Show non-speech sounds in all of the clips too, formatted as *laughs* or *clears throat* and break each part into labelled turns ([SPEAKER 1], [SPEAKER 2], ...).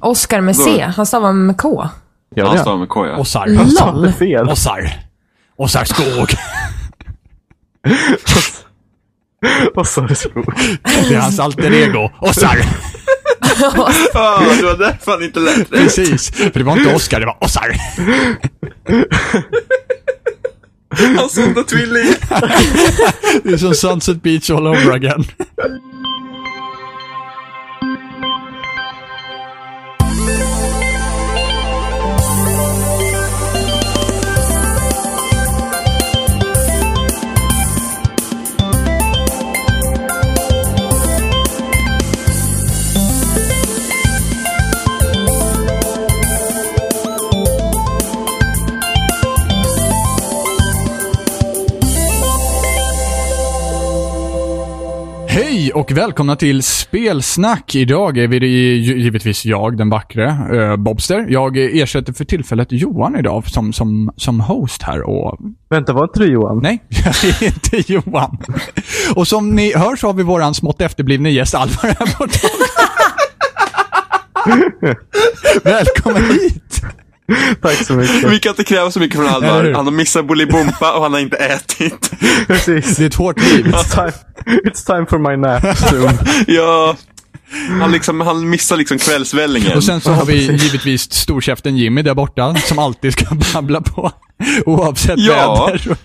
[SPEAKER 1] Oscar med C. Han stavar med K.
[SPEAKER 2] Ja,
[SPEAKER 3] Alltså,
[SPEAKER 2] han står med K, ja.
[SPEAKER 4] Ossar.
[SPEAKER 1] LOL!
[SPEAKER 3] Fel. *laughs*
[SPEAKER 4] Ossar. Ossar Skog.
[SPEAKER 3] Och så är det skog.
[SPEAKER 4] Det är hans alter ego. Ossar.
[SPEAKER 2] Ah, det var därför han inte lät rätt.
[SPEAKER 4] Precis. För det var inte Oskar, det var Ossar.
[SPEAKER 2] Han sålde tvilling.
[SPEAKER 4] Det är som Sunset Beach all over again. Hej och välkomna till Spelsnack. Idag är vi det ju- givetvis jag, den vackre eh, Bobster. Jag ersätter för tillfället Johan idag som, som, som host här och...
[SPEAKER 3] Vänta, var inte du Johan?
[SPEAKER 4] Nej, *laughs* jag är inte Johan. Och som ni hör så har vi våran smått efterblivne gäst Alvar här borta. *laughs* Välkommen hit!
[SPEAKER 3] *laughs* Tack så mycket.
[SPEAKER 2] Vi kan inte kräva så mycket från
[SPEAKER 4] Eller hur?
[SPEAKER 2] Alvar. Han har missat Bolibompa och han har inte ätit.
[SPEAKER 3] *laughs* Precis.
[SPEAKER 4] Det är ett hårt liv.
[SPEAKER 3] It's time, it's time for my nap soon.
[SPEAKER 2] Ja. Han, liksom, han missar liksom kvällsvällingen.
[SPEAKER 4] Och sen så har vi givetvis storkäften Jimmy där borta, som alltid ska *laughs* babbla på. Oavsett
[SPEAKER 2] Ja.
[SPEAKER 4] väder och-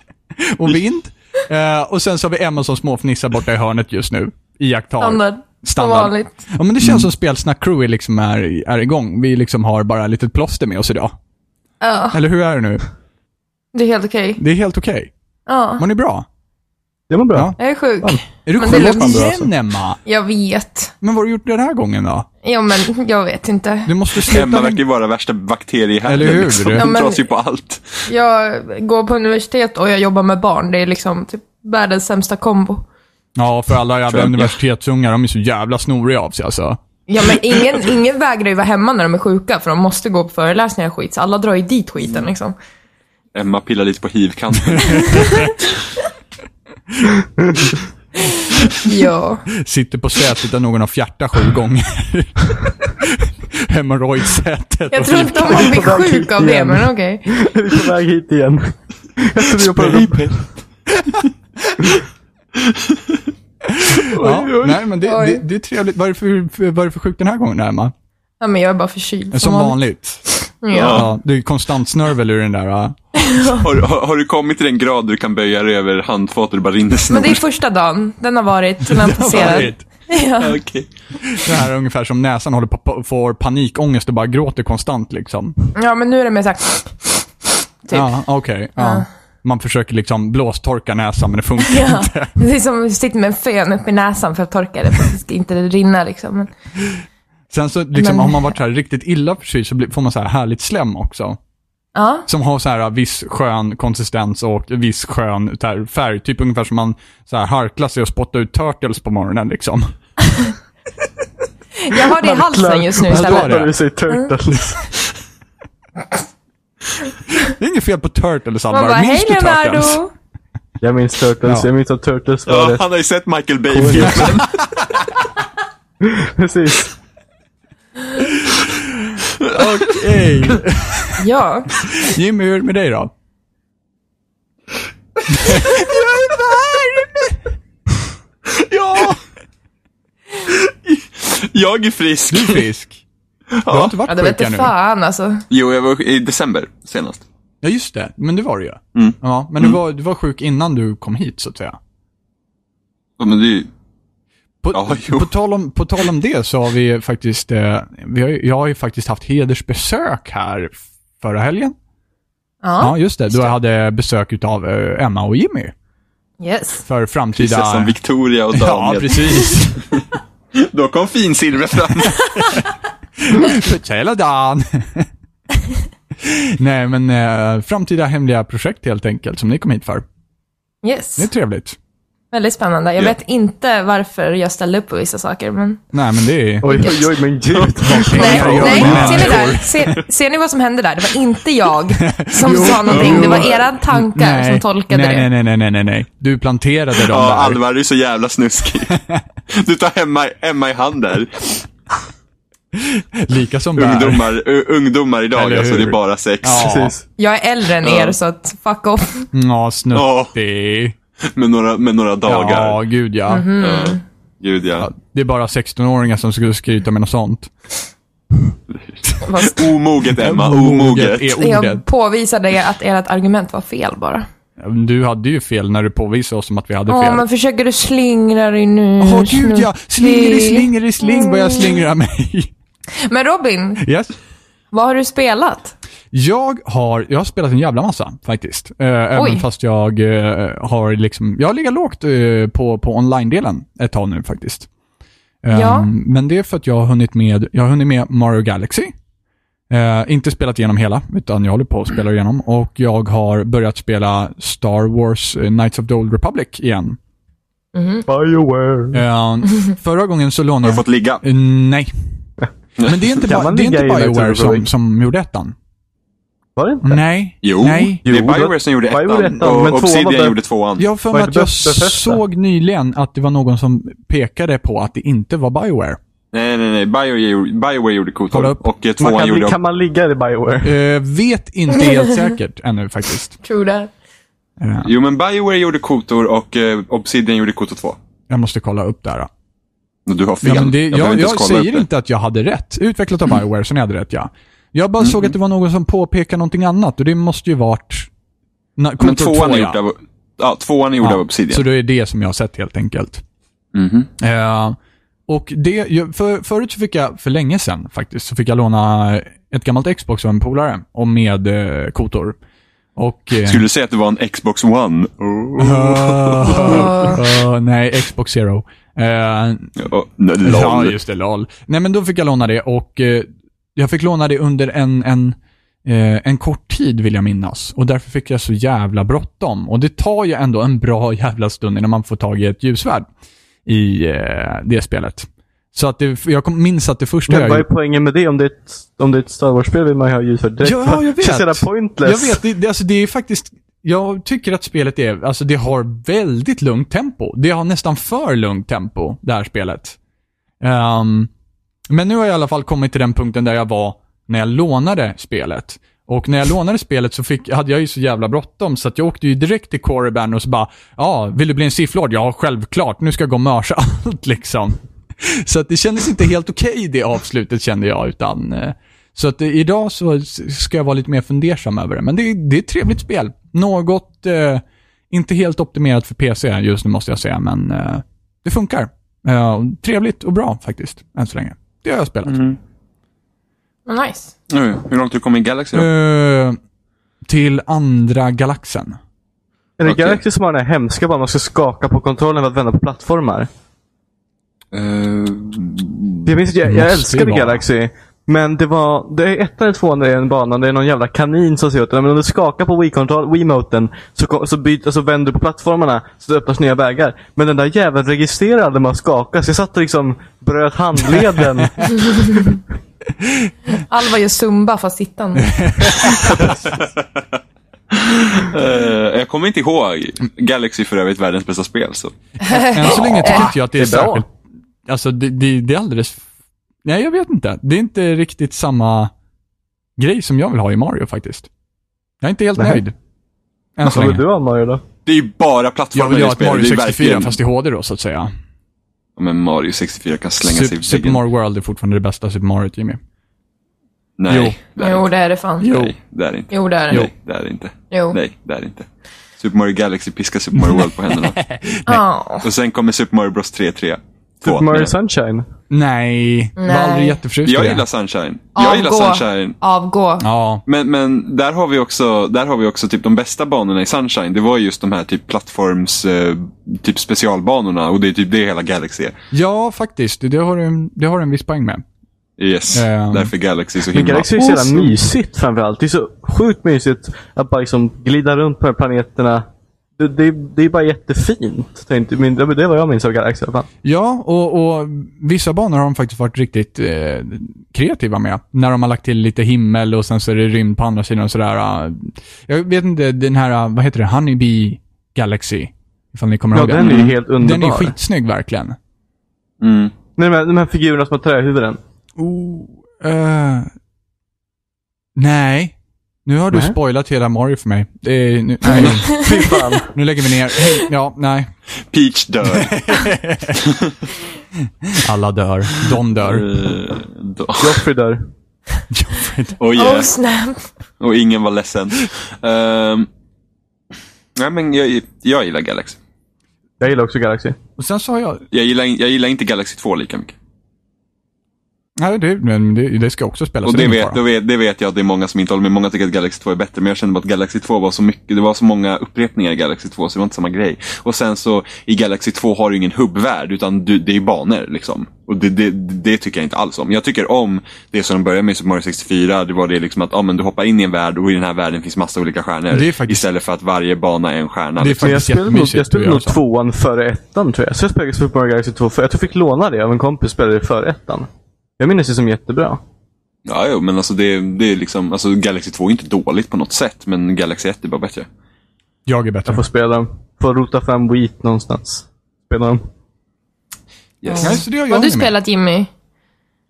[SPEAKER 4] och vind. Eh, och sen så har vi Emma som småfnissar borta i hörnet just nu. Iakttar.
[SPEAKER 1] Standard.
[SPEAKER 4] Standard.
[SPEAKER 1] Som vanligt.
[SPEAKER 4] Ja, men det känns
[SPEAKER 2] Mm.
[SPEAKER 4] som Spelsnack Crew är, liksom är, är igång. Vi liksom har bara ett litet plåster med oss idag.
[SPEAKER 1] Ja,
[SPEAKER 4] Eller hur är det nu?
[SPEAKER 1] det är helt okej.
[SPEAKER 4] Det är helt okej.
[SPEAKER 1] Ja,
[SPEAKER 4] Mår ni bra?
[SPEAKER 3] Det var bra.
[SPEAKER 4] Ja.
[SPEAKER 1] jag är sjuk.
[SPEAKER 4] Är du
[SPEAKER 1] Men det
[SPEAKER 4] sjuk igen
[SPEAKER 1] låter
[SPEAKER 3] bra, alltså.
[SPEAKER 4] Emma?
[SPEAKER 1] Jag vet.
[SPEAKER 4] Men vad har du gjort den här gången då?
[SPEAKER 1] Ja, men jag vet inte.
[SPEAKER 4] Du måste sluta
[SPEAKER 2] Emma
[SPEAKER 4] med-
[SPEAKER 2] verkar ju vara värsta bakteriehärden.
[SPEAKER 4] Eller hur?
[SPEAKER 2] Liksom.
[SPEAKER 4] Ja,
[SPEAKER 2] Hon
[SPEAKER 1] men-
[SPEAKER 2] dras ju på allt.
[SPEAKER 1] Jag går på universitet och jag jobbar med barn. Det är liksom typ världens sämsta kombo.
[SPEAKER 4] Ja, för alla jävla
[SPEAKER 2] jag-
[SPEAKER 4] universitetsungar, de är så jävla snoriga av sig alltså.
[SPEAKER 1] Ja, men ingen, ingen vägrar ju vara hemma när de är sjuka för de måste gå på föreläsningar och skit. Så alla drar ju dit skiten liksom.
[SPEAKER 2] Emma pillar lite på hivkanten.
[SPEAKER 1] Ja.
[SPEAKER 4] Sitter på sätet där någon har fjärtat sju gånger. *laughs* Hemorrojdsätet.
[SPEAKER 1] Jag tror inte om man blir sjuk av det, men okej.
[SPEAKER 3] Är *laughs* vi på väg hit igen? Jag trodde jag på
[SPEAKER 4] Ja, nej, men det,
[SPEAKER 1] Oj.
[SPEAKER 4] det, det är trevligt. Vad är det för, för, vad är det för sjuk den här gången, Emma?
[SPEAKER 1] Ja, men jag är bara förkyld.
[SPEAKER 4] Som vanligt.
[SPEAKER 1] vanligt. *laughs* Ja.
[SPEAKER 4] Ja, det är ju konstant snörvel ur den där. ja.
[SPEAKER 2] Har, har, har du kommit till den grad du kan böja dig över handfat och det bara rinner snor?
[SPEAKER 1] Men det är första dagen. Den har varit,
[SPEAKER 4] *laughs*
[SPEAKER 1] den har passerat. Ja.
[SPEAKER 2] *laughs* Okej.
[SPEAKER 4] Det här är ungefär som näsan håller på- på får panikångest och bara gråter konstant liksom.
[SPEAKER 1] ja, men nu är det mer såhär... Typ.
[SPEAKER 4] Ja, okej. ja. Man försöker liksom blåstorka näsan, men
[SPEAKER 1] *laughs*
[SPEAKER 4] det funkar
[SPEAKER 1] Ja.
[SPEAKER 4] *laughs* inte.
[SPEAKER 1] Det är som att sitta med en fön upp i näsan för att torka det, för att det ska inte rinna liksom. Men,
[SPEAKER 4] Sen så, liksom,
[SPEAKER 1] Men-
[SPEAKER 4] har man varit så här riktigt illa förkyld så blir- får man så här härligt slem också.
[SPEAKER 1] ja.
[SPEAKER 4] Som har så här äh, viss skön konsistens och viss skön så här, färg. Typ ungefär som man så här harklar sig och spottar ut turtles på morgonen liksom.
[SPEAKER 1] Jag har det i halsen just nu
[SPEAKER 4] Vad
[SPEAKER 1] istället.
[SPEAKER 4] var det?
[SPEAKER 3] Du säger turtles.
[SPEAKER 4] Det är inget fel på turtles
[SPEAKER 1] Man bara,
[SPEAKER 4] Alvar. Minns
[SPEAKER 1] hej
[SPEAKER 4] du turtles?
[SPEAKER 1] Leonardo!
[SPEAKER 3] *laughs* Jag minns turtles.
[SPEAKER 4] Ja.
[SPEAKER 3] Jag minns att turtles var
[SPEAKER 2] Ja,
[SPEAKER 3] rätt.
[SPEAKER 2] han har ju sett Michael Bay-filmen.
[SPEAKER 3] *laughs* Precis.
[SPEAKER 4] Okej.
[SPEAKER 1] *laughs* Ja.
[SPEAKER 4] Jimmy, hur är det med dig då?
[SPEAKER 2] ja! Jag är frisk.
[SPEAKER 4] Du är frisk. Du har inte varit
[SPEAKER 1] Ja, det
[SPEAKER 4] sjuk
[SPEAKER 1] vete
[SPEAKER 4] ännu.
[SPEAKER 1] fan alltså.
[SPEAKER 2] Jo, jag var i december senast.
[SPEAKER 4] Ja, just det. Men det var du ju. Ja,
[SPEAKER 1] Mm.
[SPEAKER 4] men du, var, du var sjuk innan du kom hit, så att säga.
[SPEAKER 2] Ja, Men det är ju...
[SPEAKER 4] På,
[SPEAKER 2] Ja, jo.
[SPEAKER 4] på, tal, om, på tal om det så har vi faktiskt, eh, vi har, ju- jag har ju faktiskt haft hedersbesök här förra helgen.
[SPEAKER 1] Ja.
[SPEAKER 4] Ja, just det. Du hade besök utav eh, Emma och Jimmy
[SPEAKER 1] Yes.
[SPEAKER 4] för
[SPEAKER 2] Prinsessan
[SPEAKER 4] framtida...
[SPEAKER 2] Victoria och
[SPEAKER 4] Ja,
[SPEAKER 2] Daniel.
[SPEAKER 4] precis.
[SPEAKER 2] *laughs* Då kom finsilvret fram.
[SPEAKER 4] Tjena Dan! Nej, men eh, framtida hemliga projekt helt enkelt, som ni kom hit för.
[SPEAKER 1] Yes.
[SPEAKER 4] Det är trevligt.
[SPEAKER 1] Väldigt spännande. Jag
[SPEAKER 2] Ja.
[SPEAKER 1] vet inte varför jag ställde upp på vissa saker, men...
[SPEAKER 4] Nej, men det är...
[SPEAKER 3] Oj, oj, oj, men *laughs* gud.
[SPEAKER 1] Nej, Mm.
[SPEAKER 4] jag
[SPEAKER 1] nej.
[SPEAKER 4] med.
[SPEAKER 1] Ser ni där? Ser, ser ni vad som hände där? Det var inte
[SPEAKER 4] *laughs*
[SPEAKER 1] jag som sa någonting. Det var era tankar
[SPEAKER 4] nej,
[SPEAKER 1] som tolkade
[SPEAKER 4] nej,
[SPEAKER 1] det.
[SPEAKER 4] Nej, nej, nej, nej, nej, nej. Du planterade dem
[SPEAKER 2] Ja,
[SPEAKER 4] där. *laughs*
[SPEAKER 2] Alvar är ju så jävla snuskig. Du tar Emma, Emma i hand där.
[SPEAKER 4] Lika som bär.
[SPEAKER 2] Ungdomar, u- ungdomar idag,
[SPEAKER 4] Eller
[SPEAKER 2] alltså
[SPEAKER 4] hur?
[SPEAKER 2] det är bara sex.
[SPEAKER 4] Ja.
[SPEAKER 3] Precis.
[SPEAKER 1] Jag är äldre än
[SPEAKER 2] Ja.
[SPEAKER 1] er, så att fuck off.
[SPEAKER 4] Ja, snuttig.
[SPEAKER 2] Med, några, med några dagar.
[SPEAKER 4] Ja, Mm. gud ja.
[SPEAKER 2] Ja. Gud ja.
[SPEAKER 4] Det är bara 16-åringar som skulle skryta med något sånt.
[SPEAKER 1] Fast
[SPEAKER 2] Omoget Emma, omoget.
[SPEAKER 4] är ordet.
[SPEAKER 1] jag påvisade er att ert argument var fel bara.
[SPEAKER 4] Du hade ju fel när du påvisade oss om att vi hade
[SPEAKER 1] Ja,
[SPEAKER 4] fel.
[SPEAKER 1] men försöker du slingra dig nu?
[SPEAKER 4] Åh gud ja! Slingri,
[SPEAKER 1] Snutti.
[SPEAKER 4] slingri, sling börjar slingra mig. *laughs*
[SPEAKER 1] Men Robin,
[SPEAKER 4] Yes.
[SPEAKER 1] vad har du spelat?
[SPEAKER 4] Jag har, jag har spelat en jävla massa faktiskt. Eh, även
[SPEAKER 1] Oj.
[SPEAKER 4] fast jag eh, har liksom, jag har legat lågt eh, på, på online-delen ett tag nu faktiskt. Eh,
[SPEAKER 1] Ja.
[SPEAKER 4] Men det är för att jag har hunnit med, jag har hunnit med Mario Galaxy. Eh, inte spelat igenom hela, utan jag håller på att spela igenom. Och jag har börjat spela Star Wars eh, Knights of the Old Republic igen.
[SPEAKER 3] Bioware.
[SPEAKER 1] *laughs*
[SPEAKER 4] Eh, förra gången så
[SPEAKER 2] Har
[SPEAKER 4] lånade
[SPEAKER 2] du
[SPEAKER 4] jag...
[SPEAKER 2] fått ligga?
[SPEAKER 4] Eh,
[SPEAKER 3] *laughs*
[SPEAKER 4] Nej. Men det är inte,
[SPEAKER 3] Kan
[SPEAKER 4] bara,
[SPEAKER 3] man
[SPEAKER 4] det är
[SPEAKER 3] ligga
[SPEAKER 4] inte
[SPEAKER 3] i Knights of the
[SPEAKER 4] Bioware som,
[SPEAKER 3] Republic?
[SPEAKER 4] som gjorde ettan.
[SPEAKER 3] Var det inte?
[SPEAKER 4] Nej.
[SPEAKER 2] Jo,
[SPEAKER 4] Nej.
[SPEAKER 2] det är
[SPEAKER 3] Jo, då-
[SPEAKER 2] Bioware som gjorde ettan,
[SPEAKER 3] Bioware ettan, men
[SPEAKER 2] och
[SPEAKER 3] tvåan
[SPEAKER 2] Obsidian
[SPEAKER 3] var bäst.
[SPEAKER 2] gjorde tvåan.
[SPEAKER 4] Jag har för
[SPEAKER 3] Vad
[SPEAKER 4] mig
[SPEAKER 3] är
[SPEAKER 4] att
[SPEAKER 3] det
[SPEAKER 4] jag
[SPEAKER 3] bästa Bethesda?
[SPEAKER 4] såg nyligen att det var någon som pekade på att det inte var Bioware.
[SPEAKER 2] Nej, nej, nej. Bioware, gjorde- Bioware gjorde
[SPEAKER 4] Kolla
[SPEAKER 2] Kotor
[SPEAKER 4] upp.
[SPEAKER 2] och eh,
[SPEAKER 3] Man
[SPEAKER 2] tvåan
[SPEAKER 3] kan,
[SPEAKER 2] gjorde...
[SPEAKER 3] li- kan man ligga i Bioware?
[SPEAKER 4] Eh, vet inte helt säkert ännu faktiskt.
[SPEAKER 1] Tror det.
[SPEAKER 2] Jo, men Bioware gjorde Kotor och eh, Obsidian gjorde Kotor 2.
[SPEAKER 4] Jag måste kolla upp där. Då.
[SPEAKER 2] Men Du har fel.
[SPEAKER 4] Ja, men det, jag
[SPEAKER 2] behöver
[SPEAKER 4] jag,
[SPEAKER 2] inte ens kolla upp
[SPEAKER 4] säger
[SPEAKER 2] det.
[SPEAKER 4] inte att jag hade rätt. Utvecklat av Bioware, så ni hade rätt ja. Jag bara såg att det var någon som påpekade någonting annat och det måste ju varit... Na,
[SPEAKER 2] Men
[SPEAKER 4] Kotor
[SPEAKER 2] tvåan är
[SPEAKER 4] ja.
[SPEAKER 2] gjord av... Ja, tvåan är gjord av Obsidian. Mhm.
[SPEAKER 4] Så det är det som jag har sett helt enkelt. Eh, och det, jag- för, förut så fick jag, för länge sedan faktiskt, så fick jag låna ett gammalt Xbox av en polare och med eh, kotor. Och... eh,
[SPEAKER 2] Skulle du säga att det var en Xbox One? Oh.
[SPEAKER 4] Åh, åh, *laughs* nej, Xbox Zero. Eh,
[SPEAKER 2] Oh, nej,
[SPEAKER 4] Ja,
[SPEAKER 2] lol.
[SPEAKER 4] just det, LOL. Nej, men då fick jag låna det och eh, jag fick låna det under en, en, eh, en kort tid vill jag minnas. Och därför fick jag så jävla bråttom. Och det tar ju ändå en bra jävla stund innan man får tag i ett ljusvärd i eh, det spelet. Så att det, jag kom, minns att det första
[SPEAKER 3] Men
[SPEAKER 4] jag
[SPEAKER 3] vad är poängen med det? Om det är ett, om det är ett Star Wars-spel vill man ju ha ljus för direkt.
[SPEAKER 4] Ja, jag
[SPEAKER 3] Det känns
[SPEAKER 4] vet.
[SPEAKER 3] jävla pointless.
[SPEAKER 4] Jag vet, det, det, alltså det är faktiskt... Jag tycker att spelet är, alltså det har väldigt lugnt tempo. Det har nästan för lugnt tempo, det här spelet. Ehm, men nu har jag i alla fall kommit till den punkten där jag var när jag lånade spelet. Och när jag lånade spelet så fick, hade jag ju så jävla bråttom så att jag åkte ju direkt till Coryban och så bara, ja, vill du bli en sifflord? Ja, självklart. Nu ska jag gå och mörsa *laughs* allt liksom. Så att det kändes inte helt okej det avslutet kände jag, utan... eh, Så att eh, idag så s- ska jag vara lite mer fundersam över det. Men det, är- det är ett trevligt spel. Något, eh, inte helt optimerat för PC just nu måste jag säga, men eh, det funkar. Eh, trevligt och bra faktiskt, än så länge. Det har jag spelat.
[SPEAKER 1] Nice.
[SPEAKER 2] Nu, Hur långt har du kommit i Galaxy då?
[SPEAKER 4] Eh, till andra galaxen.
[SPEAKER 3] Är det
[SPEAKER 2] Okej.
[SPEAKER 3] Galaxy som har den här hemska bara man ska skaka på kontrollen för att vända på plattformar?
[SPEAKER 2] Eh,
[SPEAKER 3] Jag minns att jag, jag
[SPEAKER 4] Måste
[SPEAKER 3] älskade
[SPEAKER 4] vara.
[SPEAKER 3] Galaxy. Men det var, det är ettan eller tvåan där det är en bana, det är någon jävla kanin som ser ut Men om du skakar på Wii-kontroll, Wiimoten, så, ko- så, byt, så vänder du på plattformarna så det öppnas nya vägar. Men den där jäveln registrerar aldrig man skakar, så jag satt och liksom bröt
[SPEAKER 4] *laughs*
[SPEAKER 3] handleden.
[SPEAKER 1] Alva gör zumba fast sittande.
[SPEAKER 2] eh, jag kommer inte ihåg. Galaxy är för övrigt världens bästa spel. Så.
[SPEAKER 4] Än så länge tycker inte jag att det är,
[SPEAKER 3] det är bra.
[SPEAKER 4] särskilt... Alltså, det, det, det är alldeles... Nej, jag vet inte. Det är inte riktigt samma grej som jag vill ha i Mario faktiskt. Jag är inte helt
[SPEAKER 3] Nej.
[SPEAKER 4] nöjd. Än så
[SPEAKER 3] Vad vill
[SPEAKER 4] länge.
[SPEAKER 3] du ha Mario då?
[SPEAKER 2] Det är ju bara
[SPEAKER 4] Jag
[SPEAKER 2] plattformar
[SPEAKER 4] vill
[SPEAKER 2] i
[SPEAKER 4] ha
[SPEAKER 2] det
[SPEAKER 4] ett
[SPEAKER 2] spelet.
[SPEAKER 4] Mario
[SPEAKER 2] Det är
[SPEAKER 4] 64
[SPEAKER 2] verkligen-
[SPEAKER 4] fast i HD då, så att säga.
[SPEAKER 2] Ja, Men Mario 64 kan slänga sig i
[SPEAKER 4] Super, Super
[SPEAKER 2] väggen.
[SPEAKER 4] Mario World är fortfarande det bästa Super Mario, Jimmy.
[SPEAKER 2] Nej, det är det
[SPEAKER 1] Jo,
[SPEAKER 2] inte.
[SPEAKER 1] det är det fan.
[SPEAKER 2] Nej, det är det inte.
[SPEAKER 1] Jo, det är det.
[SPEAKER 2] Nej, det är det inte.
[SPEAKER 1] Jo.
[SPEAKER 2] Nej, det är det inte. Super Mario Galaxy piskar Super Mario World på händerna.
[SPEAKER 1] *laughs* Ja.
[SPEAKER 2] Och sen kommer Super Mario Bros 3 3.
[SPEAKER 3] Super Mario Sunshine?
[SPEAKER 4] Nej, var
[SPEAKER 1] Nej.
[SPEAKER 4] aldrig jätteförtjust i
[SPEAKER 2] Jag
[SPEAKER 4] det.
[SPEAKER 2] gillar Sunshine. Jag gillar
[SPEAKER 1] Avgå.
[SPEAKER 2] Sunshine.
[SPEAKER 1] Avgå.
[SPEAKER 4] Ja.
[SPEAKER 2] Men, men där har vi också, där har vi också typ de bästa banorna i Sunshine. Det var just de här typ plattforms, eh, typ specialbanorna. Och det är typ det hela Galaxy är.
[SPEAKER 4] ja, faktiskt. Det har, du en, det har du en viss poäng med.
[SPEAKER 2] Yes,
[SPEAKER 4] Ehm.
[SPEAKER 2] därför Galaxy är så
[SPEAKER 3] Men
[SPEAKER 2] himla...
[SPEAKER 3] Galaxy är så
[SPEAKER 2] awesome.
[SPEAKER 3] jävla mysigt framförallt. Det är så sjukt mysigt att bara liksom glida runt på de här planeterna. Det, det, det är bara jättefint. Tänkte, men det det är vad jag minns av Galaxy i alla fall.
[SPEAKER 4] Ja, och, och vissa banor har de faktiskt varit riktigt eh, kreativa med. När de har lagt till lite himmel och sen så är det rymd på andra sidan och sådär. eh. Jag vet inte, den här, eh, vad heter det, Honeybee Galaxy. Ifall ni kommer
[SPEAKER 3] Ja,
[SPEAKER 4] ihåg
[SPEAKER 3] den är ju helt underbar.
[SPEAKER 4] Den är skitsnygg verkligen.
[SPEAKER 2] Mm.
[SPEAKER 3] Men de, här, de här figurerna som har trähuvuden.
[SPEAKER 4] Oh, eh, nej. Nu har du
[SPEAKER 3] Nej.
[SPEAKER 4] spoilat hela Mario för mig. Det är, nu, nej,
[SPEAKER 3] *laughs* Fy fan.
[SPEAKER 4] nu lägger vi ner. Hej, ja, nej.
[SPEAKER 2] Peach dör.
[SPEAKER 4] Alla dör. De dör.
[SPEAKER 2] Eh, då-
[SPEAKER 3] Joffrey dör.
[SPEAKER 2] Och
[SPEAKER 1] Åh
[SPEAKER 2] yeah.
[SPEAKER 1] Oh, snap.
[SPEAKER 2] Och ingen var ledsen. Ehm, nej, men jag, jag gillar Galaxy.
[SPEAKER 3] Jag gillar också Galaxy.
[SPEAKER 4] Och sen så har jag...
[SPEAKER 2] Jag gillar, in- jag gillar inte Galaxy 2 lika mycket.
[SPEAKER 4] Nej, det, men det, det ska också spelas.
[SPEAKER 2] Och
[SPEAKER 4] så
[SPEAKER 2] Alltså, det
[SPEAKER 4] är ingen
[SPEAKER 2] vet,
[SPEAKER 4] fara.
[SPEAKER 2] det, vet, det vet jag att det är många som inte håller med. Många tycker att Galaxy 2 är bättre. Men jag kände bara att Galaxy 2 var så mycket. Det var så många upprepningar i Galaxy 2 så det var inte samma grej. Och sen så i Galaxy 2 har du ingen hubbvärld utan du, det är banor liksom. Och det, det, det tycker jag inte alls om. Jag tycker om det som de började med i Super Mario 64. Det var det liksom att ah, men du hoppar in i en värld och i den här världen finns massa olika stjärnor.
[SPEAKER 4] Det är faktiskt-
[SPEAKER 2] Istället för att varje bana är en stjärna.
[SPEAKER 4] Det
[SPEAKER 2] liksom.
[SPEAKER 4] är
[SPEAKER 3] Men jag
[SPEAKER 4] Faktiskt
[SPEAKER 3] spelade nog,
[SPEAKER 4] jättemysigt
[SPEAKER 3] jag spelade
[SPEAKER 4] att
[SPEAKER 3] nog
[SPEAKER 4] göra så.
[SPEAKER 3] tvåan före ettan tror jag. Så jag spelade Super Mario Galaxy 2 för jag tror jag fick låna det av en kompis spelade det före ettan. Jag minns det som jättebra.
[SPEAKER 2] Ja, jo, men alltså det, det är liksom, alltså Galaxy 2 är inte dåligt på något sätt, men Galaxy 1 är bara bättre.
[SPEAKER 4] Jag är
[SPEAKER 3] Jag
[SPEAKER 4] bättre.
[SPEAKER 3] får spela dem. Får rota fram Wheat någonstans. Spela dem.
[SPEAKER 2] Yes.
[SPEAKER 4] Nej, så det har jag
[SPEAKER 1] Har du
[SPEAKER 4] med.
[SPEAKER 1] spelat Jimmy?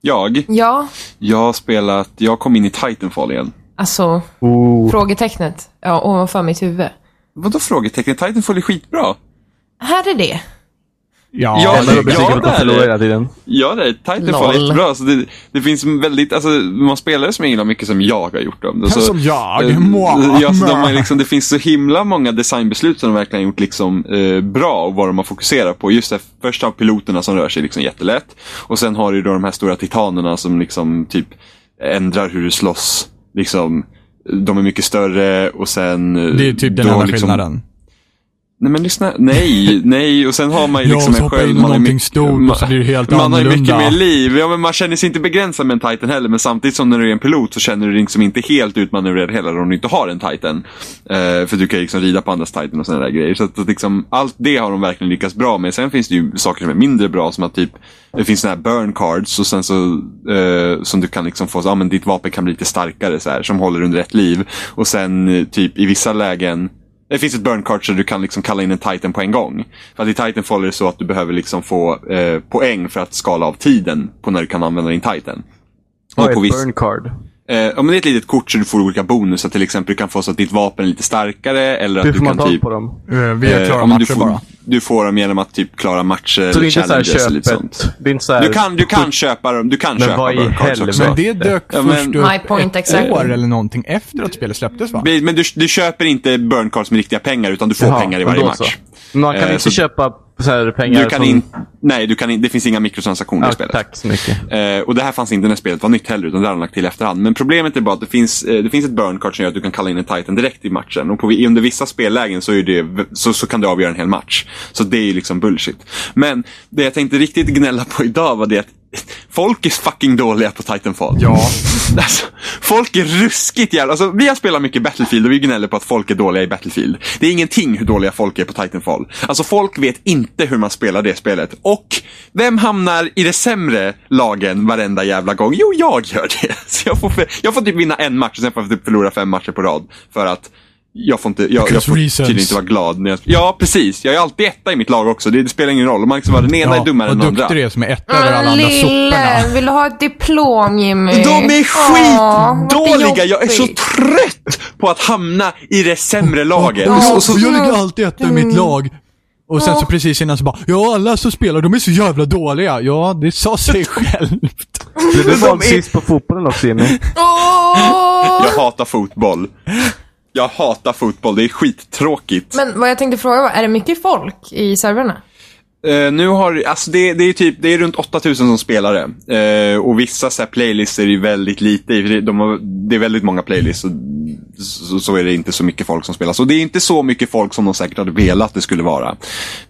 [SPEAKER 2] Jag,
[SPEAKER 1] Ja.
[SPEAKER 2] jag har spelat, jag kom in i Titanfall igen.
[SPEAKER 1] Alltså,
[SPEAKER 3] Oh.
[SPEAKER 1] frågetecknet. Ja, ovanför mitt huvud.
[SPEAKER 2] Vadå frågetecken? Titanfall är skitbra.
[SPEAKER 1] Här är det.
[SPEAKER 4] Ja,
[SPEAKER 2] Ja, men-
[SPEAKER 3] Alla
[SPEAKER 4] det-
[SPEAKER 3] Robin
[SPEAKER 2] ja,
[SPEAKER 3] tycker att de
[SPEAKER 2] där
[SPEAKER 3] förlorar
[SPEAKER 2] är-
[SPEAKER 3] hela tiden.
[SPEAKER 2] Ja, det är Titanfall
[SPEAKER 1] Lol.
[SPEAKER 2] är jättebra. Alltså det, det finns väldigt, alltså, man spelar som jag gillar mycket som jag har gjort dem. Alltså,
[SPEAKER 4] Som jag?
[SPEAKER 2] eh,
[SPEAKER 4] Mwah.
[SPEAKER 2] ja, så de har liksom, det finns så himla många designbeslut som de verkligen har gjort liksom, eh, bra och vad de har fokuserat på. Just det, först har piloterna som rör sig liksom jättelätt. Och sen har du då de här stora titanerna som liksom typ ändrar hur du slåss. Liksom, de är mycket större och sen... eh,
[SPEAKER 4] det är typ den
[SPEAKER 2] då
[SPEAKER 4] enda
[SPEAKER 2] liksom-
[SPEAKER 4] skillnaden.
[SPEAKER 2] Nej men lyssna, nej, nej och sen har man ju
[SPEAKER 4] *laughs* Ja,
[SPEAKER 2] liksom
[SPEAKER 4] så
[SPEAKER 2] en
[SPEAKER 4] hoppar in
[SPEAKER 2] sköld.
[SPEAKER 4] i
[SPEAKER 2] Man, har ju
[SPEAKER 4] någonting
[SPEAKER 2] mycket-
[SPEAKER 4] stort och så blir det helt
[SPEAKER 2] man har ju mycket
[SPEAKER 4] annorlunda.
[SPEAKER 2] mer liv. Ja, men man känner sig inte begränsad med en titan heller men samtidigt som när du är en pilot så känner du dig liksom inte helt utmanövrerad heller om du inte har en titan. Eh, för du kan ju liksom rida på andras titan och sådana där grejer. Så att, att liksom, allt det har de verkligen lyckats bra med. Sen finns det ju saker som är mindre bra som att typ det finns såna här burn cards och sen så eh, som du kan liksom få, så, ah, men ditt vapen kan bli lite starkare så här, som håller under ett liv. Och sen eh, typ i vissa lägen det finns ett burn card så du kan liksom kalla in en titan på en gång. För att i Titanfall är det så att du behöver liksom få eh, poäng för att skala av tiden på när du kan använda din titan.
[SPEAKER 3] Vad är
[SPEAKER 2] på
[SPEAKER 3] ett
[SPEAKER 2] viss-
[SPEAKER 3] burn card?
[SPEAKER 2] Eh, ja, men det är ett litet kort så du får olika bonusar. Till exempel du kan få så att ditt vapen är lite starkare eller
[SPEAKER 3] Hur
[SPEAKER 2] att
[SPEAKER 3] får
[SPEAKER 2] du
[SPEAKER 3] man
[SPEAKER 2] kan
[SPEAKER 3] tag
[SPEAKER 2] typ...
[SPEAKER 3] på dem?
[SPEAKER 4] Eh, Vi har
[SPEAKER 2] eh,
[SPEAKER 4] klara
[SPEAKER 2] ja, men
[SPEAKER 4] matcher
[SPEAKER 2] du, får,
[SPEAKER 4] bara.
[SPEAKER 2] du får dem genom att typ klara matcher
[SPEAKER 3] Så det är
[SPEAKER 2] eller
[SPEAKER 3] inte såhär
[SPEAKER 2] challenges eller lite sånt.
[SPEAKER 3] köpet? Det är inte såhär...
[SPEAKER 2] Du kan, du kan köpa dem. Du kan
[SPEAKER 3] Men
[SPEAKER 2] köpa
[SPEAKER 3] vad i
[SPEAKER 2] burn cards
[SPEAKER 3] helvete?
[SPEAKER 2] också.
[SPEAKER 4] Men det dök
[SPEAKER 2] Ja, men-
[SPEAKER 4] först
[SPEAKER 1] My
[SPEAKER 4] upp
[SPEAKER 1] point
[SPEAKER 4] ett
[SPEAKER 1] exactly.
[SPEAKER 4] år eller någonting efter att spelet släpptes va?
[SPEAKER 2] Men du, du köper inte burn cards med riktiga pengar utan du får
[SPEAKER 3] Jaha,
[SPEAKER 2] pengar i
[SPEAKER 3] men
[SPEAKER 2] varje
[SPEAKER 3] då
[SPEAKER 2] match.
[SPEAKER 3] Så. Man kan
[SPEAKER 2] Eh,
[SPEAKER 3] inte
[SPEAKER 2] så-
[SPEAKER 3] köpa så här pengar
[SPEAKER 2] Du kan
[SPEAKER 3] som...
[SPEAKER 2] in, nej, du kan in, det finns inga mikrotransaktioner i
[SPEAKER 3] Ja,
[SPEAKER 2] spelet.
[SPEAKER 3] tack så mycket.
[SPEAKER 2] Eh, och det här fanns inte när spelet var nytt heller, utan det har de lagt till i efterhand. Men problemet är bara att det finns, eh, det finns ett burn card som gör att du kan kalla in en titan direkt i matchen. Och på, under vissa spellägen så, är det, v- så, så kan du avgöra en hel match. Så det är ju liksom bullshit. Men det jag tänkte riktigt gnälla på idag var det att *laughs* folk är fucking dåliga på Titanfall.
[SPEAKER 4] Ja.
[SPEAKER 2] *laughs* Alltså, folk är ruskigt jävla... Alltså, vi har spelat mycket Battlefield och vi gnäller på att folk är dåliga i Battlefield. Det är ingenting hur dåliga folk är på Titanfall. Alltså folk vet inte hur man spelar det spelet. Och vem hamnar i det sämre lagen varenda jävla gång? Jo, jag gör det. *laughs* Så jag får, för, jag får typ vinna en match och sen får jag typ förlora fem matcher på rad. För att jag får, inte, jag, jag
[SPEAKER 4] Because
[SPEAKER 2] får
[SPEAKER 4] reasons.
[SPEAKER 2] tydligen inte vara glad. När jag, ja, precis. Jag är alltid etta i mitt lag också. Det, det spelar ingen roll. Man kan vara den ena är dummare än
[SPEAKER 4] vad
[SPEAKER 2] den andra.
[SPEAKER 4] duktig du är som är ett över alla andra
[SPEAKER 1] Ah, lille, *laughs*
[SPEAKER 4] sopporna.
[SPEAKER 1] vill du ha ett diplom Jimmy?
[SPEAKER 2] De är
[SPEAKER 1] Åh, vad
[SPEAKER 2] skitdåliga! Jag är så
[SPEAKER 1] jobbigt.
[SPEAKER 2] trött på att hamna i det sämre laget.
[SPEAKER 4] Ja,
[SPEAKER 2] Och så,
[SPEAKER 4] och jag ligger alltid ett i
[SPEAKER 1] Mm.
[SPEAKER 4] mitt lag. Och sen så
[SPEAKER 1] Ah.
[SPEAKER 4] precis innan så bara, ja alla som spelar, de är så jävla dåliga. Ja, det
[SPEAKER 1] *laughs*
[SPEAKER 4] sa sig självt.
[SPEAKER 3] Du, du
[SPEAKER 2] de
[SPEAKER 3] var
[SPEAKER 2] är-
[SPEAKER 3] sist på fotbollen också Jimmy.
[SPEAKER 1] Åh!
[SPEAKER 2] jag hatar fotboll. Jag hatar fotboll, det är skittråkigt.
[SPEAKER 1] Men vad jag tänkte fråga var, är det mycket folk i servrarna?
[SPEAKER 2] Eh, nu har, alltså det, det är typ, det är runt 8000 som spelare. Eh, och vissa så här playlists är det ju väldigt lite i, för det, de har, det är väldigt många playlists. Och, så, så är det inte så mycket folk som spelar. Så det är inte så mycket folk som de säkert hade velat det skulle vara.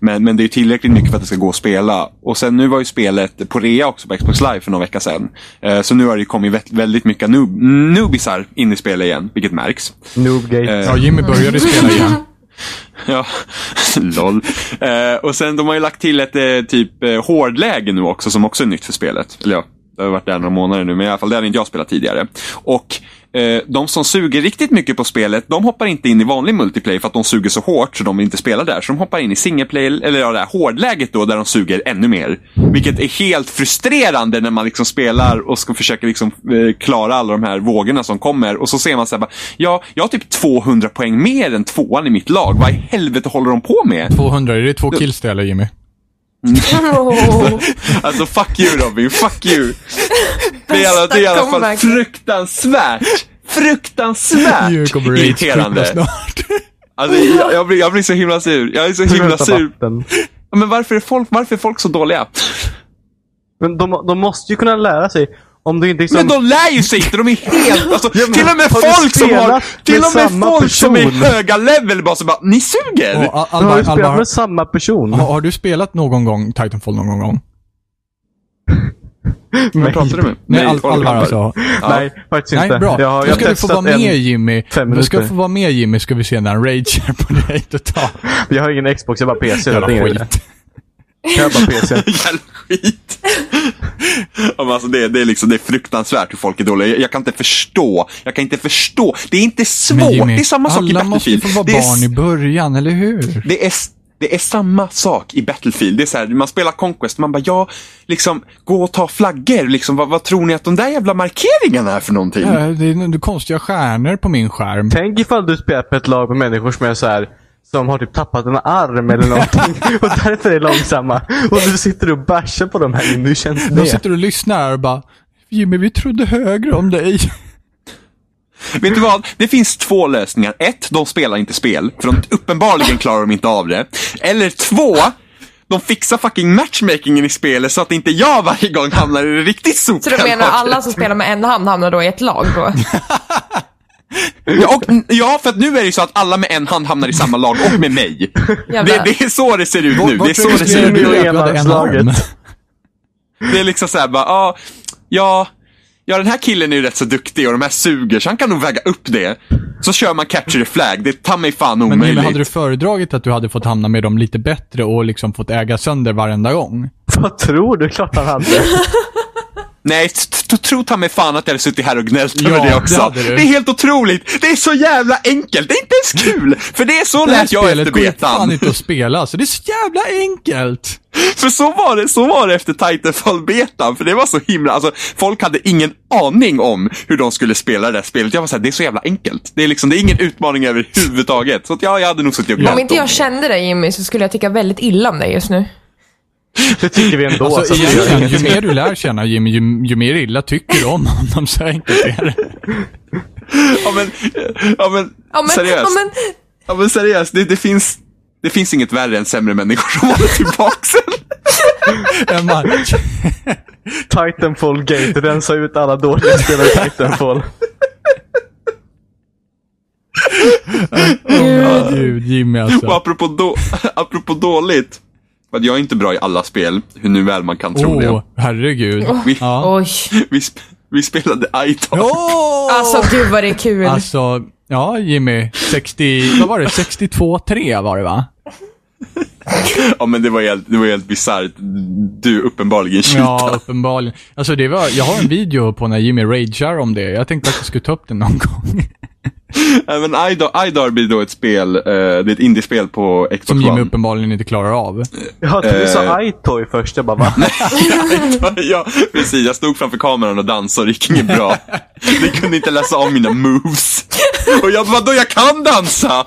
[SPEAKER 2] Men, men det är tillräckligt mycket för att det ska gå att spela. Och sen nu var ju spelet på rea också på Xbox Live för någon vecka sedan. Eh, så nu har det ju kommit vä- väldigt mycket noob, noobisar in i spelet igen, vilket märks.
[SPEAKER 3] Noobgate.
[SPEAKER 2] Eh,
[SPEAKER 4] Ja, Jimmy började spela igen.
[SPEAKER 1] *laughs*
[SPEAKER 2] *laughs* Ja, lol. Eh, och sen de har ju lagt till ett eh, typ eh, hårdläge nu också som också är nytt för spelet. Eller ja, det har varit där några månader nu, men i alla fall det hade inte jag spelat tidigare. Och eh, de som suger riktigt mycket på spelet, de hoppar inte in i vanlig multiplayer för att de suger så hårt så de inte spelar där. Så de hoppar in i singleplayer, eller ja, det här hårdläget då, där de suger ännu mer. Vilket är helt frustrerande när man liksom spelar och ska försöka liksom, eh, klara alla de här vågorna som kommer. Och så ser man så här, bara, ja, jag har typ 200 poäng mer än tvåan i mitt lag. Vad i helvete håller de på med?
[SPEAKER 4] 200, är det två kills det eller Jimmy?
[SPEAKER 1] *laughs* Åh,
[SPEAKER 2] Alltså fuck you Robin, fuck you. Det är, i alla- det är i alla fall
[SPEAKER 1] comeback.
[SPEAKER 2] fruktansvärt.
[SPEAKER 4] *laughs*
[SPEAKER 2] Fruktansvärt
[SPEAKER 4] Ju kommer det exploda
[SPEAKER 2] irriterande.
[SPEAKER 4] snart.
[SPEAKER 2] Alltså, jag, jag, blir, jag blir så himla sur. Jag är så himla
[SPEAKER 3] Förvänta
[SPEAKER 2] sur.
[SPEAKER 3] vatten.
[SPEAKER 2] Men varför är folk, varför är folk så dåliga?
[SPEAKER 3] Men de, de måste ju kunna lära sig. Om du inte liksom...
[SPEAKER 2] Men de lär ju sig inte. De är helt... Alltså,
[SPEAKER 3] Ja, men
[SPEAKER 2] till och med
[SPEAKER 3] har du
[SPEAKER 2] folk som har...
[SPEAKER 3] spelat
[SPEAKER 2] Till
[SPEAKER 3] med
[SPEAKER 2] och med
[SPEAKER 3] samma
[SPEAKER 2] folk som är
[SPEAKER 3] person?
[SPEAKER 2] höga level bara så bara, ni suger!
[SPEAKER 4] Och, Al-
[SPEAKER 3] de har
[SPEAKER 4] Alvar,
[SPEAKER 3] ju spelat
[SPEAKER 4] Alvar,
[SPEAKER 3] med samma person.
[SPEAKER 2] Mm.
[SPEAKER 4] har, har du spelat någon gång Titanfall någon gång?
[SPEAKER 2] Vem pratar du med?
[SPEAKER 4] Nej, Al-
[SPEAKER 2] Oliver
[SPEAKER 4] Alvar
[SPEAKER 2] Hamberg.
[SPEAKER 4] alltså.
[SPEAKER 2] Ja.
[SPEAKER 3] Nej, faktiskt inte.
[SPEAKER 4] Nej, bra.
[SPEAKER 3] Jag, har-
[SPEAKER 4] Då
[SPEAKER 3] jag
[SPEAKER 4] ska
[SPEAKER 3] har
[SPEAKER 4] du få
[SPEAKER 3] testat
[SPEAKER 4] vara med
[SPEAKER 3] en-
[SPEAKER 4] Jimmy.
[SPEAKER 3] fem
[SPEAKER 4] Då ska du
[SPEAKER 3] minuter.
[SPEAKER 4] få vara med Jimmy, ska vi se när han ragear på dig totalt.
[SPEAKER 3] Jag har ingen Xbox, jag har bara PC.
[SPEAKER 4] Jävla
[SPEAKER 3] det är ingen idé.
[SPEAKER 4] skit.
[SPEAKER 3] Jag har bara PC.
[SPEAKER 2] *laughs* Jävla skit. Ja, men alltså det, det, är liksom, det är fruktansvärt hur folk är dåliga. Jag, jag kan inte förstå. Jag kan inte förstå. Det är inte svårt. det är samma sak i
[SPEAKER 4] alla måste ju
[SPEAKER 2] Battlefield.
[SPEAKER 4] få vara
[SPEAKER 2] det, är,
[SPEAKER 4] barn i början, eller hur?
[SPEAKER 2] det, är, det är samma sak i Battlefield. Det är så här, man spelar Conquest man bara, ja, liksom, gå och ta flaggor. Liksom, vad, vad tror ni att de där jävla markeringarna är för någonting?
[SPEAKER 4] Ja, Det är några konstiga stjärnor på min skärm.
[SPEAKER 3] Tänk ifall du spelar på ett lag med människor som är så här som har typ tappat en arm eller
[SPEAKER 4] *laughs*
[SPEAKER 3] någonting och därför är långsamma. Och du sitter och bashar på de här Jimmy. Hur känns
[SPEAKER 4] De
[SPEAKER 3] det?
[SPEAKER 4] sitter och lyssnar här och bara Jimmy, vi trodde högre om dig.
[SPEAKER 2] Vet du vad? Det finns två lösningar. Ett, de spelar inte spel. För de uppenbarligen klarar de inte av det. Eller två, de fixar fucking matchmakingen i spelet så att inte jag varje gång hamnar i det riktigt
[SPEAKER 1] Så
[SPEAKER 2] *laughs*
[SPEAKER 1] du
[SPEAKER 2] sophällda.
[SPEAKER 1] menar alla som spelar med en hand hamnar då i ett lag
[SPEAKER 2] *laughs*
[SPEAKER 1] då?
[SPEAKER 2] Ja, och, ja, för att nu är det ju så att alla med en hand hamnar i samma lag och med mig. Det,
[SPEAKER 1] Jävlar.
[SPEAKER 2] det är så det ser ut nu. Det är så
[SPEAKER 4] tror
[SPEAKER 2] det
[SPEAKER 4] du
[SPEAKER 2] ser ut.
[SPEAKER 3] det
[SPEAKER 4] skulle
[SPEAKER 3] ut.
[SPEAKER 4] bli att du hade en
[SPEAKER 3] Enarmslaget.
[SPEAKER 4] arm?
[SPEAKER 2] Det är liksom såhär bara, ah, ja, ja den här killen är ju rätt så duktig och de här suger så han kan nog väga upp det. Så kör man capture the flag. Det är ta mig fan
[SPEAKER 4] Men
[SPEAKER 2] omöjligt.
[SPEAKER 4] Jimmy, hade du föredragit att du hade fått hamna med dem lite bättre och liksom fått äga sönder varenda gång?
[SPEAKER 3] *laughs* Vad tror du? Klart han hade.
[SPEAKER 2] Nej, t- t- tro ta mig fan att jag hade suttit här och gnällt
[SPEAKER 4] Ja,
[SPEAKER 2] över det
[SPEAKER 4] det
[SPEAKER 2] också.
[SPEAKER 4] hade
[SPEAKER 2] Det,
[SPEAKER 4] du.
[SPEAKER 2] är helt otroligt. Det är så jävla enkelt. Det är inte ens kul. För det är så
[SPEAKER 4] Det här
[SPEAKER 2] lät jag efter
[SPEAKER 4] spelet går ju fan
[SPEAKER 2] betan.
[SPEAKER 4] inte att spela, så det är så jävla enkelt.
[SPEAKER 2] För så var det, så var det efter Titanfall-betan. För det var så himla, alltså folk hade ingen aning om hur de skulle spela det där spelet. Jag var såhär, det är så jävla enkelt. Det är liksom, det är ingen utmaning överhuvudtaget. Så att ja, jag hade nog suttit och
[SPEAKER 1] Om
[SPEAKER 2] gnällt
[SPEAKER 1] inte
[SPEAKER 2] om
[SPEAKER 1] jag kände dig Jimmy så skulle jag tycka väldigt illa om dig just nu.
[SPEAKER 3] Det tycker vi ändå. så
[SPEAKER 4] Alltså,
[SPEAKER 3] det gör
[SPEAKER 4] egentligen,
[SPEAKER 3] ingenting.
[SPEAKER 4] ju mer du lär känna Jimmy, ju, ju mer illa tycker du om honom. Så enkelt är det.
[SPEAKER 2] det. ja, men, ja, men,
[SPEAKER 1] Ja, men,
[SPEAKER 2] seriöst.
[SPEAKER 1] Ja, men,
[SPEAKER 2] Ja, men seriöst, det, det finns, det finns inget värre än sämre människor som håller tillbaks en.
[SPEAKER 4] En match.
[SPEAKER 3] Titanfall Gate. Rensa ut alla dåliga
[SPEAKER 4] *laughs*
[SPEAKER 3] spelare i Titanfall.
[SPEAKER 4] Gud, Jimmy
[SPEAKER 2] Och
[SPEAKER 4] alltså.
[SPEAKER 2] apropå, då, *laughs* apropå dåligt. För att jag är inte bra i alla spel, hur nu väl man kan tro
[SPEAKER 4] Åh,
[SPEAKER 2] det.
[SPEAKER 4] herregud.
[SPEAKER 2] Vi,
[SPEAKER 4] Ja.
[SPEAKER 1] oj.
[SPEAKER 2] *laughs* vi, sp- vi spelade iTalk.
[SPEAKER 4] Åh!
[SPEAKER 1] Alltså gud vad det är kul.
[SPEAKER 4] Alltså, ja Jimmy. 60, vad var det? 62-3 var det va?
[SPEAKER 2] *laughs* Ja, men det var helt, det var helt bisarrt. Du uppenbarligen *laughs*
[SPEAKER 4] Ja,
[SPEAKER 2] tjutade.
[SPEAKER 4] uppenbarligen. Alltså det var, jag har en video på när Jimmy ragear om det. Jag tänkte att jag skulle ta upp den någon gång.
[SPEAKER 2] Ja. Men iDar- iDarby är då ett spel, eh, det är ett indiespel på Xbox
[SPEAKER 4] Som Jimmy
[SPEAKER 2] One.
[SPEAKER 4] uppenbarligen inte klarar av.
[SPEAKER 3] Jag trodde du
[SPEAKER 2] Eh.
[SPEAKER 3] sa iToy först. Jag bara
[SPEAKER 4] *laughs*
[SPEAKER 3] va?
[SPEAKER 2] *laughs* ja, precis. Jag stod framför kameran och dansade och det gick inget
[SPEAKER 4] *laughs*
[SPEAKER 2] bra. Ni kunde inte läsa av mina moves. Och jag bara, då jag kan dansa!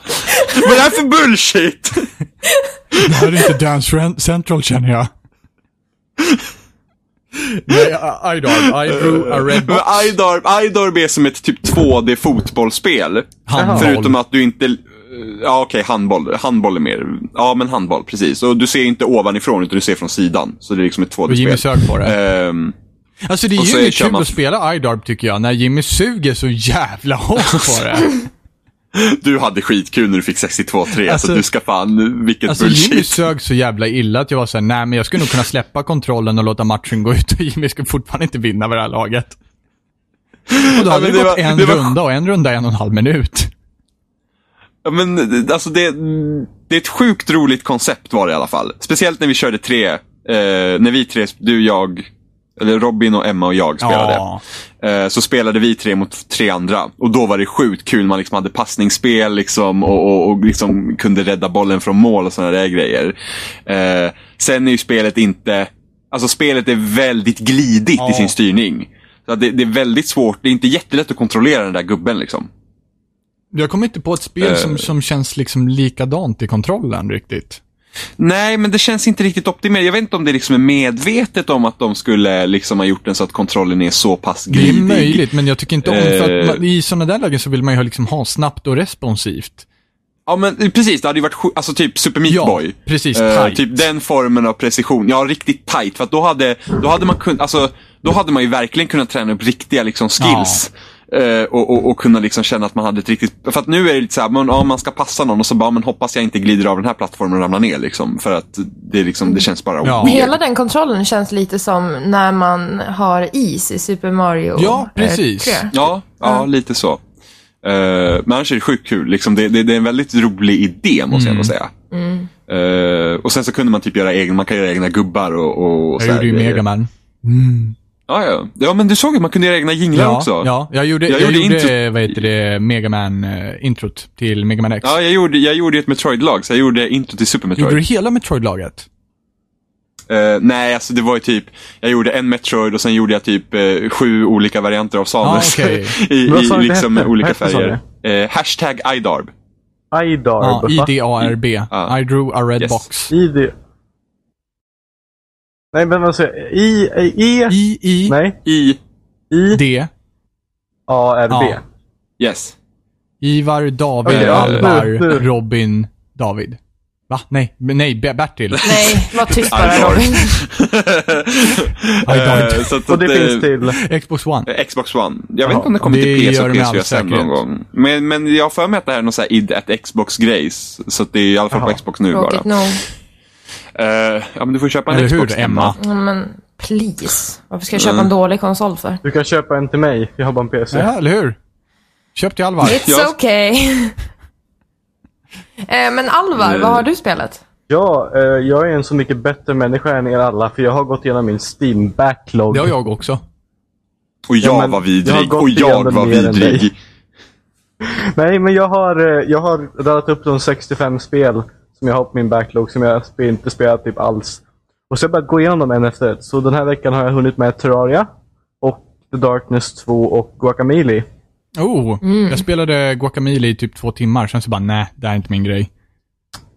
[SPEAKER 2] Vad är det här för bullshit?
[SPEAKER 4] Det här är inte Dance Ren- Central känner jag. Nej, I, I don't. I drew a
[SPEAKER 2] *laughs*
[SPEAKER 4] red box.
[SPEAKER 2] Eh, Men iDarb, iDarb är som ett typ 2D fotbollsspel.
[SPEAKER 4] Handboll.
[SPEAKER 2] Förutom att du inte... eh, Ja, okej, handboll. Handboll är mer... Ja, men handboll, precis. Och du ser inte ovanifrån, utan du ser från sidan. Så det är liksom ett
[SPEAKER 4] Och Jimmy
[SPEAKER 2] 2D-spel.
[SPEAKER 4] sög på det.
[SPEAKER 2] Ehm,
[SPEAKER 4] Alltså det
[SPEAKER 2] Och så
[SPEAKER 4] är ju
[SPEAKER 2] kör
[SPEAKER 4] kul
[SPEAKER 2] man-
[SPEAKER 4] att spela iDarb tycker jag, när Jimmy suger så jävla hårt
[SPEAKER 2] *laughs*
[SPEAKER 4] på det.
[SPEAKER 2] Alltså, du hade skitkul när du fick 62-3, så
[SPEAKER 4] Alltså-
[SPEAKER 2] du ska fan... Vilket
[SPEAKER 4] Alltså
[SPEAKER 2] bullshit.
[SPEAKER 4] Jimmy sög så jävla illa att jag var såhär, nej men jag skulle nog kunna släppa kontrollen och låta matchen gå ut och Jimmy skulle fortfarande inte vinna med det här laget. Och då hade
[SPEAKER 2] men
[SPEAKER 4] det,
[SPEAKER 2] det
[SPEAKER 4] gått
[SPEAKER 2] var-
[SPEAKER 4] en
[SPEAKER 2] det var-
[SPEAKER 4] runda och en runda är en och en halv minut.
[SPEAKER 2] Ja, men eh, alltså det, det är ett sjukt roligt koncept var det i alla fall. Speciellt när vi körde tre, eh, när vi tre, du, jag, Eller Robin och Emma och jag spelade.
[SPEAKER 4] Ja.
[SPEAKER 2] Eh, Så spelade vi tre mot tre andra. Och då var det sjukt kul. Man liksom hade passningsspel liksom, och, och, och liksom kunde rädda bollen från mål och sådana där grejer. Eh, Sen är ju spelet inte... Alltså spelet är väldigt glidigt i
[SPEAKER 4] Ja.
[SPEAKER 2] sin styrning. Så att det, det är väldigt svårt. Det är inte jättelätt att kontrollera den där gubben. Liksom.
[SPEAKER 4] Jag kommer inte på ett spel
[SPEAKER 2] Eh.
[SPEAKER 4] som, som känns liksom likadant i kontrollen riktigt.
[SPEAKER 2] Nej, men det känns inte riktigt optimerat. Jag vet inte om det liksom är medvetet om att de skulle liksom ha gjort den så att kontrollen är så pass
[SPEAKER 4] Det
[SPEAKER 2] glidig.
[SPEAKER 4] är möjligt, men jag tycker inte om för att
[SPEAKER 2] Eh.
[SPEAKER 4] va- i sådana där lägen så vill man ju ha liksom ha snabbt och responsivt.
[SPEAKER 2] Ja, men precis. Det hade ju varit sju- alltså, typ Super Meat
[SPEAKER 4] Ja,
[SPEAKER 2] Boy.
[SPEAKER 4] precis,
[SPEAKER 2] Eh,
[SPEAKER 4] tight.
[SPEAKER 2] typ den formen av precision. Ja, riktigt tight. För att då hade, då hade man kunnat, alltså, då hade man ju verkligen kunnat träna upp riktiga liksom skills. Eh, och, och, och kunna liksom känna att man hade ett riktigt... För att nu är det lite såhär, man, ja, man ska passa någon och så bara, men hoppas jag inte glider av den här plattformen och ramlar ner liksom. För att det, är liksom, det känns bara
[SPEAKER 4] Ja.
[SPEAKER 2] weird.
[SPEAKER 1] Hela den kontrollen känns lite som när man har is i Super Mario
[SPEAKER 4] Ja,
[SPEAKER 1] eh,
[SPEAKER 4] precis.
[SPEAKER 1] 3.
[SPEAKER 2] Ja, ja lite så. Eh, men annars är det sjukt kul. Liksom det, det, det är en väldigt rolig idé, måste
[SPEAKER 4] Mm.
[SPEAKER 2] jag ändå säga. Eh, och sen så kunde man typ göra egna, man kan göra egna gubbar och, och, och
[SPEAKER 4] Jag
[SPEAKER 2] så här eh,
[SPEAKER 4] gjorde ju
[SPEAKER 2] grejer.
[SPEAKER 4] Megaman.
[SPEAKER 2] Ja, ja. ja, men du såg att man kunde göra egna jinglar
[SPEAKER 4] Ja,
[SPEAKER 2] också.
[SPEAKER 4] ja, jag gjorde, jag
[SPEAKER 2] Jag
[SPEAKER 4] gjorde, eh,
[SPEAKER 2] gjorde
[SPEAKER 4] vad heter det, Megaman-introt till Megaman X.
[SPEAKER 2] Ja, jag gjorde, jag gjorde ju ett Metroid-lag, så jag gjorde inte till Super Metroid.
[SPEAKER 4] gjorde du hela Metroid-laget?
[SPEAKER 2] Eh, nej, alltså det var ju typ, jag gjorde en Metroid och sen gjorde jag typ eh, sju olika varianter av Samus.
[SPEAKER 4] Ah, okej.
[SPEAKER 2] *laughs* I,
[SPEAKER 3] Vad sa
[SPEAKER 2] i
[SPEAKER 3] du det
[SPEAKER 2] liksom
[SPEAKER 3] hette?
[SPEAKER 2] olika
[SPEAKER 3] Vad hette, sa
[SPEAKER 2] färger. Eh, hashtag iDarb.
[SPEAKER 3] Idarb.
[SPEAKER 4] Ja,
[SPEAKER 3] va?
[SPEAKER 4] IDARB.
[SPEAKER 2] Ja.
[SPEAKER 4] I drew a red
[SPEAKER 2] Yes.
[SPEAKER 4] box.
[SPEAKER 3] ID. Nej, men vad säger jag? I, I, E?
[SPEAKER 4] I-I-D.
[SPEAKER 3] Nej.
[SPEAKER 2] I,
[SPEAKER 3] I, A, R, B.
[SPEAKER 4] Ja. *laughs*
[SPEAKER 2] yes.
[SPEAKER 4] Ivar, David,
[SPEAKER 2] Oj, ja.
[SPEAKER 4] Alvar,
[SPEAKER 3] Nu, nu.
[SPEAKER 4] Robin, David. Va? Nej, men nej, Be- Bertil.
[SPEAKER 1] Nej, var tyst bara
[SPEAKER 2] iDarb.
[SPEAKER 1] Robin.
[SPEAKER 4] iDarb.
[SPEAKER 2] Eh, så att-
[SPEAKER 3] Och det
[SPEAKER 2] att, eh,
[SPEAKER 3] finns till.
[SPEAKER 4] Xbox One.
[SPEAKER 2] Xbox One. Jag vet
[SPEAKER 3] Ja,
[SPEAKER 2] inte om det kommer
[SPEAKER 4] det
[SPEAKER 2] till PS
[SPEAKER 4] gör
[SPEAKER 2] och
[SPEAKER 4] det med all
[SPEAKER 2] PS4 sen någon
[SPEAKER 4] säkerhet.
[SPEAKER 2] gång. Men, men jag har för mig att det här är någon sån här id at Xbox-grejs. Så att det är i alla fall på Xbox nu bara.
[SPEAKER 1] Tråkigt nog.
[SPEAKER 2] Eh, ja, men du får ju köpa en
[SPEAKER 4] Eller
[SPEAKER 2] Xbox,
[SPEAKER 4] hur, Emma?
[SPEAKER 1] Ja, men please. Varför ska jag
[SPEAKER 2] Mm.
[SPEAKER 1] köpa en dålig konsol för?
[SPEAKER 3] Du kan köpa en till mig. Jag har bara en PC.
[SPEAKER 4] Ja, eller hur? Köp till
[SPEAKER 1] *laughs*
[SPEAKER 4] Alvar.
[SPEAKER 1] It's
[SPEAKER 2] Jag-
[SPEAKER 1] okay. *laughs* eh, men Alvar, vad har du spelat?
[SPEAKER 3] Ja, eh, jag är en så mycket bättre människa än er alla för jag har gått igenom min Steam-backlog.
[SPEAKER 4] Det har jag också.
[SPEAKER 2] Och jag
[SPEAKER 3] Ja, men
[SPEAKER 2] var
[SPEAKER 3] jag har
[SPEAKER 2] vidrig.
[SPEAKER 3] gått
[SPEAKER 2] och jag
[SPEAKER 3] igenom
[SPEAKER 2] var
[SPEAKER 3] mer än
[SPEAKER 2] vidrig.
[SPEAKER 3] dig. Nej, men jag har, eh, jag har radat upp de 65 spel som jag har på min backlog som jag sp- inte spelat typ alls. Och så har jag börjat gå igenom dem en efter ett. Så den här veckan har jag hunnit med Terraria, och The Darkness 2 och Guacamelee.
[SPEAKER 4] Oh, jag spelade Guacamole i typ två timmar, sen så bara nej, det här är inte min grej.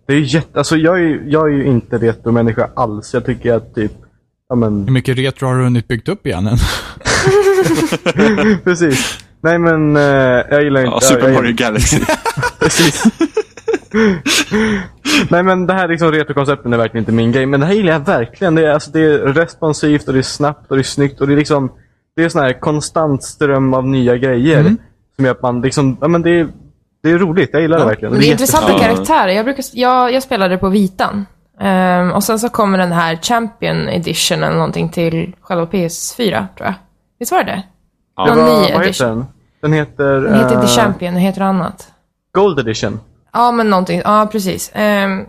[SPEAKER 3] Det är ju jätte... Alltså jag är ju, jag är ju inte retromänniska alls. Jag tycker att typ... Ja men, *laughs*
[SPEAKER 4] Hur mycket retro har du hunnit byggt upp igen än?
[SPEAKER 3] precis. Nej men, eh, jag gillar inte...
[SPEAKER 2] Ja,
[SPEAKER 3] jag- jag
[SPEAKER 2] Super
[SPEAKER 3] gillar-
[SPEAKER 2] Mario
[SPEAKER 3] *laughs*
[SPEAKER 2] Galaxy.
[SPEAKER 3] Precis. Nej men det här liksom retrokoncepten är verkligen inte min grej. Men det här gillar jag verkligen. Det är, alltså, det är responsivt och det är snabbt och det är snyggt. Och det är liksom Det är sån här konstant ström av nya grejer.
[SPEAKER 1] Mm.
[SPEAKER 3] Som gör att man liksom, ja men det är, det är roligt. Jag gillar det verkligen.
[SPEAKER 1] Det är intressanta
[SPEAKER 2] jättespännande.
[SPEAKER 1] karaktärer. Jag, brukar, jag, jag spelade på vitan. Ehm, och sen så kommer den här Champion Edition eller någonting till själva PS4, tror jag. Visst var det det
[SPEAKER 3] Det
[SPEAKER 1] Någon
[SPEAKER 3] var,
[SPEAKER 1] ny
[SPEAKER 3] vad heter
[SPEAKER 1] edition.
[SPEAKER 3] den? Den heter,
[SPEAKER 1] Den heter inte
[SPEAKER 3] eh,
[SPEAKER 1] Champion, den heter annat.
[SPEAKER 3] Gold Edition.
[SPEAKER 1] Ja, men någonting. Ja, precis. Ehm,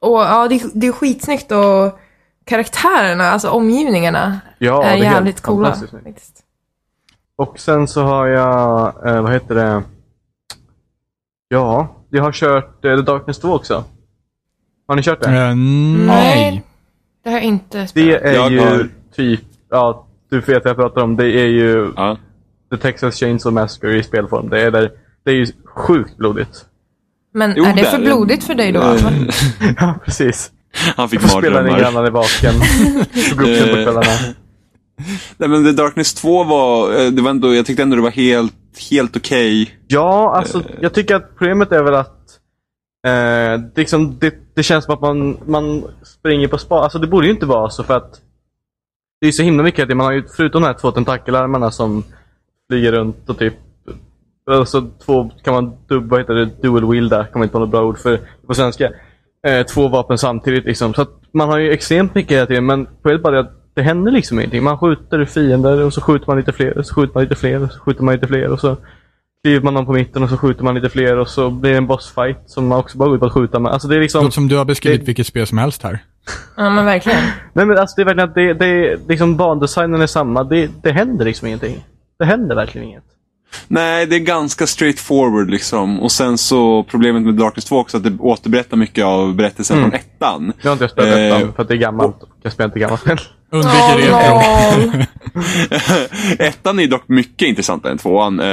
[SPEAKER 1] och ja, det, är- det är skitsnyggt och karaktärerna, alltså omgivningarna,
[SPEAKER 3] Ja,
[SPEAKER 1] är
[SPEAKER 3] det är
[SPEAKER 1] jävligt
[SPEAKER 3] helt
[SPEAKER 1] coola.
[SPEAKER 3] fantastiskt snyggt.
[SPEAKER 1] faktiskt.
[SPEAKER 3] Och sen så har jag, eh, vad heter det? Ja, jag har kört eh, The Darkness 2 också. Har ni kört det?
[SPEAKER 4] *laughs* Eh, nej.
[SPEAKER 1] Nej. Det har jag inte
[SPEAKER 3] Det
[SPEAKER 1] spelat.
[SPEAKER 3] är
[SPEAKER 2] Jag
[SPEAKER 3] ju
[SPEAKER 2] har-
[SPEAKER 3] typ, ja, du vet vad jag pratar om. Det är ju
[SPEAKER 2] ja.
[SPEAKER 3] The Texas Chainsaw Massacre i spelform. Det är, där, det är ju sjukt blodigt.
[SPEAKER 1] Men
[SPEAKER 2] Jo,
[SPEAKER 1] är det för
[SPEAKER 2] där.
[SPEAKER 1] blodigt för dig då? alltså.
[SPEAKER 2] Eh,
[SPEAKER 1] Alvar?
[SPEAKER 3] *laughs* Ja, precis.
[SPEAKER 2] *laughs* Han fick
[SPEAKER 3] Då spelar ni
[SPEAKER 2] mardrömmar.
[SPEAKER 3] grannar i baken. Och går upp sent på kvällarna.
[SPEAKER 2] Nej, men The Darkness 2 var, eh, det var ändå, jag tyckte ändå det var helt, helt okej.
[SPEAKER 3] Ja, alltså jag tycker att problemet är väl att eh, det, liksom, det, det känns som att man, man springer på spa. Alltså det borde ju inte vara så för att det är ju så himla mycket. att Man har ju förutom de här två tentakelarmarna som flyger runt och typ Alltså två, kan man dubba, heter det, dual wielda, kommer inte på något bra ord för på svenska. Eh, två vapen samtidigt liksom. Så att man har ju extremt mycket hela tiden men problemet bara är att det händer liksom ingenting. Man skjuter fiender och så skjuter man lite fler och så skjuter man lite fler och så skjuter man lite fler och så kliver man någon på mitten och så skjuter man lite fler och så blir det en bossfight som man också bara går ut på att skjuta med. Alltså det är
[SPEAKER 4] Det
[SPEAKER 3] liksom,
[SPEAKER 4] låter som du har beskrivit
[SPEAKER 3] det-
[SPEAKER 4] vilket spel som helst här.
[SPEAKER 1] Ja, men verkligen.
[SPEAKER 3] Nej men alltså det är verkligen att det, det, liksom bandesignen är samma. Det, det händer liksom ingenting. Det händer verkligen inget.
[SPEAKER 2] Nej, det är ganska straightforward liksom. Och sen så problemet med Darkness 2 också att det återberättar mycket av berättelsen från ettan.
[SPEAKER 3] Mm. Jag har inte spelat
[SPEAKER 2] Eh,
[SPEAKER 3] ettan för att det är gammalt. Jag spelar
[SPEAKER 2] *laughs*
[SPEAKER 3] inte gammalt spel.
[SPEAKER 4] Undviker retro.
[SPEAKER 1] lol.
[SPEAKER 2] *laughs* Ettan är dock mycket intressantare än tvåan. eh,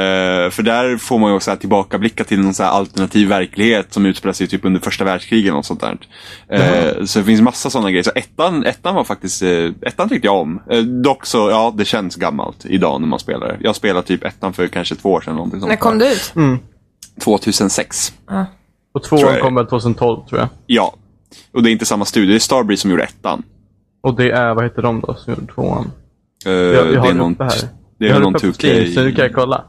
[SPEAKER 2] För där får man ju också så här tillbakablicka till någon så här alternativ verklighet som utspelar sig typ under första världskriget eller något sånt där. Eh, Så det finns massa sådana grejer. Så ettan, ettan var faktiskt, eh, ettan tyckte jag om. Eh, Dock så, ja det känns gammalt idag när man spelar det. Jag spelade typ ettan för kanske två år sedan. Någonting sånt
[SPEAKER 1] När kom
[SPEAKER 2] där.
[SPEAKER 1] du ut?
[SPEAKER 2] 2006.
[SPEAKER 3] Och
[SPEAKER 2] Tror
[SPEAKER 3] tvåan
[SPEAKER 2] jag.
[SPEAKER 3] kom väl 2012 tror jag.
[SPEAKER 2] Ja. Och det är inte samma studio, det är Starbreeze som gjorde ettan.
[SPEAKER 3] Och det är, vad heter de då som gjorde tvåan?
[SPEAKER 2] Eh,
[SPEAKER 3] Jag, jag
[SPEAKER 2] det
[SPEAKER 3] har
[SPEAKER 2] är
[SPEAKER 3] det
[SPEAKER 2] någon,
[SPEAKER 3] uppe här.
[SPEAKER 2] det
[SPEAKER 3] jag
[SPEAKER 2] är
[SPEAKER 3] har
[SPEAKER 2] någon
[SPEAKER 3] uppe på Steam, så nu kan
[SPEAKER 2] 2K.
[SPEAKER 3] jag kolla.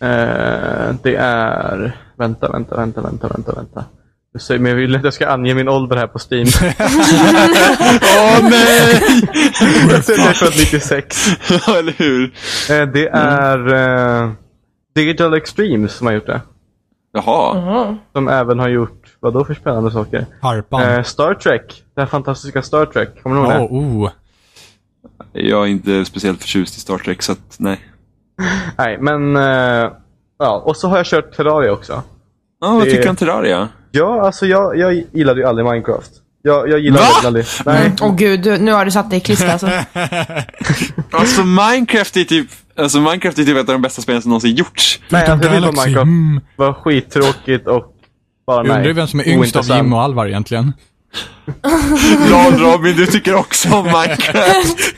[SPEAKER 3] Eh, det är... Vänta, vänta, vänta, vänta, vänta, vänta. Du säger, men jag vill att jag ska ange min ålder här på Steam.
[SPEAKER 2] *laughs*
[SPEAKER 3] *laughs*
[SPEAKER 2] Åh nej!
[SPEAKER 3] jag ser att jag
[SPEAKER 2] *laughs*
[SPEAKER 3] är född 96.
[SPEAKER 2] *laughs* Ja, Eller hur?
[SPEAKER 3] Eh, det
[SPEAKER 4] Mm.
[SPEAKER 3] är eh, Digital Extremes som har gjort det.
[SPEAKER 2] Jaha.
[SPEAKER 1] Jaha.
[SPEAKER 3] Som även har gjort, vad då för spännande saker?
[SPEAKER 4] Harpan.
[SPEAKER 3] Eh, Star Trek. Det här fantastiska Star Trek. Kommer ni ihåg
[SPEAKER 4] Åh,
[SPEAKER 3] det?
[SPEAKER 4] oh.
[SPEAKER 2] Jag är inte speciellt förtjust i Star Trek, så att, nej.
[SPEAKER 3] Nej, men... eh, ja, och så har jag kört Terraria också.
[SPEAKER 2] Ja, vad
[SPEAKER 3] Det-
[SPEAKER 2] tycker du om Terraria?
[SPEAKER 3] Ja, alltså jag, jag gillade ju aldrig Minecraft. Jag, jag gillade
[SPEAKER 2] Va?
[SPEAKER 3] det aldrig.
[SPEAKER 4] Mm,
[SPEAKER 3] Nej.
[SPEAKER 1] Mm. Åh gud, du, nu har du satt dig i klister alltså.
[SPEAKER 2] Alltså Minecraft är typ, alltså Minecraft är typ ett av de bästa spelen som någonsin gjorts.
[SPEAKER 3] Nej,
[SPEAKER 4] Utom
[SPEAKER 3] alltså jag vill ha
[SPEAKER 4] Galaxy.
[SPEAKER 3] Minecraft.
[SPEAKER 4] Mm.
[SPEAKER 3] Det var skittråkigt och bara
[SPEAKER 4] Jag
[SPEAKER 3] nej.
[SPEAKER 4] undrar ju vem som är yngst av
[SPEAKER 3] Ointressant.
[SPEAKER 4] Jim och Alvar egentligen.
[SPEAKER 2] Lord Robin, du tycker också om Minecraft.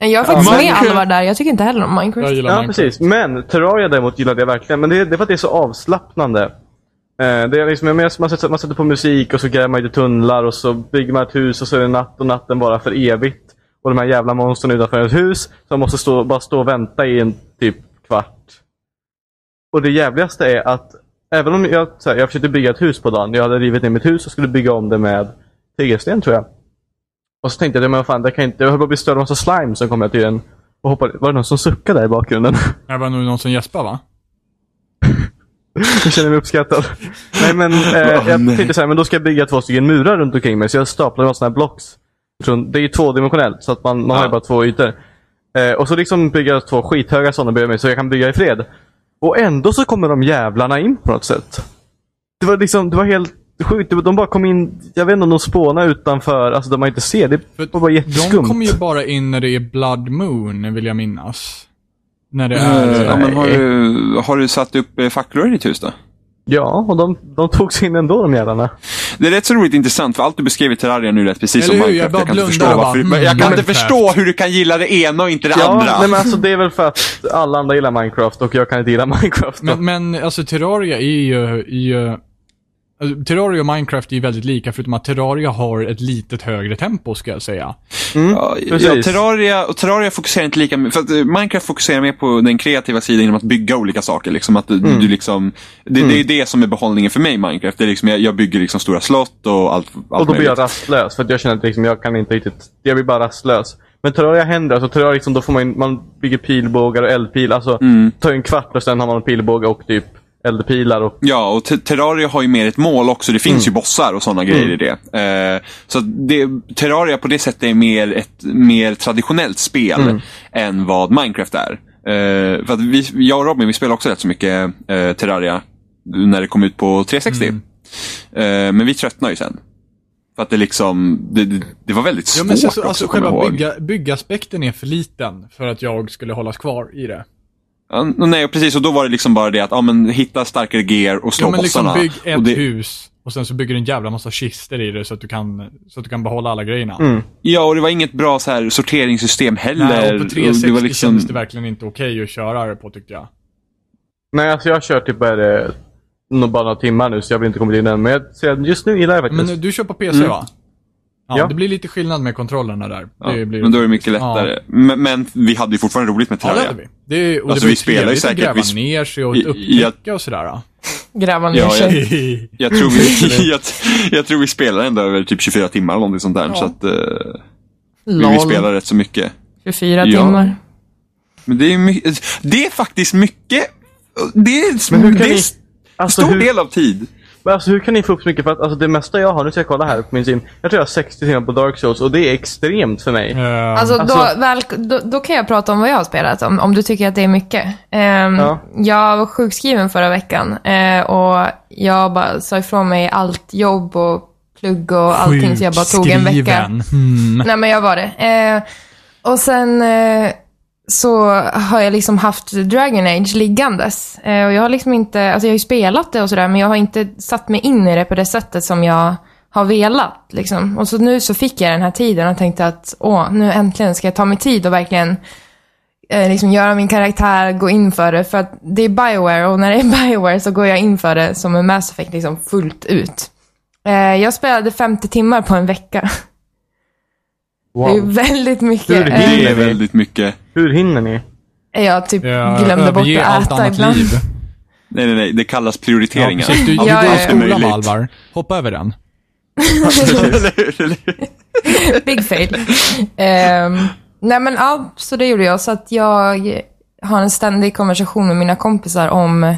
[SPEAKER 1] Men Jag är faktiskt med
[SPEAKER 2] Minecraft-
[SPEAKER 1] Alvar där. Jag tycker inte heller om
[SPEAKER 4] Jag
[SPEAKER 1] Minecraft.
[SPEAKER 4] gillar
[SPEAKER 3] Ja,
[SPEAKER 4] Minecraft.
[SPEAKER 3] precis. Men Terraria däremot gillade jag verkligen. Men det, det är för att det är så avslappnande. Eh, det är liksom, jag menar, man, sätter, man sätter på musik och så gräver man lite tunnlar och så bygger man ett hus och så är det natt och natten bara för evigt. Och de här jävla monstren utanför ett hus som måste stå, bara stå och vänta i en typ kvart. Och det jävligaste är att även om jag, så här, jag försökte bygga ett hus på dagen. Jag hade rivit ner mitt hus och skulle bygga om det med tegelsten tror jag. Och så tänkte jag, men vad fan, det kan jag inte, jag höll på att bli störd av en massa slime som kom jag till en. Och hoppade, var det någon som suckade där i bakgrunden? *laughs*
[SPEAKER 4] Det var nog någon som gäspade va?
[SPEAKER 3] Jag känner mig uppskattad. Nej
[SPEAKER 2] *laughs*
[SPEAKER 3] men, eh,
[SPEAKER 2] Åh,
[SPEAKER 3] jag
[SPEAKER 2] nej.
[SPEAKER 3] tänkte så här, men då ska jag bygga två stycken murar runt omkring mig. Så jag staplade några sådana här blocks. Från- Det är ju tvådimensionellt, så att man, man har ju
[SPEAKER 2] Ja.
[SPEAKER 3] bara två ytor. Eh, och så liksom bygger jag två skithöga sådana bredvid mig, så jag kan bygga i fred. Och ändå så kommer de jävlarna in på något sätt. Det var liksom, det var helt sjukt. Det var- De bara kom in, jag vet inte om de spånade utanför, alltså där man inte ser. Det
[SPEAKER 4] För
[SPEAKER 3] var bara jätteskumt.
[SPEAKER 4] De kommer ju bara in när det är Blood Moon, vill jag minnas. När det
[SPEAKER 2] Eh,
[SPEAKER 3] Mm.
[SPEAKER 4] är...
[SPEAKER 2] ja, men har, du, har du satt upp eh, facklor i ditt hus då?
[SPEAKER 3] Ja, och de, de tog sig in ändå de jävlarna.
[SPEAKER 2] Det är rätt så roligt intressant, för allt du beskriver i Terraria nu lät precis som
[SPEAKER 4] Eller hur? Jag
[SPEAKER 2] Minecraft.
[SPEAKER 4] bara
[SPEAKER 2] Jag, kan inte
[SPEAKER 4] blundar
[SPEAKER 2] förstå
[SPEAKER 4] och bara,
[SPEAKER 2] varför,
[SPEAKER 4] mm,
[SPEAKER 2] men jag kan inte
[SPEAKER 4] Minecraft.
[SPEAKER 2] förstå hur du kan gilla det ena och inte det andra.
[SPEAKER 3] Ja, nej, men alltså det är väl för att alla andra gillar Minecraft och jag kan inte gilla *laughs* Minecraft. då.
[SPEAKER 4] Men, men alltså Terraria är ju... Är ju alltså, Terraria och Minecraft är ju väldigt lika, förutom att Terraria har ett litet högre tempo, ska jag säga.
[SPEAKER 2] Ja, ja,
[SPEAKER 3] Mm. precis.
[SPEAKER 2] Terraria, och Terraria fokuserar inte lika mycket, för att eh, Minecraft fokuserar mer på den kreativa sidan genom att bygga olika saker. Liksom, att du,
[SPEAKER 3] Mm.
[SPEAKER 2] du liksom, det, det är det som är behållningen för mig i Minecraft. Det är liksom, jag, jag bygger liksom stora slott och allt, allt
[SPEAKER 3] Och då blir
[SPEAKER 2] möjligt.
[SPEAKER 3] jag rastlös för att jag känner att liksom, jag kan inte riktigt, jag blir bara rastlös. Men Terraria händer, alltså Terraria liksom, då får man, in, man bygger pilbågar och eldpil. Alltså, det tar ju en kvart och sen har man en pilbåge och typ eldpilar. Och,
[SPEAKER 2] Ja, och Te- Terraria har ju mer ett mål också. Det finns ju
[SPEAKER 4] Mm.
[SPEAKER 2] bossar och sådana grejer i det. Eh, så att det, Terraria på det sättet är mer ett mer traditionellt spel
[SPEAKER 4] Mm.
[SPEAKER 2] än vad Minecraft är. Eh, för att vi, jag och Robin vi spelar också rätt så mycket eh, Terraria när det kom ut på 360.
[SPEAKER 4] Mm.
[SPEAKER 2] Eh, men vi tröttnade ju sen. För att det liksom, det, det, det var väldigt
[SPEAKER 4] Ja,
[SPEAKER 2] svårt
[SPEAKER 4] men sen, så,
[SPEAKER 2] också,
[SPEAKER 4] alltså
[SPEAKER 2] kommer jag
[SPEAKER 4] själva
[SPEAKER 2] ihåg.
[SPEAKER 4] bygga, byggaspekten är för liten för att jag skulle hållas kvar i det.
[SPEAKER 2] Ja, nej, och precis. Och då var det liksom bara det att ja, men, hitta starkare gear och slå
[SPEAKER 4] Ja, men liksom
[SPEAKER 2] bossarna.
[SPEAKER 4] bygg
[SPEAKER 2] och
[SPEAKER 4] ett
[SPEAKER 2] det,
[SPEAKER 4] hus och sen så bygger du en jävla massa kister i det så att du kan, så att du kan behålla alla grejerna.
[SPEAKER 2] Ja, och det var inget bra så här, sorteringssystem heller.
[SPEAKER 4] Nej, och på 360
[SPEAKER 2] det var liksom-
[SPEAKER 4] kändes det verkligen inte okej att köra det på tyckte jag.
[SPEAKER 3] nej, alltså jag har kört typ bara, eh, nog bara några timmar nu så jag har väl inte kommit in än. Men jag, så jag, just nu gillar jag faktiskt.
[SPEAKER 4] Men eh, du kör på PC
[SPEAKER 2] Mm.
[SPEAKER 4] va? Ja,
[SPEAKER 3] Ja.
[SPEAKER 4] Det blir lite skillnad med kontrollerna där.
[SPEAKER 2] Ja,
[SPEAKER 4] det blir...
[SPEAKER 2] men då är det mycket lättare. Men, men vi hade ju fortfarande roligt med
[SPEAKER 4] Ja, det
[SPEAKER 2] Terraria.
[SPEAKER 4] hade vi. Det, är- och
[SPEAKER 2] Alltså,
[SPEAKER 4] det
[SPEAKER 2] vi spelar ju säkert-
[SPEAKER 4] att gräva
[SPEAKER 2] vi sp-
[SPEAKER 4] ner sig och
[SPEAKER 2] I- i-
[SPEAKER 4] upptäcka och sådär. ja.
[SPEAKER 1] Gräva ner
[SPEAKER 2] Ja,
[SPEAKER 1] sig.
[SPEAKER 2] jag, tror
[SPEAKER 4] *laughs*
[SPEAKER 2] vi, jag, jag tror vi spelade ändå över typ 24 timmar eller någonting sånt där. Så att, eh, vi, vi
[SPEAKER 1] Lol.
[SPEAKER 2] spelade rätt så mycket.
[SPEAKER 1] 24
[SPEAKER 2] Ja.
[SPEAKER 1] timmar.
[SPEAKER 2] Men det är, my, det är faktiskt mycket. Det är,
[SPEAKER 3] Men hur kan
[SPEAKER 2] det är
[SPEAKER 3] ni-
[SPEAKER 2] s-
[SPEAKER 3] alltså,
[SPEAKER 2] stor
[SPEAKER 3] hur-
[SPEAKER 2] del av tid.
[SPEAKER 3] Men alltså hur kan ni få upp så mycket? För att alltså, det mesta jag har, nu ska jag kolla här på min sim. Jag tror jag har 60 timmar på Dark Souls och det är extremt för mig.
[SPEAKER 4] Eh,
[SPEAKER 1] Alltså,
[SPEAKER 3] Alltså-
[SPEAKER 1] då, väl, då, då kan jag prata om vad jag har spelat, om, om du tycker att det är mycket. Ehm,
[SPEAKER 3] Ja.
[SPEAKER 1] Jag var sjukskriven förra veckan eh, och jag bara sa ifrån mig allt jobb och plugg och allting, så jag bara tog en vecka.
[SPEAKER 4] sjukskriven. Mm.
[SPEAKER 1] Nej, men jag var det. Eh, och sen eh, så har jag liksom haft Dragon Age liggandes. Eh, och jag har liksom inte, alltså jag har ju spelat det och sådär, men jag har inte satt mig in i det på det sättet som jag har velat. Liksom. Och så nu så fick jag den här tiden och tänkte att åh, nu äntligen ska jag ta mig tid och verkligen eh, liksom göra min karaktär, gå in för det. För att det är Bioware och när det är *laughs* Bioware så går jag in för det som en Mass Effect liksom fullt ut. Eh, jag spelade 50 timmar på en vecka. *laughs* Det är
[SPEAKER 3] Wow.
[SPEAKER 1] väldigt
[SPEAKER 3] Det är
[SPEAKER 1] mycket.
[SPEAKER 3] det.
[SPEAKER 1] Eh,
[SPEAKER 2] Det är
[SPEAKER 3] Mm.
[SPEAKER 2] väldigt mycket.
[SPEAKER 3] Hur hinner ni?
[SPEAKER 1] Jag typ
[SPEAKER 4] Jag
[SPEAKER 1] glömde bort att
[SPEAKER 4] överger Eh, allt
[SPEAKER 1] äta
[SPEAKER 4] annat
[SPEAKER 1] ibland.
[SPEAKER 4] liv.
[SPEAKER 2] Nej, nej, nej. Det kallas
[SPEAKER 4] Ja,
[SPEAKER 2] prioriteringar.
[SPEAKER 4] precis. Du,
[SPEAKER 1] Ja,
[SPEAKER 4] du
[SPEAKER 1] ja,
[SPEAKER 4] går
[SPEAKER 1] ja.
[SPEAKER 4] i skolan
[SPEAKER 2] Möjligt. *laughs*
[SPEAKER 4] Alvar. Hoppa över den.
[SPEAKER 2] eller hur? Eller hur?
[SPEAKER 1] *laughs* Big fail. Ehm, nej men ja, så det gjorde jag. Så att jag har en ständig konversation med mina kompisar om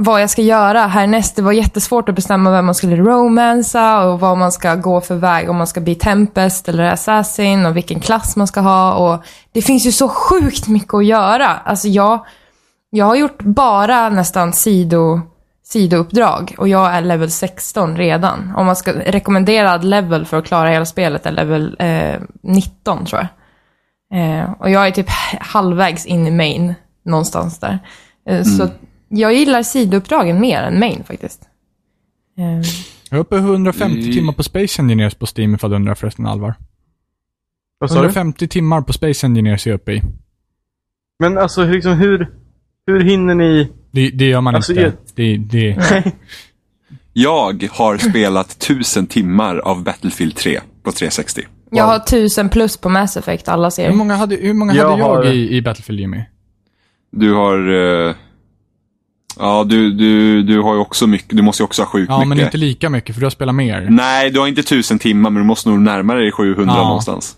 [SPEAKER 1] vad jag ska göra härnäst. Det var jättesvårt att bestämma vem man skulle romansa och vad man ska gå för väg. Om man ska bli Tempest eller Assassin och vilken klass man ska ha. Och det finns ju så sjukt mycket att göra. Alltså jag, jag har gjort bara nästan sido, sidouppdrag och jag är level 16 redan. Om man ska rekommenderad level för att klara hela spelet är level eh, 19 tror jag. Eh, och jag är typ halvvägs in i main någonstans där. Eh, Så jag gillar sidouppdragen mer än main faktiskt. Eh,
[SPEAKER 4] Jag är uppe i 150
[SPEAKER 2] Mm.
[SPEAKER 4] timmar på Space Engineers på Steam ifall du undrar förresten Alvar.
[SPEAKER 3] Vad sa du?
[SPEAKER 4] 150 timmar på Space Engineers är jag uppe i.
[SPEAKER 3] Men alltså hur- liksom, hur, hur hinner ni?
[SPEAKER 4] Det, det gör man
[SPEAKER 3] Alltså,
[SPEAKER 4] inte.
[SPEAKER 3] jag-
[SPEAKER 4] Det, det,
[SPEAKER 2] Jag har
[SPEAKER 4] *laughs*
[SPEAKER 2] spelat tusen timmar av Battlefield 3 på 360.
[SPEAKER 1] jag har 1000 plus på Mass Effect, alla
[SPEAKER 4] hur
[SPEAKER 1] serier.
[SPEAKER 4] många hade, hur många
[SPEAKER 3] Jag
[SPEAKER 4] hade jag
[SPEAKER 3] har-
[SPEAKER 4] i, i Battlefield Jimmy?
[SPEAKER 2] Du har... eh, ja, du, du, du har ju också mycket. Du måste ju också ha sjukt
[SPEAKER 4] Ja,
[SPEAKER 2] mycket.
[SPEAKER 4] men inte lika mycket för du har spelat mer.
[SPEAKER 2] Nej, du har inte tusen timmar, men du måste nog närma dig 700
[SPEAKER 4] Ja.
[SPEAKER 2] någonstans.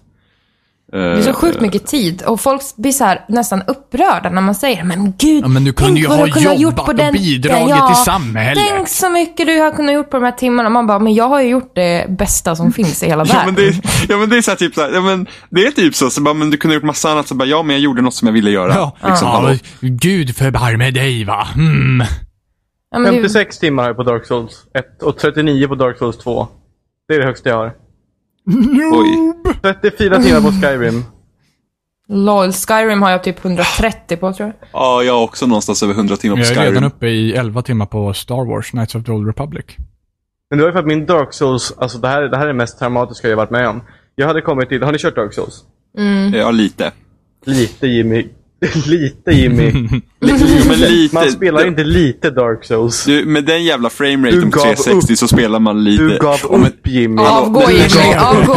[SPEAKER 2] Eh,
[SPEAKER 1] Det
[SPEAKER 4] Eh,
[SPEAKER 1] är så sjukt mycket tid och folk blir så här, nästan upprörda när man säger men gud,
[SPEAKER 4] Ja, men du kunde
[SPEAKER 1] tänk
[SPEAKER 4] ju
[SPEAKER 1] vad
[SPEAKER 4] ha
[SPEAKER 1] du kunde ha gjort
[SPEAKER 4] jobbat
[SPEAKER 1] på
[SPEAKER 4] och
[SPEAKER 1] den
[SPEAKER 4] bidragit till samhället.
[SPEAKER 1] Tänk så mycket du har kunnat gjort på de här timmarna. Man bara, men jag har ju gjort det bästa
[SPEAKER 4] Mm.
[SPEAKER 1] som finns i hela världen.
[SPEAKER 2] Ja men, det, ja men det är så här, typ så här, ja, men det är typ så, så bara, men du kunde ha gjort massa annat, så bara, ja men jag gjorde något som jag ville göra.
[SPEAKER 4] Ja,
[SPEAKER 2] Liksom,
[SPEAKER 4] ja,
[SPEAKER 2] hallå.
[SPEAKER 4] men Gud förbarme dig va. Mm.
[SPEAKER 1] Ja, men det-
[SPEAKER 3] 56 timmar har jag på Dark Souls 1 och 39 på Dark Souls 2. Det är det högsta jag har.
[SPEAKER 2] Oj.
[SPEAKER 3] 34 timmar på Skyrim.
[SPEAKER 1] LOL, Skyrim har jag typ 130 på tror jag.
[SPEAKER 2] Ja, jag har också någonstans över 100 timmar på
[SPEAKER 4] Jag är redan
[SPEAKER 2] Skyrim.
[SPEAKER 4] uppe i 11 timmar på Star Wars, Knights of the Old Republic.
[SPEAKER 3] Men det var ju för att min Dark Souls, alltså det här, det här är det mest traumatiska jag varit med om. Jag hade kommit till, har ni kört Dark Souls?
[SPEAKER 2] Eh, Ja, lite.
[SPEAKER 3] Lite Jimmy. *laughs* lite Jimmy.
[SPEAKER 2] Jo, men lite.
[SPEAKER 3] Man spelar inte lite Dark Souls.
[SPEAKER 2] Du, med den jävla
[SPEAKER 3] Du
[SPEAKER 2] frameraten på
[SPEAKER 3] gav
[SPEAKER 2] 360 så spelar man lite.
[SPEAKER 3] Du gav
[SPEAKER 2] Och med,
[SPEAKER 3] upp Jimmy.
[SPEAKER 1] Avgå
[SPEAKER 2] men-
[SPEAKER 1] Jimmy,
[SPEAKER 2] men-
[SPEAKER 1] avgå.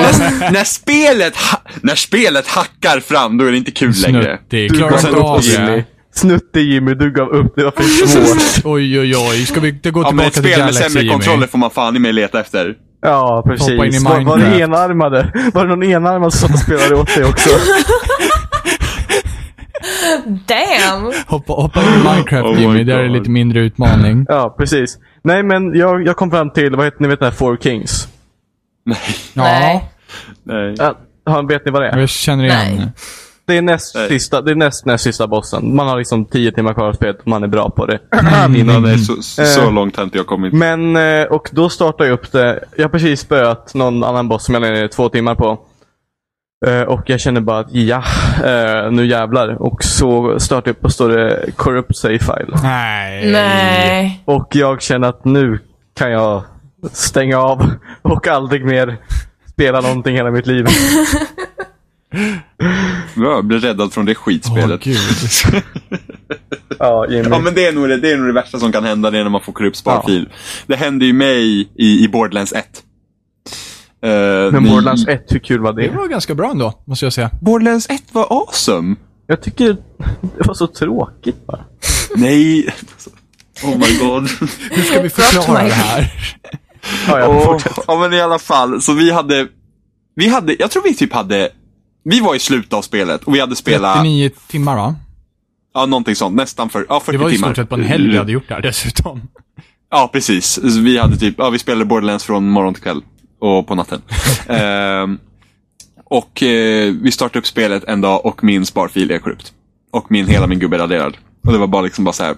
[SPEAKER 2] när, spelet ha, när spelet hackar fram, då är det inte kul längre.
[SPEAKER 4] Snuttig.
[SPEAKER 2] Och
[SPEAKER 4] Klarar
[SPEAKER 2] sen
[SPEAKER 4] inte
[SPEAKER 2] upp
[SPEAKER 4] av
[SPEAKER 2] och in.
[SPEAKER 4] det.
[SPEAKER 3] Snutte Jimmy, du gav upp. Det var för
[SPEAKER 4] *laughs*
[SPEAKER 3] svårt.
[SPEAKER 4] Oj, oj, oj. Ska vi inte gå
[SPEAKER 2] Ja, men
[SPEAKER 4] tillbaka
[SPEAKER 2] ett
[SPEAKER 4] till
[SPEAKER 2] spel med
[SPEAKER 4] Galaxy
[SPEAKER 2] sämre
[SPEAKER 4] Jimmy?
[SPEAKER 2] kontroller får man fan i mig leta efter.
[SPEAKER 3] Ja, precis.
[SPEAKER 4] Hoppa in i
[SPEAKER 3] var, var det
[SPEAKER 4] Minecraft.
[SPEAKER 3] enarmade? Var det någon enarmad som satt och spelade åt dig också?
[SPEAKER 1] Damn!
[SPEAKER 4] Hoppa, hoppa in i
[SPEAKER 2] *laughs*
[SPEAKER 4] Minecraft
[SPEAKER 2] Oh my
[SPEAKER 4] Jimmy, där är det
[SPEAKER 2] God.
[SPEAKER 4] lite mindre utmaning.
[SPEAKER 3] Ja, precis. Nej, men jag, jag kom fram till, vad heter ni vet den här Four Kings?
[SPEAKER 2] Nej.
[SPEAKER 1] Nej.
[SPEAKER 2] Nej.
[SPEAKER 3] Ja, har- vet ni vad det är?
[SPEAKER 4] Jag känner igen.
[SPEAKER 1] Nej.
[SPEAKER 3] Det är näst
[SPEAKER 2] Nej.
[SPEAKER 3] sista, det är näst, näst sista bossen. Man har liksom 10 timmar kvar av spelet om man är bra *laughs* på det.
[SPEAKER 2] Ja, nej, så, så, så
[SPEAKER 3] Eh.
[SPEAKER 2] långt har inte jag kommit.
[SPEAKER 3] Men, eh, och då startar jag upp det. Jag har precis spöat någon annan boss som jag lägger ner två timmar på. Eh, Och jag känner bara att ja, eh, nu jävlar. Och så startar jag upp och står det Corrupt Save File.
[SPEAKER 4] Nej.
[SPEAKER 1] Nej.
[SPEAKER 3] Och jag känner att nu kan jag stänga av och aldrig mer spela någonting hela mitt liv.
[SPEAKER 2] Jag blev räddad från det skitspelet.
[SPEAKER 4] Åh, gud.
[SPEAKER 3] Ja, Jimmy.
[SPEAKER 2] Ja, men det är, nog det, det är nog det värsta som kan hända, det är när man får korrupt sparfil. Det hände ju mig i, i Borderlands 1. Eh,
[SPEAKER 3] Men
[SPEAKER 2] ni-
[SPEAKER 3] Borderlands 1, hur kul var
[SPEAKER 4] Det
[SPEAKER 3] det?
[SPEAKER 4] var ganska bra ändå, måste jag säga.
[SPEAKER 2] Borderlands 1 var awesome!
[SPEAKER 3] Jag tycker det var så tråkigt bara.
[SPEAKER 2] Nej. Oh my god.
[SPEAKER 4] Hur ska vi förklara
[SPEAKER 1] Mike.
[SPEAKER 4] det här?
[SPEAKER 3] Ja, jag
[SPEAKER 2] Åh, ja, men i alla fall. Så vi hade, vi hade, jag tror vi typ hade, vi var i slutet av spelet och vi hade spelat,
[SPEAKER 4] 39 timmar va?
[SPEAKER 2] ja någonting sånt, nästan för, ja 40
[SPEAKER 4] Det var ju i
[SPEAKER 2] timmar.
[SPEAKER 4] stort sett på en helg vi hade gjort det här dessutom.
[SPEAKER 2] Ja, precis. Vi hade typ, ja, vi spelade Borderlands från morgon till kväll och på
[SPEAKER 4] *laughs*
[SPEAKER 2] natten. Ehm, och eh, vi startade upp spelet en dag och min sparfil är korrupt. Och min, hela min gubbe är raderad. Och det var bara liksom bara så här.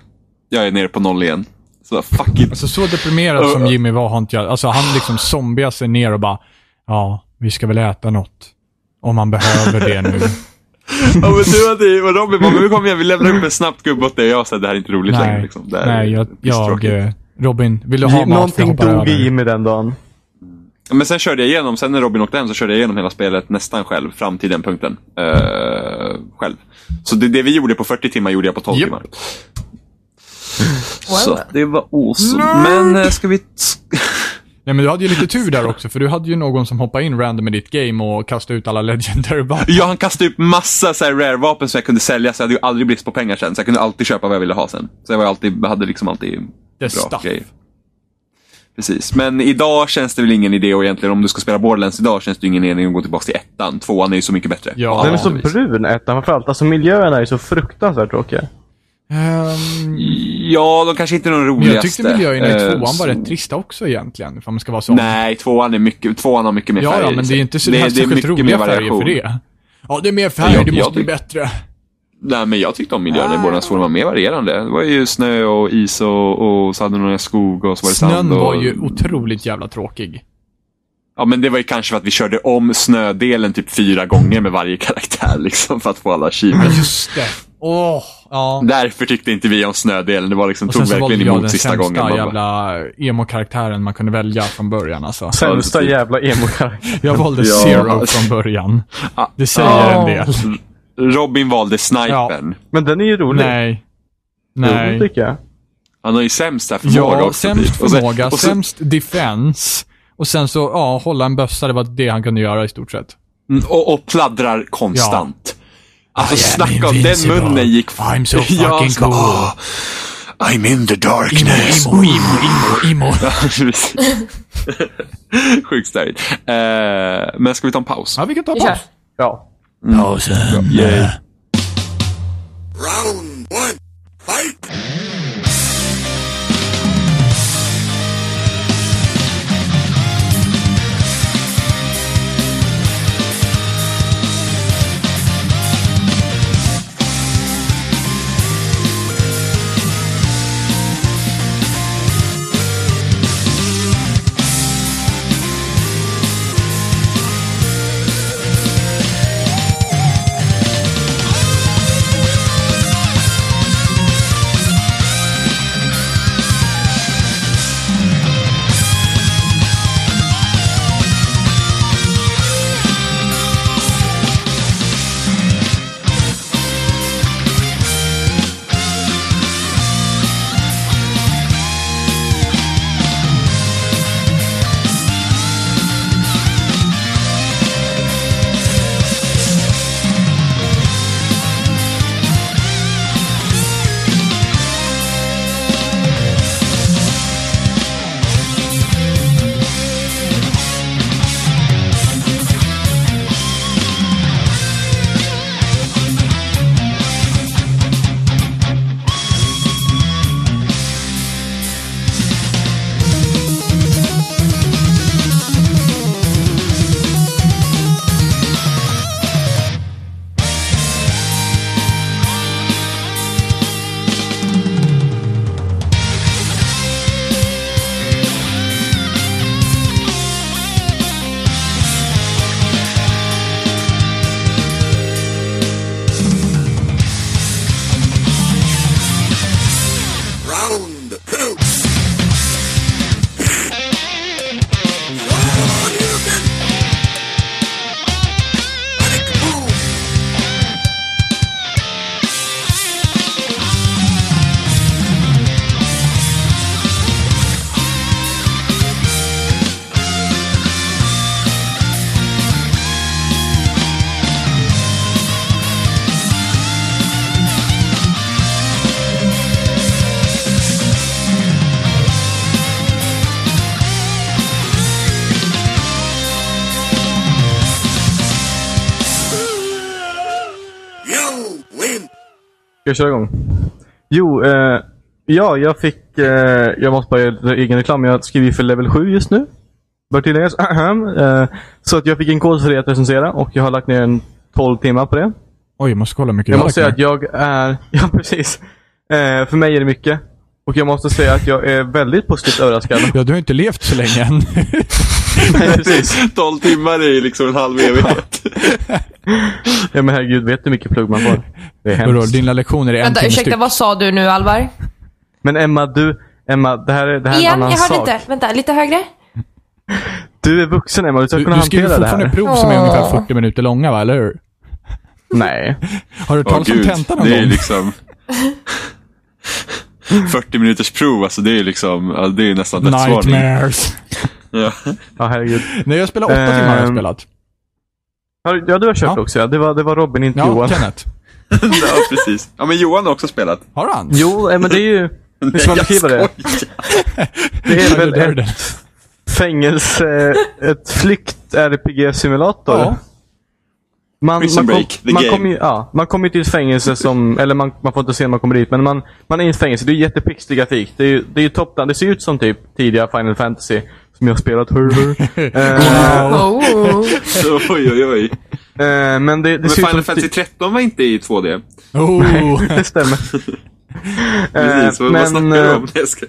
[SPEAKER 2] jag är nere på noll igen. Så fuck it.
[SPEAKER 4] Alltså så deprimerad som Jimmy var har inte jag. Alltså han liksom zombiar sig ner och bara, ja, vi ska väl äta något. Om man behöver
[SPEAKER 2] *laughs*
[SPEAKER 4] det nu.
[SPEAKER 2] Ja, men du hade ju, och Robin bara, men vi kommer igen, vi lämnar upp en snabbt gubbe åt dig. Och jag sa, det här är inte roligt längre.
[SPEAKER 4] Nej,
[SPEAKER 2] Liksom. Det här
[SPEAKER 4] nej jag,
[SPEAKER 2] är
[SPEAKER 4] jag,
[SPEAKER 2] pisstråkigt.
[SPEAKER 4] eh, Robin, vill du ha mat? Jag
[SPEAKER 3] Någonting
[SPEAKER 4] hoppar
[SPEAKER 3] dog
[SPEAKER 4] över.
[SPEAKER 3] i Jimmy den dagen.
[SPEAKER 2] Men sen körde jag igenom, sen när Robin åkte hem så körde jag igenom hela spelet nästan själv fram till den punkten. Eh, själv. Så det, det vi gjorde på 40 timmar gjorde jag på 12
[SPEAKER 4] Japp.
[SPEAKER 2] timmar.
[SPEAKER 1] Well
[SPEAKER 2] Så
[SPEAKER 1] then.
[SPEAKER 2] det var awesome. Men eh, ska vi... t-
[SPEAKER 4] Nej, men du hade ju lite tur där också, för du hade ju någon som hoppade in random i ditt game och kastade ut alla *laughs* legendary vapen.
[SPEAKER 2] Ja, han kastade upp massa så här rare-vapen som jag kunde sälja så jag hade ju aldrig brist på pengar sen. Så jag kunde alltid köpa vad jag ville ha sen. Så jag var alltid, hade liksom alltid
[SPEAKER 4] The
[SPEAKER 2] bra
[SPEAKER 4] stuff.
[SPEAKER 2] grejer. Precis, men idag känns det väl ingen idé och egentligen om du ska spela Borderlands idag känns det ju ingen idé att gå tillbaka till ettan. Tvåan är ju så mycket bättre.
[SPEAKER 4] Ja.
[SPEAKER 2] På alla
[SPEAKER 3] Den är så
[SPEAKER 2] sätt och vis.
[SPEAKER 3] brun ettan framförallt. Alltså miljöerna är så fruktansvärt tråkiga.
[SPEAKER 4] Ehm,
[SPEAKER 2] Ja, de kanske inte är de
[SPEAKER 4] men
[SPEAKER 2] roligaste.
[SPEAKER 4] jag tyckte miljöerna i
[SPEAKER 2] Eh,
[SPEAKER 4] tvåan var
[SPEAKER 2] så-
[SPEAKER 4] rätt trista också egentligen, om man ska vara så.
[SPEAKER 2] Nej, tvåan, är mycket, tvåan har mycket mer
[SPEAKER 4] ja,
[SPEAKER 2] färger
[SPEAKER 4] ja,
[SPEAKER 2] i
[SPEAKER 4] men det
[SPEAKER 2] sig.
[SPEAKER 4] är ju inte så det,
[SPEAKER 2] det är
[SPEAKER 4] särskilt
[SPEAKER 2] mycket
[SPEAKER 4] roliga
[SPEAKER 2] mer
[SPEAKER 4] färger
[SPEAKER 2] variation.
[SPEAKER 4] för det. Ja, det är mer färg,
[SPEAKER 2] Jag-
[SPEAKER 4] det
[SPEAKER 2] jag
[SPEAKER 4] måste bli
[SPEAKER 2] tyck-
[SPEAKER 4] bättre.
[SPEAKER 2] Nej, men jag tyckte om miljön i
[SPEAKER 4] Ah.
[SPEAKER 2] Borderlands 2. Den var mer varierande. Det var ju snö och is och, och så hade de några skog och så var det
[SPEAKER 4] Snön
[SPEAKER 2] sand. Och...
[SPEAKER 4] var ju otroligt jävla tråkig.
[SPEAKER 2] Ja, men det var ju kanske för att vi körde om snödelen typ fyra gånger med varje karaktär *laughs* liksom för att få alla achievements.
[SPEAKER 4] Just det. Åh, ja.
[SPEAKER 2] Därför tyckte inte vi om snödelen. Det var liksom,
[SPEAKER 4] Och
[SPEAKER 2] tog
[SPEAKER 4] sen så valde
[SPEAKER 2] verkligen
[SPEAKER 4] jag
[SPEAKER 2] emot
[SPEAKER 4] den
[SPEAKER 2] sista
[SPEAKER 4] sämsta
[SPEAKER 2] gången. Man bara,
[SPEAKER 4] jävla emo-karaktären man kunde välja från början alltså.
[SPEAKER 3] Sämsta
[SPEAKER 2] precis.
[SPEAKER 3] jävla emo-karaktären.
[SPEAKER 2] *laughs*
[SPEAKER 4] Jag valde
[SPEAKER 2] Ja.
[SPEAKER 4] Zero från början.
[SPEAKER 2] Ah.
[SPEAKER 4] Det säger en
[SPEAKER 1] Ah.
[SPEAKER 4] del.
[SPEAKER 2] Robin valde snipern.
[SPEAKER 3] Men den är ju rolig.
[SPEAKER 4] Nej.
[SPEAKER 3] Rolig,
[SPEAKER 4] Nej.
[SPEAKER 3] tycker jag.
[SPEAKER 2] Han har ju sämsta förmåga
[SPEAKER 4] Ja,
[SPEAKER 2] också.
[SPEAKER 4] sämst
[SPEAKER 2] typ. Och sen-
[SPEAKER 4] förmåga,
[SPEAKER 2] och sen-
[SPEAKER 4] sämst defense. Och sen så, ja, hålla en bössa, det var det han kunde göra i stort sett.
[SPEAKER 2] Mm, Och, och pladdrar konstant. Alltså
[SPEAKER 4] I am
[SPEAKER 2] snacka om, den
[SPEAKER 4] invincible.
[SPEAKER 2] munnen gick... *laughs*
[SPEAKER 4] I'm so fucking
[SPEAKER 2] så bara,
[SPEAKER 4] cool.
[SPEAKER 2] "Ah, I'm in the darkness.
[SPEAKER 4] Imo, imo, imo, imo.
[SPEAKER 2] *laughs* Ja, precis. *laughs* Sjukt störigt. Eh, men ska vi ta en paus?
[SPEAKER 4] Ja, vi kan ta
[SPEAKER 1] Vi kör.
[SPEAKER 4] paus.
[SPEAKER 3] Ja.
[SPEAKER 4] Pausen.
[SPEAKER 2] Yay.
[SPEAKER 5] Round one, fight! Round two. Oh, you've been- Panic move. You win.
[SPEAKER 3] Ska jag köra igång? Jo, eh, ja, jag fick eh, jag måste bara göra egen reklam. Jag skriver ju för level 7 just nu. Bör tilläggas. *clears throat* Ahem. eh, så att jag fick en kod för det att recensera och jag har lagt ner en 12 timmar på det.
[SPEAKER 4] Oj, jag måste kolla hur mycket
[SPEAKER 3] Jag
[SPEAKER 4] jag,
[SPEAKER 3] måste säga att jag är... *laughs* Ja, precis. Eh, för mig är det mycket. Och jag måste säga att jag är väldigt positivt överraskad. *laughs*
[SPEAKER 4] Ja, du har ju inte levt så länge än.
[SPEAKER 3] precis.
[SPEAKER 2] *laughs* 12 timmar är ju liksom en halv evighet.
[SPEAKER 3] Ja, men herregud, vet du hur mycket plugg man får? Det är
[SPEAKER 4] Vadå,
[SPEAKER 3] hemskt.
[SPEAKER 4] dina lektioner är en
[SPEAKER 1] Vänta,
[SPEAKER 4] timme
[SPEAKER 1] ursäkta,
[SPEAKER 4] styck.
[SPEAKER 1] vad sa du nu Alvar?
[SPEAKER 3] Men Emma, du... Emma, det här är, det här är en
[SPEAKER 1] Igen, jag
[SPEAKER 3] annan
[SPEAKER 1] hörde
[SPEAKER 3] sak.
[SPEAKER 1] inte. Vänta, lite högre.
[SPEAKER 3] Du är vuxen Emma, du ska
[SPEAKER 4] Du,
[SPEAKER 3] kunna
[SPEAKER 4] du skriver
[SPEAKER 3] hantera det här.
[SPEAKER 4] fortfarande prov som är ungefär
[SPEAKER 1] Åh.
[SPEAKER 4] 40 minuter långa, va? Eller hur?
[SPEAKER 3] Nej.
[SPEAKER 4] Har du hört
[SPEAKER 2] Åh
[SPEAKER 4] talas om
[SPEAKER 2] gud,
[SPEAKER 4] tenta någon
[SPEAKER 2] det är
[SPEAKER 4] gång?
[SPEAKER 2] liksom... 40 minuters prov, alltså det är liksom, ja, det är nästan dödsvarning.
[SPEAKER 4] Nightmares.
[SPEAKER 2] Ja. *laughs*
[SPEAKER 3] Ja, herregud.
[SPEAKER 4] Nej, jag spelar åtta timmar har jag
[SPEAKER 3] Ehm,
[SPEAKER 4] spelat.
[SPEAKER 3] Har- Ja, du har kört
[SPEAKER 4] Ja.
[SPEAKER 3] också ja. Det var, det var Robin, inte
[SPEAKER 4] Ja,
[SPEAKER 3] Johan.
[SPEAKER 4] Kenneth.
[SPEAKER 2] ja, precis. Ja, men Johan har också spelat.
[SPEAKER 4] Har han?
[SPEAKER 3] *laughs* Jo, eh, men det
[SPEAKER 2] *laughs*
[SPEAKER 3] är ju... Hur ska man
[SPEAKER 2] jag
[SPEAKER 3] beskriva det?
[SPEAKER 2] skojar.
[SPEAKER 3] Det är
[SPEAKER 4] Ja, det är
[SPEAKER 3] väl
[SPEAKER 4] det.
[SPEAKER 3] ett fängelse... Ett flykt-RPG-simulator.
[SPEAKER 4] Ja.
[SPEAKER 3] Man,
[SPEAKER 2] Prison
[SPEAKER 3] man kom-
[SPEAKER 2] Break, the
[SPEAKER 3] man
[SPEAKER 2] game.
[SPEAKER 3] kommer ju ja, man kommer ju till ett fängelse som, eller man, man får inte se när man kommer dit, men man, man är i ett fängelse. Det är jättepixlig grafik. Det är ju det är ju top down. Det ser ut som typ tidiga Final Fantasy, som jag har spelat. Hur,
[SPEAKER 4] *laughs*
[SPEAKER 3] hur. Eh,
[SPEAKER 1] Oh.
[SPEAKER 2] Så, Oj, oj, oj.
[SPEAKER 3] eh, men det, det
[SPEAKER 2] Men
[SPEAKER 3] ser ut
[SPEAKER 2] Final
[SPEAKER 3] som...
[SPEAKER 2] Fantasy 13 var inte i 2D.
[SPEAKER 4] Oh.
[SPEAKER 3] *laughs* det stämmer.
[SPEAKER 2] *laughs* Precis,
[SPEAKER 3] Eh,
[SPEAKER 2] vad, vad snackar du
[SPEAKER 3] eh,
[SPEAKER 2] om? *laughs* Jag ska...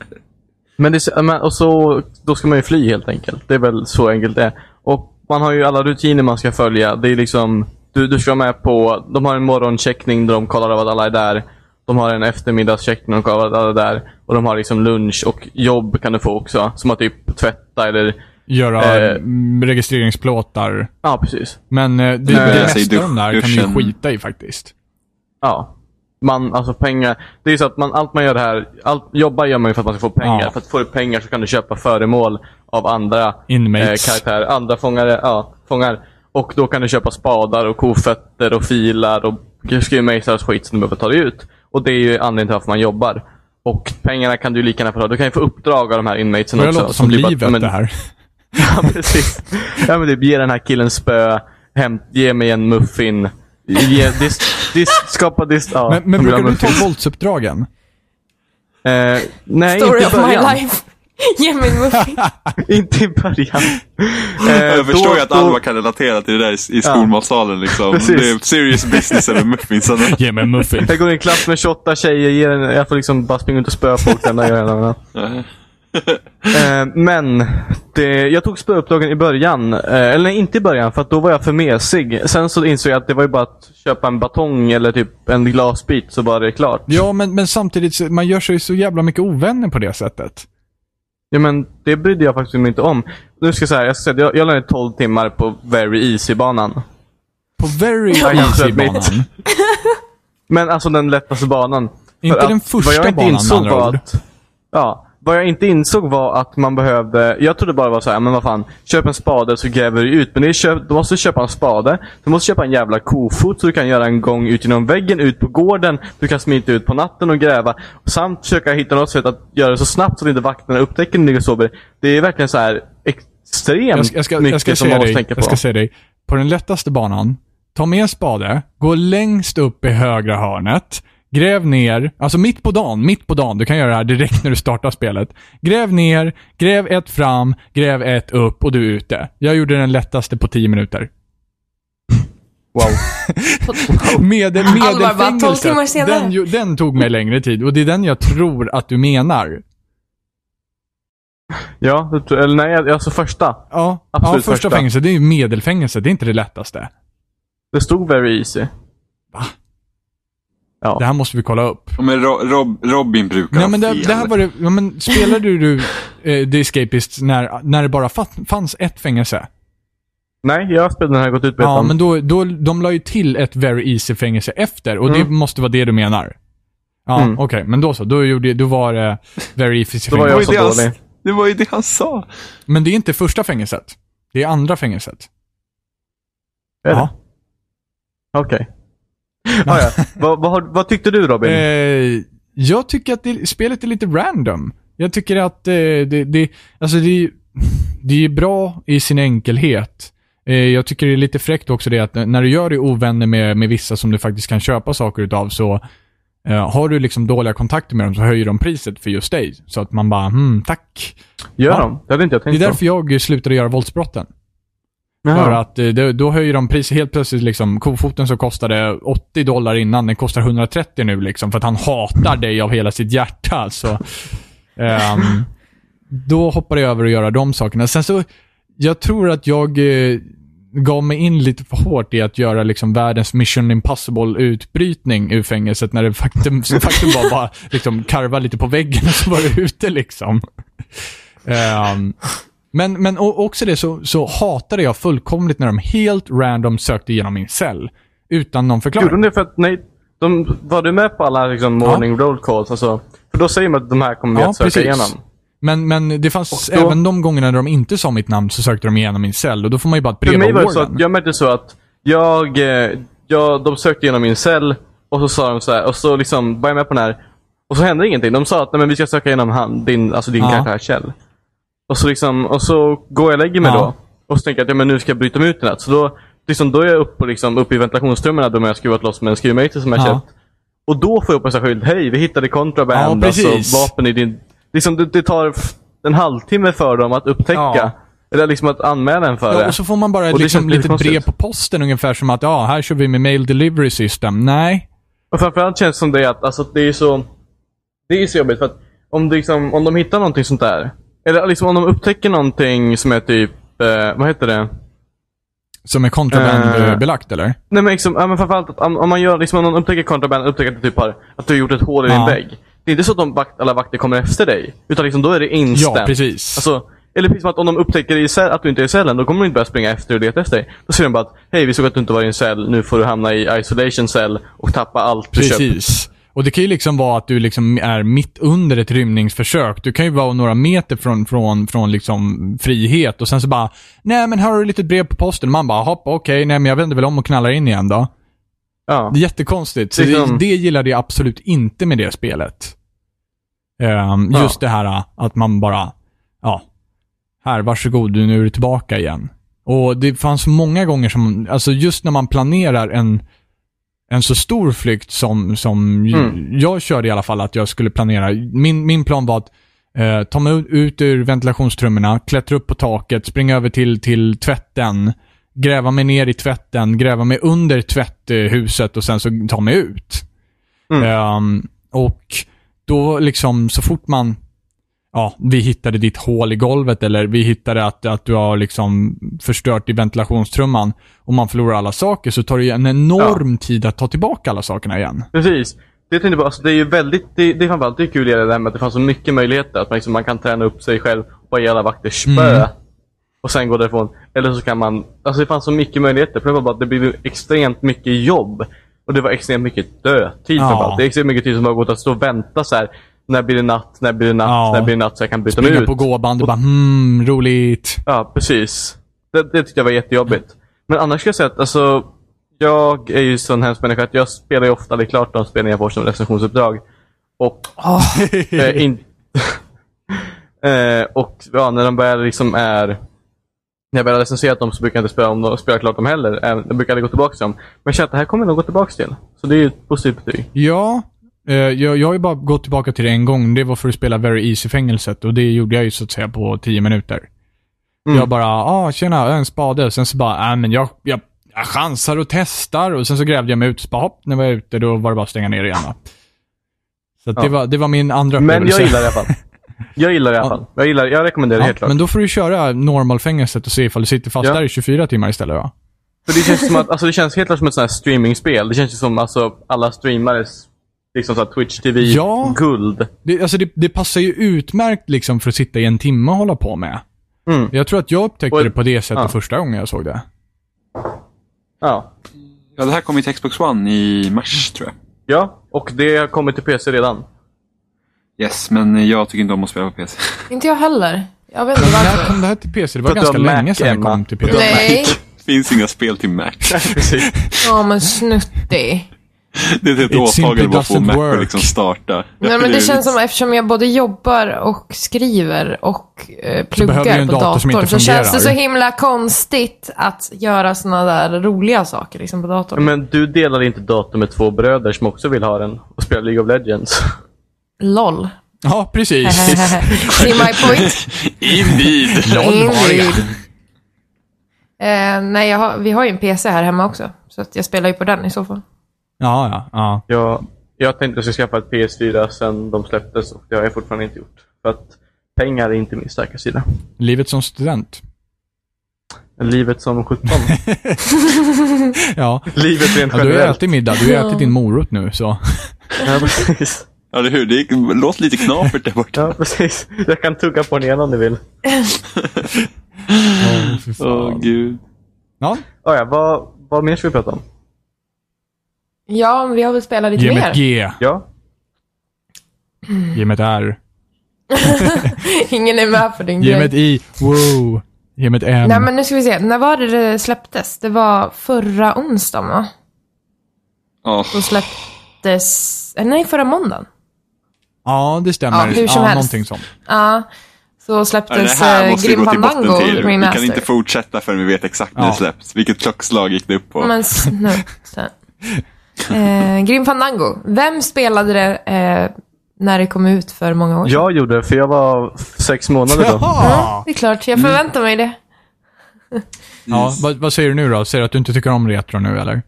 [SPEAKER 3] Men det, är så- men, och så, då ska man ju fly helt enkelt. Det är väl så enkelt det är. Och man har ju alla rutiner man ska följa. Det är liksom, du, du ska vara med på, de har en morgoncheckning där de kollar av att alla är där. De har en eftermiddagscheckning där de kollar av att alla är där. Och de har liksom lunch och jobb kan du få också. Som att typ tvätta eller,
[SPEAKER 4] Göra
[SPEAKER 3] Eh.
[SPEAKER 4] mm, registreringsplåtar.
[SPEAKER 3] ja precis.
[SPEAKER 4] Men eh, det, det
[SPEAKER 3] jag
[SPEAKER 4] mesta
[SPEAKER 2] säger dusch-
[SPEAKER 4] av de där kan du ju
[SPEAKER 2] duschen.
[SPEAKER 4] skita i faktiskt.
[SPEAKER 3] Ja. Man, alltså pengar. Det är ju så att man, allt man gör det här, allt, jobbar gör man ju för att man ska få pengar.
[SPEAKER 4] Ja.
[SPEAKER 3] För att få pengar så kan du köpa föremål av andra eh,
[SPEAKER 4] Inmates.
[SPEAKER 3] karaktärer. Andra fångare, ja, fångar. Och då kan du köpa spadar och kofötter och filar och skruvmejslar och skit som du behöver ta dig ut. Och det är ju anledningen till varför man jobbar. Och pengarna kan du ju lika gärna få ta. Du kan ju få uppdrag av de här inmatesen
[SPEAKER 4] Börjar
[SPEAKER 3] också.
[SPEAKER 4] låta som
[SPEAKER 3] typ att,
[SPEAKER 4] livet
[SPEAKER 3] ja, men-
[SPEAKER 4] det här.
[SPEAKER 3] Ja, precis. Ja, men typ, ge den här killen spö. Hämt, ge mig en muffin. Ge, dis, dis, skapa dis... Ja,
[SPEAKER 4] Men, men
[SPEAKER 3] de
[SPEAKER 4] brukar
[SPEAKER 3] glömmer
[SPEAKER 4] du ta
[SPEAKER 3] muffins.
[SPEAKER 4] våldsuppdragen?
[SPEAKER 3] Eh, nej,
[SPEAKER 1] Story
[SPEAKER 3] inte
[SPEAKER 1] of
[SPEAKER 3] i
[SPEAKER 1] my
[SPEAKER 3] början.
[SPEAKER 1] life. *laughs* Ge mig en
[SPEAKER 4] *laughs*
[SPEAKER 1] muffin.
[SPEAKER 3] Inte i början.
[SPEAKER 2] *laughs*
[SPEAKER 3] Eh,
[SPEAKER 2] Jag förstår
[SPEAKER 3] då-
[SPEAKER 2] ju att
[SPEAKER 3] då-
[SPEAKER 2] Alva kan relatera till det där i, i skolmatsalen *laughs* liksom.
[SPEAKER 3] Precis.
[SPEAKER 2] Det är serious business alltså. över muffinsarna.
[SPEAKER 4] Ge mig en muffin.
[SPEAKER 3] Jag går i en klass med 28 tjejer. Ger en, jag får liksom bara springa runt och spöa folk. den där grejen. eh, men det, jag tog spöuppdragen i början. Eh, eller nej, inte i början. För att då var jag för mesig. Sen så insåg jag att det var ju bara att köpa en batong eller typ en glasbit så var det klart.
[SPEAKER 4] Ja, men, men samtidigt, så- man gör sig så jävla mycket ovänner på det sättet.
[SPEAKER 3] Ja, men det brydde jag faktiskt mig inte om. Nu ska jag säga, jag, ska säga, att jag, jag la ner 12 timmar på Very Easy-banan.
[SPEAKER 4] På very
[SPEAKER 3] Ja, jag
[SPEAKER 4] easy
[SPEAKER 3] söp mitt.
[SPEAKER 4] banan.
[SPEAKER 3] Men alltså den lättaste banan. För
[SPEAKER 4] Inte
[SPEAKER 3] att
[SPEAKER 4] den första
[SPEAKER 3] vad jag inte
[SPEAKER 4] banan, med
[SPEAKER 3] insåg
[SPEAKER 4] andra
[SPEAKER 3] var
[SPEAKER 4] ord.
[SPEAKER 3] att, Ja. Vad jag inte insåg var att man behövde, jag trodde bara det var så här, men vad fan. Köp en spade så gräver du ut. Men det är köp, du måste köpa en spade. Du måste köpa en jävla kofot så du kan göra en gång ut genom väggen, ut på gården. Du kan smita ut på natten och gräva. Samt försöka hitta något sätt att göra det så snabbt så att inte vakterna upptäcker när du ligger och sover. Det är verkligen så här extremt
[SPEAKER 4] Jag ska, jag ska,
[SPEAKER 3] mycket
[SPEAKER 4] jag
[SPEAKER 3] som
[SPEAKER 4] ska säga
[SPEAKER 3] man måste
[SPEAKER 4] dig,
[SPEAKER 3] tänka på.
[SPEAKER 4] jag ska säga dig. På den lättaste banan, ta med en spade, gå längst upp i högra hörnet, gräv ner, alltså mitt på dagen, mitt på dagen, du kan göra det här direkt när du startar spelet. Gräv ner, gräv ett fram, gräv ett upp och du är ute. Jag gjorde den lättaste på 10 minuter.
[SPEAKER 3] Wow.
[SPEAKER 4] Med, med
[SPEAKER 1] Alvar bara, "Tolv timmar senare."
[SPEAKER 4] den, ju- den tog mig längre tid och det är den jag tror att du menar.
[SPEAKER 3] Ja, det tror- eller nej, alltså första.
[SPEAKER 4] Ja,
[SPEAKER 3] Absolut
[SPEAKER 4] ja första
[SPEAKER 3] första.
[SPEAKER 4] fängelset, det är ju medelfängelse, det är inte det lättaste.
[SPEAKER 3] Det stod very easy.
[SPEAKER 4] Va?
[SPEAKER 3] Ja.
[SPEAKER 4] Det här måste vi kolla upp.
[SPEAKER 2] *laughs* Ja, Men Ro- Rob, Robin brukar
[SPEAKER 4] Nej
[SPEAKER 2] ha
[SPEAKER 4] men det,
[SPEAKER 2] fel.
[SPEAKER 4] det här var det, ja, men spelade du eh, The Escapist när, när det bara fatt, fanns ett fängelse?
[SPEAKER 3] Nej, jag spelade den här gått ut
[SPEAKER 4] Ja, men då, då, de la ju till ett Very Easy fängelse efter och
[SPEAKER 3] Mm.
[SPEAKER 4] det måste vara det du menar. Ja, okej, men då så. Då, gjorde, då var det Very Easy
[SPEAKER 3] Då var
[SPEAKER 4] fängelse.
[SPEAKER 2] Det
[SPEAKER 3] jag
[SPEAKER 2] var
[SPEAKER 3] så
[SPEAKER 2] ju det han,
[SPEAKER 3] dålig.
[SPEAKER 2] det var ju det han sa.
[SPEAKER 4] Men det är inte första fängelset. Det är andra fängelset.
[SPEAKER 3] Är det?
[SPEAKER 4] Ja. *laughs*
[SPEAKER 3] Okej. Ah, ja. vad, vad, har- vad tyckte du Robin?
[SPEAKER 4] Eh, jag tycker att det, spelet är lite random. Jag tycker att eh, det, det, alltså det, det är bra i sin enkelhet. Eh, jag tycker det är lite fräckt också det att när du gör dig ovänner med, med vissa som du faktiskt kan köpa saker utav så Eh, har du liksom dåliga kontakter med dem så höjer de priset för just dig. Så att man bara, hmm, tack.
[SPEAKER 3] Gör
[SPEAKER 4] Ja.
[SPEAKER 3] de? Det hade inte jag
[SPEAKER 4] Det är
[SPEAKER 3] tänkt på.
[SPEAKER 4] därför jag slutade göra våldsbrotten. För
[SPEAKER 3] Jaha.
[SPEAKER 4] att eh, det- då höjer de priset helt plötsligt. Liksom, kofoten som kostade 80 dollar innan, den kostar 130 nu. Liksom, för att han hatar dig av hela sitt hjärta. Så, ehm, då hoppade jag över att göra de sakerna. Sen så, jag tror att jag eh, gav mig in lite för hårt i att göra liksom, världens mission impossible-utbrytning ur fängelset. När
[SPEAKER 3] *laughs*
[SPEAKER 4] det faktum, faktum var bara liksom, karva lite på väggen och så var det ute liksom. Ehm, men, men o- också det så, så hatade jag fullkomligt när de helt random sökte igenom min cell. Utan någon förklaring.
[SPEAKER 3] Gjorde de det för att, nej, de, var du med på alla liksom, morning roll calls? Alltså, för då säger man att de här kommer vi att söka igenom.
[SPEAKER 4] Men, men det fanns
[SPEAKER 3] Och då-
[SPEAKER 4] även de gångerna när de inte sa mitt namn så sökte de igenom min cell. Och då får man ju bara ett brev
[SPEAKER 3] För mig
[SPEAKER 4] av
[SPEAKER 3] var det så
[SPEAKER 4] Warren.
[SPEAKER 3] att, jag märkte så att jag, eh, jag, de sökte igenom min cell och så sa de så här, och så liksom var jag med på den här. Och så hände ingenting. De sa att nej, men vi ska söka igenom han, din, alltså din
[SPEAKER 4] Ja.
[SPEAKER 3] karaktär Kjell. Och så, liksom, och så går jag och lägger mig
[SPEAKER 4] Ja.
[SPEAKER 3] då. Och så tänker jag att ja, men nu ska jag bryta mig ut den här. Så då, liksom, då är jag uppe, liksom, uppe i ventilationstrummen där jag har skruvat loss med en skruvmejsel som jag
[SPEAKER 4] Ja.
[SPEAKER 3] köpt. Och då får jag upp en sån här skylt. Hej, vi hittade kontraband.
[SPEAKER 4] Ja, precis.
[SPEAKER 3] alltså, vapen i din... Liksom, det, det tar f- en halvtimme för dem att upptäcka.
[SPEAKER 4] Ja.
[SPEAKER 3] Eller liksom att anmäla en för
[SPEAKER 4] Ja,
[SPEAKER 3] det.
[SPEAKER 4] och så får man bara ett
[SPEAKER 3] Och det
[SPEAKER 4] liksom,
[SPEAKER 3] känns lite
[SPEAKER 4] litet brev
[SPEAKER 3] konstigt.
[SPEAKER 4] på posten ungefär som att ja, här kör vi med mail delivery system. Nej.
[SPEAKER 3] Och framförallt känns det som det att alltså, att det är så Det är så jobbigt för att om, det liksom, om de hittar någonting sånt där. Eller liksom om de upptäcker någonting som är typ, eh, vad heter det?
[SPEAKER 4] Som är kontrabandbelagt eller?
[SPEAKER 3] Nej men liksom, ja, men framförallt att om, om man gör, liksom om någon upptäcker kontraband, upptäcker att du typ har, att du har gjort ett hål i
[SPEAKER 4] Ja.
[SPEAKER 3] din vägg. Det är inte så att de vakt, alla vakter kommer efter dig. Utan liksom då är det instant.
[SPEAKER 4] Ja, precis.
[SPEAKER 3] Alltså, eller precis som att om de upptäcker i cell, att du inte är i cellen, då kommer de inte börja springa efter och leta efter dig. Då säger de bara att, hej vi såg att du inte var i en cell, nu får du hamna i isolation cell och tappa allt du köpt.
[SPEAKER 4] Precis. Och det kan ju liksom vara att du liksom är mitt under ett rymningsförsök. Du kan ju vara några meter från, från, från liksom frihet och sen så bara, nej men här har du lite brev på posten. Man bara, hopp, okej, nej men jag vänder väl om och knallar in igen då.
[SPEAKER 3] Ja.
[SPEAKER 4] Det är jättekonstigt. Så det,
[SPEAKER 3] Liksom-
[SPEAKER 4] det gillade jag absolut inte med det spelet. Ehm,
[SPEAKER 3] Ja.
[SPEAKER 4] Just det här ah, att man bara, ja, här, varsågod, du, nu är du tillbaka igen. Och det fanns många gånger som, alltså just när man planerar en, en så stor flykt som, som ju- jag körde i alla fall att jag skulle planera. Min, min plan var att eh, ta mig ut- ut ur ventilationstrummorna, klättra upp på taket, springa över till, till tvätten, gräva mig ner i tvätten, gräva mig under tvätthuset och sen så ta mig ut. Ehm, och då liksom, så fort man ja, vi hittade ditt hål i golvet eller vi hittade att, att du har liksom förstört i ventilationstrumman och man förlorar alla saker så tar det ju en enorm tid att ta tillbaka alla sakerna igen.
[SPEAKER 3] Precis. Det tänkte jag bara, alltså det är ju väldigt, det, det är framförallt det är kul i det här med att det fanns så mycket möjligheter. Att man, liksom, man kan träna upp sig själv och bara ge alla vakter
[SPEAKER 4] Mm.
[SPEAKER 3] spö. Och sen gå därifrån. Eller så kan man, alltså det fanns så mycket möjligheter. Problemet var bara att det blev extremt mycket jobb. Och det var extremt mycket dödtid
[SPEAKER 4] Ja.
[SPEAKER 3] framförallt. Det är extremt mycket tid som har gått att stå och vänta så här. När blir det natt? När blir det natt?
[SPEAKER 4] Ja.
[SPEAKER 3] När blir det natt? Så jag kan byta mig
[SPEAKER 4] Springa
[SPEAKER 3] ut.
[SPEAKER 4] på gåband och bara hmm, roligt.
[SPEAKER 3] Ja, precis. Det, det tyckte jag var jättejobbigt. Men annars ska jag säga att alltså, jag är ju sån hemsk människa att jag spelar ju ofta, det är klart de spelningar jag får som recensionsuppdrag. Och
[SPEAKER 4] *laughs*
[SPEAKER 3] eh, in, *laughs* eh, och ja, när de väl liksom är... När jag väl har recenserat dem så brukar jag inte spela, om dem, spela klart dem heller. Även- Jag brukar aldrig gå tillbaka till dem. Men jag känner att det här kommer jag nog gå tillbaka till. Så det är ju ett positivt betyg.
[SPEAKER 4] Ja, eh, jag, jag har ju bara gått tillbaka till det en gång. Det var för att spela Very Easy-fängelset och det gjorde jag ju så att säga på 10 minuter.
[SPEAKER 3] Mm.
[SPEAKER 4] Jag bara, ah tjena, en spade. Sen så bara, äh, men jag, jag, jag chansar och testar. Och sen så grävde jag mig ut, så bara hopp, när jag var ute då var det bara att stänga ner igen. va. Så att det,
[SPEAKER 3] Ja.
[SPEAKER 4] var, det var min andra
[SPEAKER 3] Men jag gillar det i alla fall. Jag gillar det i alla fall. Jag, gillar, jag rekommenderar det helt
[SPEAKER 4] ja,
[SPEAKER 3] klart.
[SPEAKER 4] Men då får du köra normalfängelset och se ifall du sitter fast
[SPEAKER 3] Ja.
[SPEAKER 4] där i 24 timmar istället va?
[SPEAKER 3] För det känns, som att, alltså det känns helt klart som ett sånt här streamingspel. Det känns ju som alltså, alla streamares liksom så här Twitch TV
[SPEAKER 4] Ja.
[SPEAKER 3] guld.
[SPEAKER 4] Det, alltså det, det passar ju utmärkt liksom för att sitta i en timme och hålla på med.
[SPEAKER 3] Mm.
[SPEAKER 4] Jag tror att jag upptäckte
[SPEAKER 3] Och-
[SPEAKER 4] det på det sättet
[SPEAKER 3] ja.
[SPEAKER 4] första gången jag såg det.
[SPEAKER 3] Ja.
[SPEAKER 2] Ja, det här kommer till Xbox One i mars
[SPEAKER 4] Mm.
[SPEAKER 2] tror jag.
[SPEAKER 3] ja, och det har kommit till PC
[SPEAKER 4] *laughs*
[SPEAKER 3] redan.
[SPEAKER 2] Yes, men jag tycker inte om att spela på PC.
[SPEAKER 1] Inte jag heller. Jag vet inte
[SPEAKER 4] När
[SPEAKER 1] varför.
[SPEAKER 4] kom det här till PC? Det var
[SPEAKER 3] För att
[SPEAKER 4] ganska
[SPEAKER 3] du har
[SPEAKER 4] länge
[SPEAKER 3] Mac,
[SPEAKER 4] sedan det
[SPEAKER 3] Emma.
[SPEAKER 4] kom till PC.
[SPEAKER 2] *laughs*
[SPEAKER 1] Nej,
[SPEAKER 2] Finns inga spel till Mac.
[SPEAKER 3] Precis.
[SPEAKER 1] ja men snuttig.
[SPEAKER 2] Det är ett
[SPEAKER 4] It
[SPEAKER 2] åtagande
[SPEAKER 4] simply
[SPEAKER 2] bara att få
[SPEAKER 4] doesn't
[SPEAKER 2] Mac
[SPEAKER 4] work.
[SPEAKER 2] att liksom starta.
[SPEAKER 1] Nej, men det
[SPEAKER 2] är-
[SPEAKER 1] känns som eftersom jag både jobbar och skriver och eh, pluggar
[SPEAKER 4] behöver du en
[SPEAKER 1] på
[SPEAKER 4] dator som
[SPEAKER 1] datorn
[SPEAKER 4] inte
[SPEAKER 1] så känns det så
[SPEAKER 4] fungerar.
[SPEAKER 1] himla konstigt att göra såna där roliga saker liksom, på datorn.
[SPEAKER 3] Men du delar inte dator med två bröder som också vill ha den och spelar League of Legends.
[SPEAKER 4] *laughs*
[SPEAKER 1] LOL.
[SPEAKER 4] *laughs* Ja, precis.
[SPEAKER 1] *laughs* See my point?
[SPEAKER 2] *laughs* Indeed! *laughs*
[SPEAKER 1] Indeed. Eh, nej, jag har, vi har ju en PC här hemma också. Så att jag spelar ju på den i så fall.
[SPEAKER 4] Ja, ja, ja.
[SPEAKER 3] Jag, jag tänkte att jag skulle skaffa ett PS4 sen de släpptes och det har jag fortfarande inte gjort. För att pengar är inte min starka sida.
[SPEAKER 4] Livet som student.
[SPEAKER 3] Livet som 17. *laughs*
[SPEAKER 4] Ja.
[SPEAKER 3] Livet rent
[SPEAKER 4] ja du har ju
[SPEAKER 3] generellt.
[SPEAKER 4] ätit middag. Du har ju ätit din morot nu,
[SPEAKER 1] *laughs*
[SPEAKER 4] så.
[SPEAKER 3] Ja, precis.
[SPEAKER 2] Ja, eller hur? Det gick, låt lite knapert där borta.
[SPEAKER 3] Ja, precis. Jag kan tugga på den igen om ni vill.
[SPEAKER 4] Åh, fy
[SPEAKER 2] Åh,
[SPEAKER 4] fan.
[SPEAKER 2] gud.
[SPEAKER 4] Ja,
[SPEAKER 3] Ah, ja, vad, vad mer ska vi prata om?
[SPEAKER 1] Ja, men vi har väl spelat lite
[SPEAKER 4] ge mig
[SPEAKER 1] mer.
[SPEAKER 4] ett G.
[SPEAKER 3] Ja,
[SPEAKER 4] Ge mig ett R.
[SPEAKER 1] *laughs* Ingen är med på din
[SPEAKER 4] Ge
[SPEAKER 1] grej.
[SPEAKER 4] mig ett I. Wow. Ge mig ett M.
[SPEAKER 1] Nej, men nu ska vi se. När var det det släpptes? Det var förra onsdagen, va?
[SPEAKER 2] Ja.
[SPEAKER 1] Då släpptes... eh, Nej, förra måndagen.
[SPEAKER 4] Ja, det stämmer.
[SPEAKER 1] Ja, hur som
[SPEAKER 4] ja,
[SPEAKER 1] helst.
[SPEAKER 4] någonting sånt.
[SPEAKER 1] Ja. Så
[SPEAKER 2] Ja, det
[SPEAKER 1] släpptes
[SPEAKER 2] här
[SPEAKER 1] eh,
[SPEAKER 2] måste vi
[SPEAKER 1] Grim
[SPEAKER 2] gå till botten
[SPEAKER 1] Fandango
[SPEAKER 2] till. Vi kan inte
[SPEAKER 1] Remaster.
[SPEAKER 2] fortsätta förrän vi vet exakt när
[SPEAKER 4] Ja.
[SPEAKER 2] det släpps. Vilket klockslag gick det upp på?
[SPEAKER 1] Men s- nu. sen. Eh, Grim Fandango. Vem spelade det eh, när det kom ut för många år sedan?
[SPEAKER 3] jag gjorde det för jag var sex månader *laughs* då.
[SPEAKER 1] Ja,
[SPEAKER 4] Jaha!
[SPEAKER 1] det är klart. Jag förväntar mig det. Mm.
[SPEAKER 4] Ja, vad, vad säger du nu då? Säger du att du inte tycker om retro nu eller?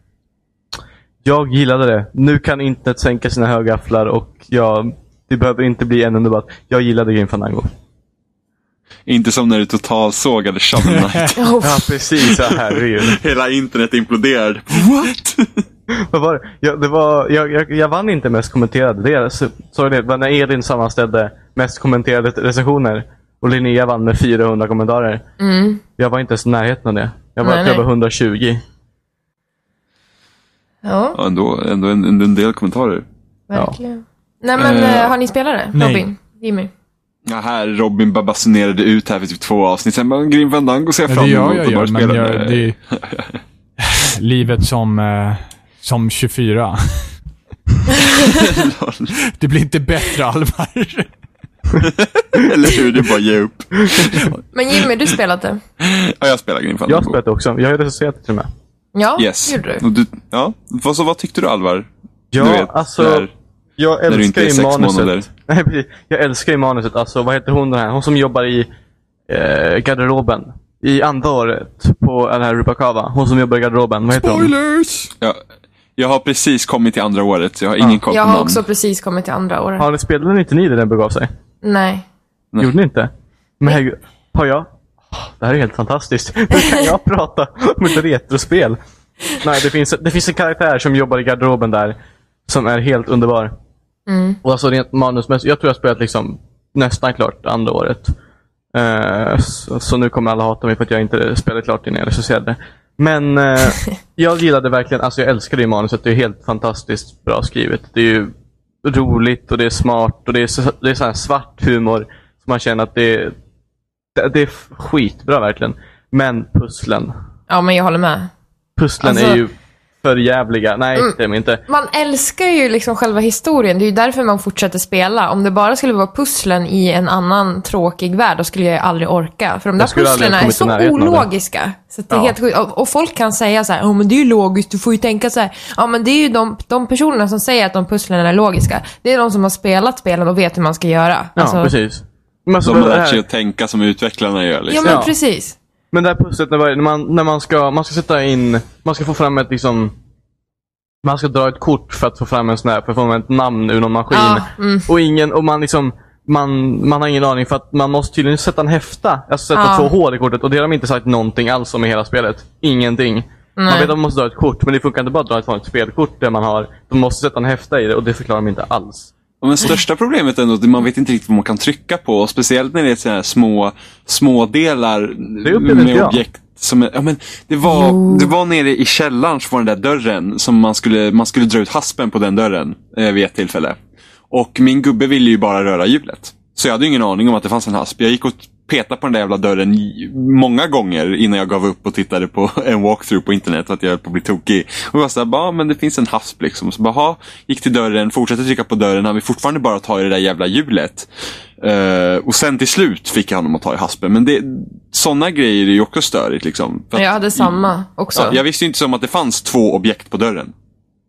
[SPEAKER 3] Jag gillade det. Nu kan internet sänka sina högafflar och jag, det behöver inte bli ännu en debatt. Jag gillade Grim Fandango.
[SPEAKER 2] Inte som när du totalsågade Shovel
[SPEAKER 4] *laughs*
[SPEAKER 2] Knight.
[SPEAKER 3] Ja, precis. Ja, herregud.
[SPEAKER 2] Hela internet imploderade. What?
[SPEAKER 3] Vad var det? Jag, det var, jag, jag, jag vann inte mest kommenterade. Det är, så- sorry, det var när Elin sammanställde mest kommenterade recensioner. Och Linnea vann med 400 kommentarer. Jag var inte ens i närheten av det. Jag var
[SPEAKER 1] Mm. Nej,
[SPEAKER 3] över
[SPEAKER 1] nej.
[SPEAKER 3] 120.
[SPEAKER 1] Ja,
[SPEAKER 2] *laughs* Ja, ändå, ändå en, en, en del kommentarer.
[SPEAKER 1] verkligen. Nej, men
[SPEAKER 2] Eh,
[SPEAKER 1] eh, har ni spelat det?
[SPEAKER 4] nej.
[SPEAKER 1] Robin? Jimmy?
[SPEAKER 2] Ja, här Robin bara basunerade ut här för typ två avsnitt. Sen bara Grim Fandango ser jag
[SPEAKER 4] Ja,
[SPEAKER 2] fram
[SPEAKER 4] det
[SPEAKER 2] emot
[SPEAKER 4] gör
[SPEAKER 2] och
[SPEAKER 4] jag
[SPEAKER 2] bara
[SPEAKER 4] ju, men
[SPEAKER 2] spela
[SPEAKER 4] jag,
[SPEAKER 2] med.
[SPEAKER 4] det är *laughs* livet som, eh, som 24. *laughs* det blir inte
[SPEAKER 1] *laughs*
[SPEAKER 4] bättre, Alvar.
[SPEAKER 2] *laughs* Eller hur? Du bara ger upp.
[SPEAKER 1] Men Jimmy, du spelat det?
[SPEAKER 2] Ja, jag spelar Grim Fandango.
[SPEAKER 3] Jag spelade det också. Jag har ju recenserat det till och med.
[SPEAKER 1] Ja,
[SPEAKER 2] Yes.
[SPEAKER 1] gjorde du.
[SPEAKER 2] Och du, ja. Vad, så, vad tyckte du Alvar?
[SPEAKER 3] Ja,
[SPEAKER 2] du vet,
[SPEAKER 3] alltså-
[SPEAKER 2] där.
[SPEAKER 3] Jag
[SPEAKER 2] du inte
[SPEAKER 3] älskar
[SPEAKER 2] är
[SPEAKER 3] ju
[SPEAKER 2] sex
[SPEAKER 3] manuset.
[SPEAKER 2] månader.
[SPEAKER 3] *laughs* Nej, precis. Jag älskar ju manuset. Alltså, vad heter hon den här? Hon som jobbar i eh, garderoben. I andra året på den här Rubakava. Hon som jobbar i garderoben. Vad heter hon?
[SPEAKER 4] Spoilers!
[SPEAKER 2] Jag, jag har precis kommit till andra året, så jag har ingen koll på
[SPEAKER 1] Jag har
[SPEAKER 2] namn.
[SPEAKER 1] också precis kommit till andra året.
[SPEAKER 3] Ja, ni spelade inte ni det när den begav sig?
[SPEAKER 1] Nej.
[SPEAKER 2] Nej.
[SPEAKER 3] Gjorde ni inte? Men herregud, har jag? Åh, Det här är helt fantastiskt. *laughs* Hur kan jag prata om ett retrospel? Nej, det finns, det finns en karaktär som jobbar i garderoben där som är helt underbar. Och alltså rent manusmässigt, jag tror jag har spelat liksom nästan klart andra året. Eh, så, så nu kommer alla hata mig för att jag inte spelade klart innan jag recenserade. Men eh,
[SPEAKER 1] *laughs*
[SPEAKER 3] jag gillade verkligen, alltså jag älskade ju manuset. Det är helt fantastiskt bra skrivet. Det är ju roligt och det är smart och det är, så, det är så här svart humor. Så man känner att det är, det, det är f- skitbra verkligen. Men pusslen.
[SPEAKER 1] Ja, men jag håller med.
[SPEAKER 3] Pusslen
[SPEAKER 1] Alltså-
[SPEAKER 3] är ju för jävliga. Nej, det är de inte.
[SPEAKER 1] Man älskar ju liksom själva historien. Det är ju därför man fortsätter spela. Om det bara skulle vara pusslen i en annan tråkig värld, då skulle jag ju aldrig orka. För de där
[SPEAKER 3] skulle aldrig
[SPEAKER 1] pusslen är
[SPEAKER 3] ha kommit i
[SPEAKER 1] så
[SPEAKER 3] närheten av det.
[SPEAKER 1] ologiska. Så att det är
[SPEAKER 3] Ja.
[SPEAKER 1] helt sjukt. och, och folk kan säga så här, oh, men det är ju logiskt, du får ju tänka så här. Ja, men det är ju de, de personerna som säger att de pusslen är logiska. Det är de som har spelat spelen och vet hur man ska göra.
[SPEAKER 3] Ja,
[SPEAKER 1] Alltså-
[SPEAKER 3] precis. Men, alltså,
[SPEAKER 2] De har
[SPEAKER 3] det här-
[SPEAKER 2] lärt sig att tänka som utvecklarna gör.
[SPEAKER 1] Ja,
[SPEAKER 2] Liksom.
[SPEAKER 1] men
[SPEAKER 3] Ja.
[SPEAKER 1] precis.
[SPEAKER 3] Men det här pusslet när man- när man, när man, ska, man ska sätta in, man ska få fram ett liksom man ska dra ett kort för att få fram en sån här, för att få fram ett namn ur någon maskin.
[SPEAKER 1] Ja, mm.
[SPEAKER 3] Och ingen, och man liksom man, man har ingen aning för att man måste tydligen sätta en häfta. Alltså sätta
[SPEAKER 1] Ja.
[SPEAKER 3] två hål i kortet och det har de inte sagt någonting alls om i hela spelet. Ingenting. Man
[SPEAKER 1] Nej.
[SPEAKER 3] vet att man måste dra ett kort men det funkar inte bara att dra ett vanligt spelkort där man har. De måste sätta en häfta i det och det förklarar de inte alls.
[SPEAKER 2] Ja, Men största problemet är ändå att man vet inte riktigt vad man kan trycka på. Och speciellt när det är såna här små, små delar
[SPEAKER 3] upplever inte
[SPEAKER 2] med
[SPEAKER 3] jag.
[SPEAKER 2] objekt. Som är, ja, men det, var, det var nere i källaren så var den där dörren som man skulle, man skulle dra ut haspen på den dörren eh, vid ett tillfälle. Och min gubbe ville ju bara röra hjulet. Så jag hade ju ingen aning om att det fanns en hasp. Jag gick och peta på den där jävla dörren i- många gånger innan jag gav upp och tittade på *laughs* en walkthrough på internet. Att jag höll på att bli tokig. Och jag såhär, ja men det finns en hasp liksom. Så bara, "Ha." gick till dörren, fortsatte trycka på dörren. Han vill fortfarande bara ta i det där jävla hjulet. Eh, och sen till slut fick jag honom att ta i haspen. Men det, sådana grejer är ju också störigt liksom. För att-
[SPEAKER 1] Jag hade samma också.
[SPEAKER 2] Ja, jag visste ju inte som att det fanns två objekt på dörren.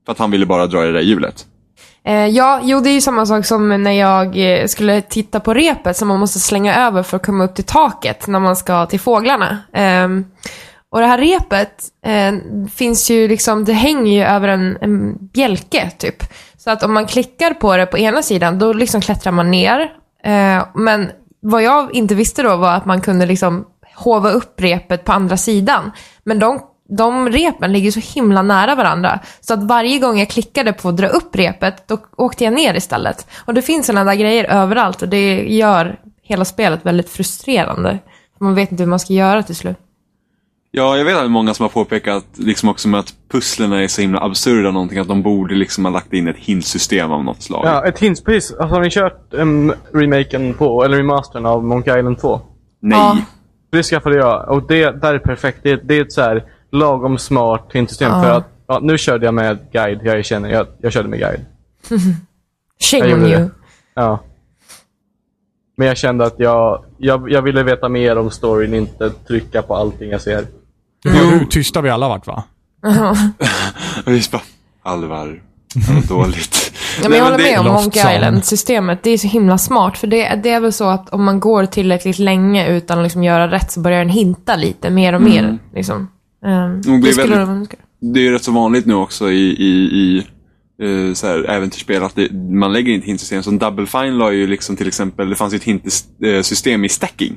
[SPEAKER 2] För att han ville bara dra i det där hjulet.
[SPEAKER 1] Eh, ja, jo det är ju samma sak som när jag eh, skulle titta på repet som man måste slänga över för att komma upp till taket när man ska till fåglarna. Ehm, och det här repet eh, finns ju liksom, det hänger ju över en, en bjälke typ. Så att om man klickar på det på ena sidan då liksom klättrar man ner. Eh, men vad jag inte visste då var att man kunde liksom hova upp repet på andra sidan. Men de, de repen ligger så himla nära varandra. Så att varje gång jag klickade på att dra upp repet, då åkte jag ner istället. Och det finns sådana där grejer överallt och det gör hela spelet väldigt frustrerande. Man vet inte hur man ska göra till slut.
[SPEAKER 2] Ja, jag vet att många som har påpekat liksom också med att pusslerna är så himla absurda någonting. Att de borde liksom ha lagt in ett hintsystem av något slag.
[SPEAKER 3] Ja, ett hint, precis. Alltså, har ni kört um, remaken på, eller remastern av Monkey Island 2?
[SPEAKER 2] Nej.
[SPEAKER 1] Ja.
[SPEAKER 3] Det skaffade jag och det där är perfekt. Det, det är ett så här lagom smart hintsystem
[SPEAKER 1] Ja.
[SPEAKER 3] för att ja, nu körde jag med guide. Jag erkänner, jag, jag körde med guide. Jag
[SPEAKER 1] Shame on
[SPEAKER 3] gjorde
[SPEAKER 1] you.
[SPEAKER 3] det. Ja. Men jag kände att jag, jag, jag ville veta mer om storyn, inte trycka på allting jag ser.
[SPEAKER 4] Nu tystar vi alla vart va?
[SPEAKER 2] Och vi bara, Alvar, vad dåligt.
[SPEAKER 1] Ja, men
[SPEAKER 2] Nej,
[SPEAKER 1] jag håller
[SPEAKER 2] det-
[SPEAKER 1] med om
[SPEAKER 4] Lost Zone.
[SPEAKER 1] Monkey Island-systemet. Det är så himla smart. För det, det är väl så att om man går tillräckligt länge utan att liksom göra rätt så börjar den hinta lite mer och mer. Liksom. Um,
[SPEAKER 2] Mm. blir
[SPEAKER 1] det skulle
[SPEAKER 2] väldigt-
[SPEAKER 1] de önska.
[SPEAKER 2] Det är ju rätt så vanligt nu också i, i, i eh, så här, äventyrsspel att det, man lägger in ett hintsystem. Som Double Fine la ju liksom till exempel, det fanns ju ett hintsystem i stacking.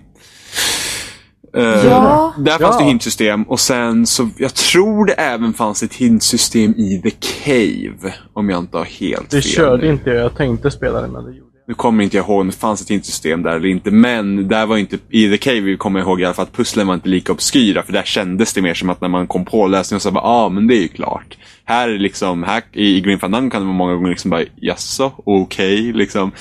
[SPEAKER 2] Eh,
[SPEAKER 1] Ja.
[SPEAKER 2] Där fanns det
[SPEAKER 3] Ja.
[SPEAKER 2] hintsystem och sen så, jag tror det även fanns ett hintsystem i The Cave. Om jag inte har helt
[SPEAKER 3] Det
[SPEAKER 2] fel.
[SPEAKER 3] körde
[SPEAKER 2] nu.
[SPEAKER 3] inte jag. Jag tänkte spela det, men det gjorde jag
[SPEAKER 2] Nu kommer inte jag ihåg om det fanns ett hintsystem där eller inte, men där var inte, i The Cave kommer jag ihåg i alla fall att pusslen var inte lika obskyra, för där kändes det mer som att när man kom på lösningen så bara, ah, men det är ju klart. Här är liksom, här i i Green Fandango kan det vara många gånger liksom bara, jaså, okej, liksom.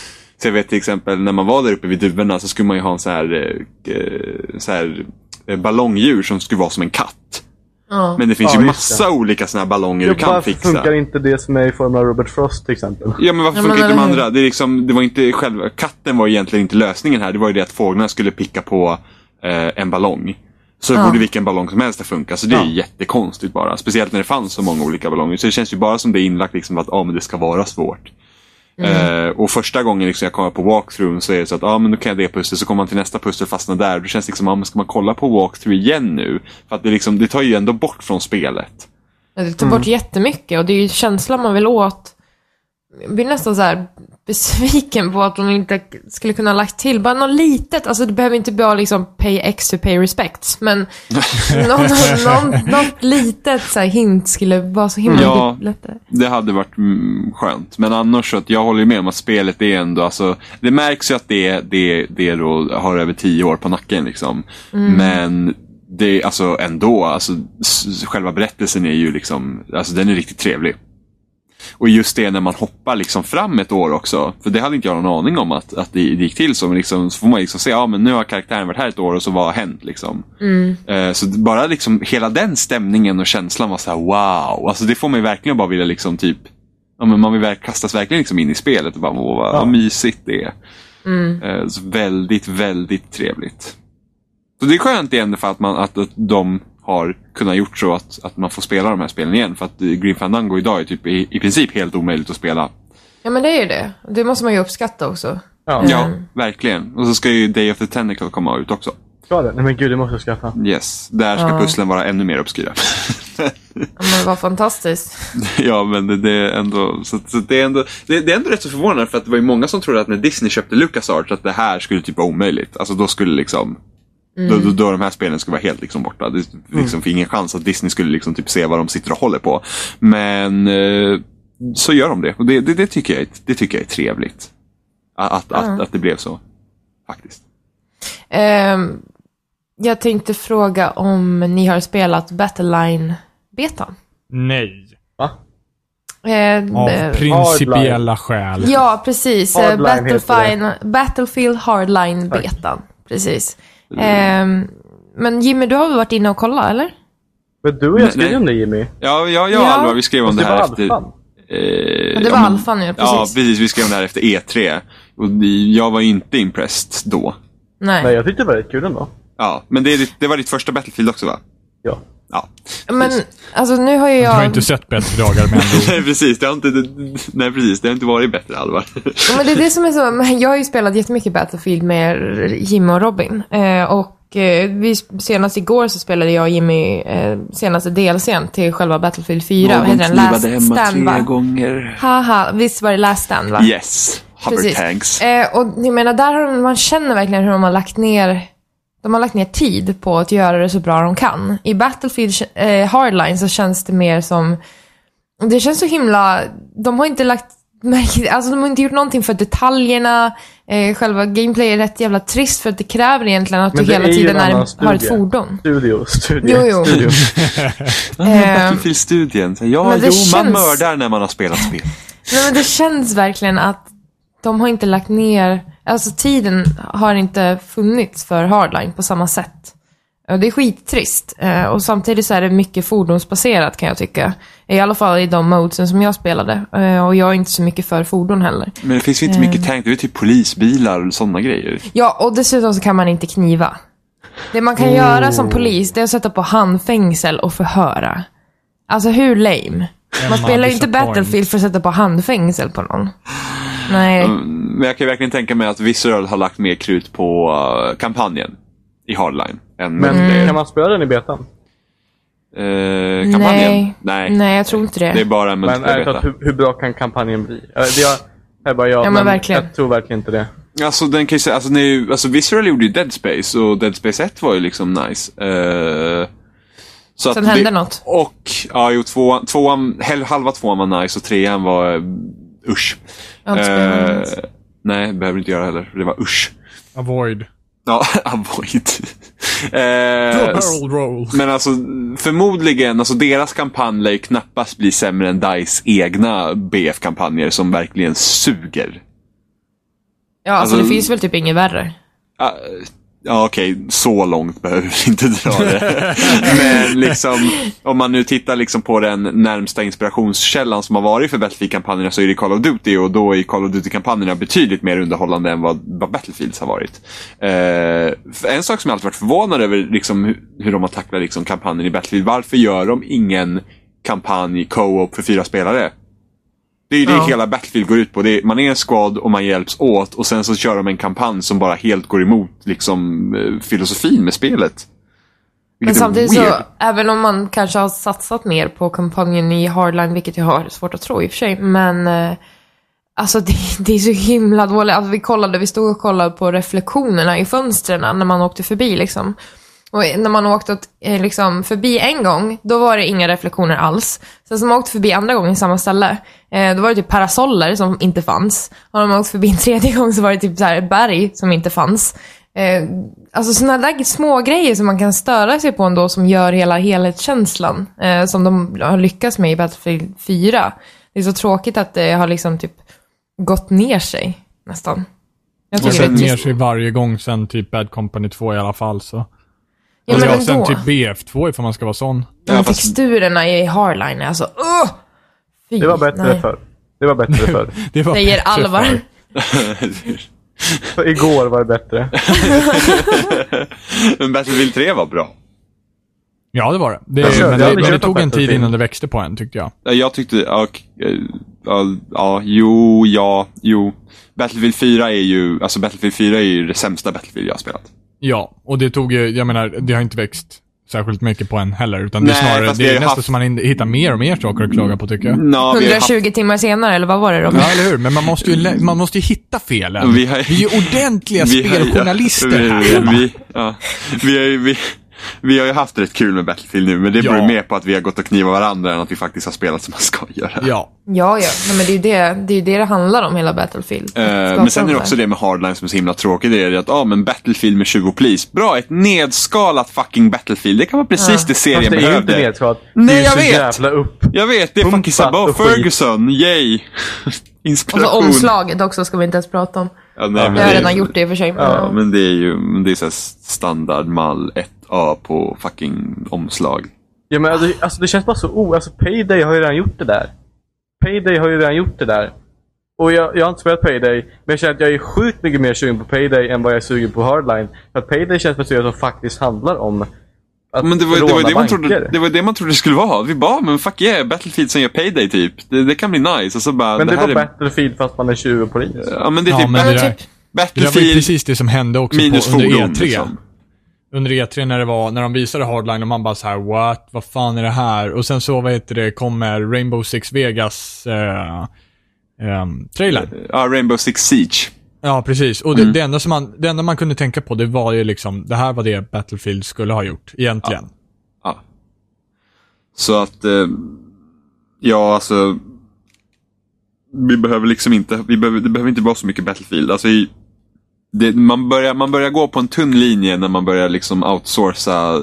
[SPEAKER 2] Så jag vet till exempel när man var där uppe vid duvorna så skulle man ju ha en så här, eh, eh, så här eh, ballongdjur som skulle vara som en katt.
[SPEAKER 1] Ja.
[SPEAKER 2] Men det finns
[SPEAKER 3] Ja,
[SPEAKER 2] ju
[SPEAKER 3] just
[SPEAKER 2] massa olika såna här ballonger du
[SPEAKER 3] Jo,
[SPEAKER 2] kan
[SPEAKER 3] varför
[SPEAKER 2] fixa.
[SPEAKER 3] funkar inte det som är i form av Robert Frost till exempel?
[SPEAKER 2] Ja men varför
[SPEAKER 1] Ja, men
[SPEAKER 2] funkar inte de
[SPEAKER 1] eller hur?
[SPEAKER 2] andra? Det, är liksom, det var inte själva, katten var egentligen inte lösningen här. Det var ju det att fåglarna skulle picka på eh, en ballong. Så
[SPEAKER 1] Ja.
[SPEAKER 2] borde vilken ballong som helst att funka. Så det är
[SPEAKER 3] Ja.
[SPEAKER 2] jättekonstigt bara. Speciellt när det fanns så många olika ballonger. Så det känns ju bara som det är inlagt liksom att ah, men det ska vara svårt. Eh, och första gången liksom jag kommer på walkthrough så är det så att ah, men då kan jag det pusslet. Så kommer man till nästa pussel och fastnar där. Då känns det liksom, ah, men ska man kolla på walkthrough igen nu? För att det, liksom, det tar ju ändå bort från spelet.
[SPEAKER 1] Ja, Det tar
[SPEAKER 2] Mm.
[SPEAKER 1] bort jättemycket och det är ju känslan man vill åt. Jag blir nästan så här besviken på att de inte skulle kunna ha lagt till bara något litet. Alltså det behöver inte vara liksom pay X to pay respects.
[SPEAKER 2] *laughs*
[SPEAKER 1] Men någon, någon, något litet så här hint skulle vara så himla
[SPEAKER 2] Ja.
[SPEAKER 1] lättare.
[SPEAKER 2] Det hade varit mm, skönt. Men annars så att jag håller ju med om att spelet är ändå, alltså, det märks ju att det, det, det då har över tio år på nacken. Liksom. Men det, alltså, ändå, alltså, s- själva berättelsen är ju liksom, alltså, den är riktigt trevlig. Och just det när man hoppar liksom fram ett år också. För det hade inte jag någon aning om att, att det, det gick till så. Men liksom, så får man liksom se, ja men nu har karaktären varit här ett år och så vad har hänt? Liksom. Eh, så bara liksom hela den stämningen och känslan var så här wow. Alltså det får mig verkligen bara vilja liksom typ, ja men man vill verk, kastas verkligen liksom in i spelet och bara åh vad, vad mysigt det är. Eh, så väldigt, väldigt trevligt. Så det är skönt igen för att, man, att, att de har kunnat gjort så att, att man får spela de här spelen igen. För att eh, Grim Fandango idag är typ i, i princip helt omöjligt att spela.
[SPEAKER 1] Ja men det är ju det. Det måste man ju uppskatta också.
[SPEAKER 3] Ja,
[SPEAKER 2] Ja, verkligen. Och så ska ju Day of the Tentacle komma ut också.
[SPEAKER 3] ska det? Nej men gud, det måste jag skaffa.
[SPEAKER 2] Yes, där ska
[SPEAKER 1] Ja.
[SPEAKER 2] pusslen vara ännu mer obskyra. *laughs*
[SPEAKER 1] Ja, men vad fantastiskt.
[SPEAKER 2] Ja, men det, det är ändå... Så, så det, är ändå det, det är ändå rätt så förvånande för att det var ju många som trodde att när Disney köpte LucasArts att det här skulle typ vara omöjligt. Alltså då skulle liksom... Då, då, då de här spelen skulle vara helt liksom borta. Det liksom finns ingen chans att Disney skulle liksom typ se vad de sitter och håller på. Men eh, så gör de det. Och det, det, det, tycker, jag är, det tycker jag är trevligt. Att, att, att, att det blev så. Faktiskt.
[SPEAKER 1] Ehm, jag tänkte fråga om ni har spelat Battleline-betan?
[SPEAKER 4] Nej.
[SPEAKER 3] Va?
[SPEAKER 1] Ehm,
[SPEAKER 4] Av
[SPEAKER 1] eh,
[SPEAKER 4] principiella skäl.
[SPEAKER 1] Ja, precis. Eh,
[SPEAKER 3] Hardline heter
[SPEAKER 1] Battlefine, Battlefield Hardline-betan. Precis. Ehm, men Jimmy, du har väl varit inne och kollat, eller?
[SPEAKER 3] Men du och jag skrev
[SPEAKER 2] Nej.
[SPEAKER 3] ju om det Jimmy.
[SPEAKER 2] Ja, jag, jag och
[SPEAKER 1] Ja.
[SPEAKER 2] Alva, vi skrev om
[SPEAKER 3] Fast
[SPEAKER 2] det
[SPEAKER 3] det
[SPEAKER 2] här
[SPEAKER 3] var
[SPEAKER 2] efter...
[SPEAKER 3] alfan.
[SPEAKER 2] Eh,
[SPEAKER 1] Men det var
[SPEAKER 2] men-
[SPEAKER 1] alfan ju, precis.
[SPEAKER 2] Ja, precis. Vi skrev om det här efter E3. Och vi- jag var inte impressed då.
[SPEAKER 1] Nej.
[SPEAKER 3] Nej, jag tyckte det var rätt kul ändå.
[SPEAKER 2] Ja, men det, är ditt- det var ditt första Battlefield också va?
[SPEAKER 3] Ja.
[SPEAKER 2] Ja.
[SPEAKER 1] men alltså nu har ju
[SPEAKER 4] Jag har
[SPEAKER 1] jag...
[SPEAKER 4] inte sett bättre dagar med ändå.
[SPEAKER 2] *laughs* Nej precis, det har inte, nej, precis, det har inte varit bättre Alvar.
[SPEAKER 1] Men det är det som är så. men Jag har ju spelat jättemycket Battlefield med Jimmy och Robin. Eh, och eh, vi, senast igår så spelade jag och Jimmy eh, senaste delscen till själva Battlefield 4. Vad heter den? Last Stand va?
[SPEAKER 2] gånger.
[SPEAKER 1] Haha, visst var det Last Stand va?
[SPEAKER 2] Yes, hover tanks.
[SPEAKER 1] Eh, och jag menar, där har de, man känner verkligen hur de har lagt ner de har lagt ner tid på att göra det så bra de kan. I Battlefield eh, Hardline så känns det mer som... Det känns så himla... De har inte lagt märke... Alltså de har inte gjort någonting för detaljerna. Eh, själva gameplay är rätt jävla trist för att det kräver egentligen att
[SPEAKER 3] Men
[SPEAKER 1] du
[SPEAKER 3] det
[SPEAKER 1] hela
[SPEAKER 3] är ju
[SPEAKER 1] tiden
[SPEAKER 3] en
[SPEAKER 1] är,
[SPEAKER 3] annan
[SPEAKER 1] har ett
[SPEAKER 3] studie.
[SPEAKER 1] fordon.
[SPEAKER 3] Studio, studio,
[SPEAKER 1] Jo, jo.
[SPEAKER 3] studio.
[SPEAKER 1] ehm,
[SPEAKER 2] Battlefield-studien. Så, Ja,
[SPEAKER 1] men det
[SPEAKER 2] jo, man
[SPEAKER 1] känns-
[SPEAKER 2] mördar när man har spelat
[SPEAKER 1] *laughs*
[SPEAKER 2] spel.
[SPEAKER 1] Nej, men det känns verkligen att de har inte lagt ner, alltså tiden har inte funnits för hardline på samma sätt. Och det är skittrist. Eh, Och samtidigt så är det mycket fordonsbaserat kan jag tycka. I alla fall i de modesen som jag spelade. Eh, Och jag är inte så mycket för fordon heller.
[SPEAKER 2] Men det finns ju
[SPEAKER 1] Eh.
[SPEAKER 2] inte mycket tank. Det är ju typ polisbilar och sådana grejer.
[SPEAKER 1] Ja, och dessutom så kan man inte kniva. Det man kan göra som polis, det är att sätta på handfängsel och förhöra. Alltså hur lame? Man spelar ju inte
[SPEAKER 4] disappoint.
[SPEAKER 1] Battlefield för att sätta på handfängsel på någon. Nej.
[SPEAKER 2] Men jag kan ju verkligen tänka mig att Visceral har lagt mer krut på eh, kampanjen i Hardline. Än
[SPEAKER 3] Men
[SPEAKER 1] Mm.
[SPEAKER 2] multiplayer.
[SPEAKER 3] kan man spela den i betan?
[SPEAKER 2] Eh, kampanjen?
[SPEAKER 1] Nej.
[SPEAKER 2] Nej.
[SPEAKER 1] Nej, jag tror inte det.
[SPEAKER 2] Det är bara en
[SPEAKER 3] Men ärligt
[SPEAKER 2] multiplayer
[SPEAKER 3] talat,
[SPEAKER 2] beta.
[SPEAKER 3] hur, hur bra kan kampanjen bli? Eh, Det är, här bara jag,
[SPEAKER 1] Ja, men
[SPEAKER 3] men
[SPEAKER 1] verkligen.
[SPEAKER 3] jag tror verkligen inte det.
[SPEAKER 2] Alltså, den kan ju säga, alltså, den är ju, alltså Visceral gjorde ju Dead Space och Dead Space 1 var ju liksom nice. Eh, så
[SPEAKER 1] Sen hände något.
[SPEAKER 2] Och, ja jo, tvåan, tvåan, hel- halva tvåan var nice och trean var eh, usch.
[SPEAKER 1] Jag har inte spelat någon
[SPEAKER 2] Eh,
[SPEAKER 1] ens.
[SPEAKER 2] nej, behöver inte göra heller. Det var usch.
[SPEAKER 4] *laughs* Avoid.
[SPEAKER 2] Ja, *laughs* avoid. Eh,
[SPEAKER 4] Barrel roll.
[SPEAKER 2] Men alltså förmodligen, alltså deras kampanj lär ju knappast bli sämre än DICE egna BF-kampanjer som verkligen suger.
[SPEAKER 1] Ja, alltså,
[SPEAKER 2] Alltså-
[SPEAKER 1] det finns väl typ inget värre.
[SPEAKER 2] Ah, Ja, okej, så långt behöver vi inte dra det. Men liksom, om man nu tittar liksom på den närmsta inspirationskällan som har varit för Battlefield-kampanjerna så är det Call of Duty och då är Call of Duty-kampanjerna betydligt mer underhållande än vad, vad Battlefields har varit. Eh, för en sak som jag alltid varit förvånad över liksom, hur, hur de har tacklat liksom, kampanjen i Battlefield. Varför gör de ingen kampanj co-op för fyra spelare? Det är ju det
[SPEAKER 1] Ja.
[SPEAKER 2] hela Battlefield går ut på. Det är, man är en squad och man hjälps åt och sen så kör de en kampanj som bara helt går emot liksom, eh, filosofin med spelet.
[SPEAKER 1] Men
[SPEAKER 2] Vilket är
[SPEAKER 1] samtidigt så,
[SPEAKER 2] weird.
[SPEAKER 1] även om man kanske har satsat mer på kampanjen i Hardline, vilket jag har svårt att tro i och för sig, men eh, alltså det, *laughs* det är så himla dåligt. Alltså, vi, kollade, vi stod och kollade på reflektionerna i fönstren när man åkte förbi. Liksom. Och när man åkte åt, eh, liksom, förbi en gång, då var det inga reflektioner alls. Sen som man åkte förbi andra gången i samma ställe, eh, då var det typ parasoller som inte fanns. Och när man åkte förbi en tredje *laughs* gång så var det typ så här berg som inte fanns. Eh, alltså sådana där små grejer som man kan störa sig på ändå som gör hela helhetskänslan eh, som de har lyckats med i Battlefield 4. Det är så tråkigt att det har liksom typ gått ner sig nästan. Jag
[SPEAKER 4] Och
[SPEAKER 1] tycker
[SPEAKER 4] sen
[SPEAKER 1] det är
[SPEAKER 4] ner
[SPEAKER 1] trist.
[SPEAKER 4] sig varje gång sen typ Bad Company 2 i alla fall så.
[SPEAKER 1] Ja,
[SPEAKER 4] och
[SPEAKER 1] men
[SPEAKER 4] ja, sen
[SPEAKER 1] ändå.
[SPEAKER 4] typ BF2 ifall man ska vara sån.
[SPEAKER 1] Men
[SPEAKER 2] Ja, fast-
[SPEAKER 1] Texturerna i Hardline är alltså... Uh! Fy,
[SPEAKER 3] Det var bättre
[SPEAKER 1] nej.
[SPEAKER 3] förr. Det var bättre *laughs* förr.
[SPEAKER 4] Det var
[SPEAKER 1] Säger
[SPEAKER 4] bättre
[SPEAKER 1] Alvar.
[SPEAKER 4] förr.
[SPEAKER 3] För igår var det bättre.
[SPEAKER 2] *laughs* Men Battlefield 3 var bra.
[SPEAKER 4] Ja, det var det. Det,
[SPEAKER 3] Jag körde
[SPEAKER 4] men det,
[SPEAKER 3] aldrig
[SPEAKER 4] men det
[SPEAKER 3] kört
[SPEAKER 4] tog en tid
[SPEAKER 3] Battlefield.
[SPEAKER 4] innan det växte på en tyckte jag.
[SPEAKER 2] Ja, Jag tyckte, ja, k- eh, ja, ja, jo, ja, jo. Battlefield 4 är ju, alltså Battlefield 4 är ju det sämsta Battlefield jag har spelat.
[SPEAKER 4] Ja, och det tog ju, jag menar, det har inte växt särskilt mycket på en heller. Utan det är
[SPEAKER 2] Nej,
[SPEAKER 4] snarare,
[SPEAKER 2] fast
[SPEAKER 4] det
[SPEAKER 2] vi
[SPEAKER 4] är
[SPEAKER 2] har
[SPEAKER 4] nästan
[SPEAKER 2] haft-
[SPEAKER 4] som man in- hittar mer och mer saker att klaga på tycker jag.
[SPEAKER 2] Nå, vi har ju haft
[SPEAKER 1] 120 timmar senare, eller vad var det då?
[SPEAKER 4] Ja, eller hur? Men man måste ju, lä- man måste ju hitta felen.
[SPEAKER 2] Vi har-
[SPEAKER 4] är ju
[SPEAKER 2] *laughs*
[SPEAKER 4] ordentliga
[SPEAKER 2] Vi har-
[SPEAKER 4] speljournalister
[SPEAKER 2] ja,
[SPEAKER 4] här.
[SPEAKER 2] Vi, vi, ja, vi, har ju- vi, Vi har ju haft rätt kul med Battlefield nu, men det beror
[SPEAKER 4] Ja.
[SPEAKER 2] ju mer på att vi har gått och knivat varandra än att vi faktiskt har spelat som man ska göra.
[SPEAKER 4] Ja.
[SPEAKER 1] Ja, ja. Nej, men det är ju det det, är ju det, det handlar om, hela Battlefield.
[SPEAKER 2] Eh,
[SPEAKER 1] Att skapa
[SPEAKER 2] men sen är
[SPEAKER 1] de
[SPEAKER 2] det
[SPEAKER 1] här.
[SPEAKER 2] också det med Hardline som är så himla tråkigt. Det är det att, ja ah, men Battlefield med 20 polis. Bra, ett nedskalat fucking Battlefield. Det kan vara precis det serien
[SPEAKER 3] Fast det är ju inte
[SPEAKER 2] behövde.
[SPEAKER 3] nedskalat.
[SPEAKER 2] Nej, jag
[SPEAKER 3] det är ju
[SPEAKER 2] vet.
[SPEAKER 3] så jävla upp.
[SPEAKER 2] jag vet, det är
[SPEAKER 3] Pumpat
[SPEAKER 2] fucking Sabah
[SPEAKER 3] och skit.
[SPEAKER 2] Ferguson. Yay! *laughs*
[SPEAKER 1] Och så
[SPEAKER 2] Inspiration.
[SPEAKER 1] omslaget också ska vi inte ens prata om.
[SPEAKER 2] Ja, nej, men
[SPEAKER 1] Jag har
[SPEAKER 2] det är-
[SPEAKER 1] redan gjort Alltså, det i och för sig.
[SPEAKER 2] Ja, men det är ju men det är så här standardmall 1A på fucking omslag.
[SPEAKER 3] Ja, men alltså, alltså, det känns bara så o... Alltså, Payday har ju redan gjort det där. Payday har ju redan gjort det där. Och jag, jag har inte spelat Payday, men jag känner att jag är sjukt mycket mer sugen på Payday än vad jag är sugen på Hardline. För att Payday känns som ett spel som faktiskt handlar om att
[SPEAKER 2] Men det var, det,
[SPEAKER 3] råna
[SPEAKER 2] var ju det, man
[SPEAKER 3] banker.
[SPEAKER 2] trodde, det var ju det man trodde det skulle vara. Vi bara, men fuck yeah, Battlefield som gör Payday typ. Det, det kan bli nice. Och så bara,
[SPEAKER 3] men det,
[SPEAKER 2] det här
[SPEAKER 3] var
[SPEAKER 2] är,
[SPEAKER 3] Battlefield fast man är 20 polis.
[SPEAKER 2] ja, men det är
[SPEAKER 4] Ja,
[SPEAKER 2] typ
[SPEAKER 4] men
[SPEAKER 1] Ja,
[SPEAKER 4] det,
[SPEAKER 1] men
[SPEAKER 4] där,
[SPEAKER 1] typ.
[SPEAKER 4] det där var ju
[SPEAKER 2] Battlefield
[SPEAKER 4] precis det som hände också på,
[SPEAKER 2] minus
[SPEAKER 4] under
[SPEAKER 2] fordon.
[SPEAKER 4] E3.
[SPEAKER 2] Liksom.
[SPEAKER 4] Under E3 när det var, när de visade Hardline och man bara så här: what, vad fan är det här? Och sen så, vad heter det, kommer Rainbow Six Vegas eh, ehm, trailern.
[SPEAKER 2] Ja, Rainbow Six Siege.
[SPEAKER 4] Ja, precis. Och
[SPEAKER 1] Mm.
[SPEAKER 4] det, det, enda som man, det enda man kunde tänka på, det var ju liksom, det här var det Battlefield skulle ha gjort, egentligen.
[SPEAKER 2] Ja. Så att, eh, ja alltså. Vi behöver liksom inte, vi behöver, det behöver inte vara så mycket Battlefield. Alltså, i- det, man, börjar, man börjar gå på en tunn linje när man börjar liksom outsourca eh,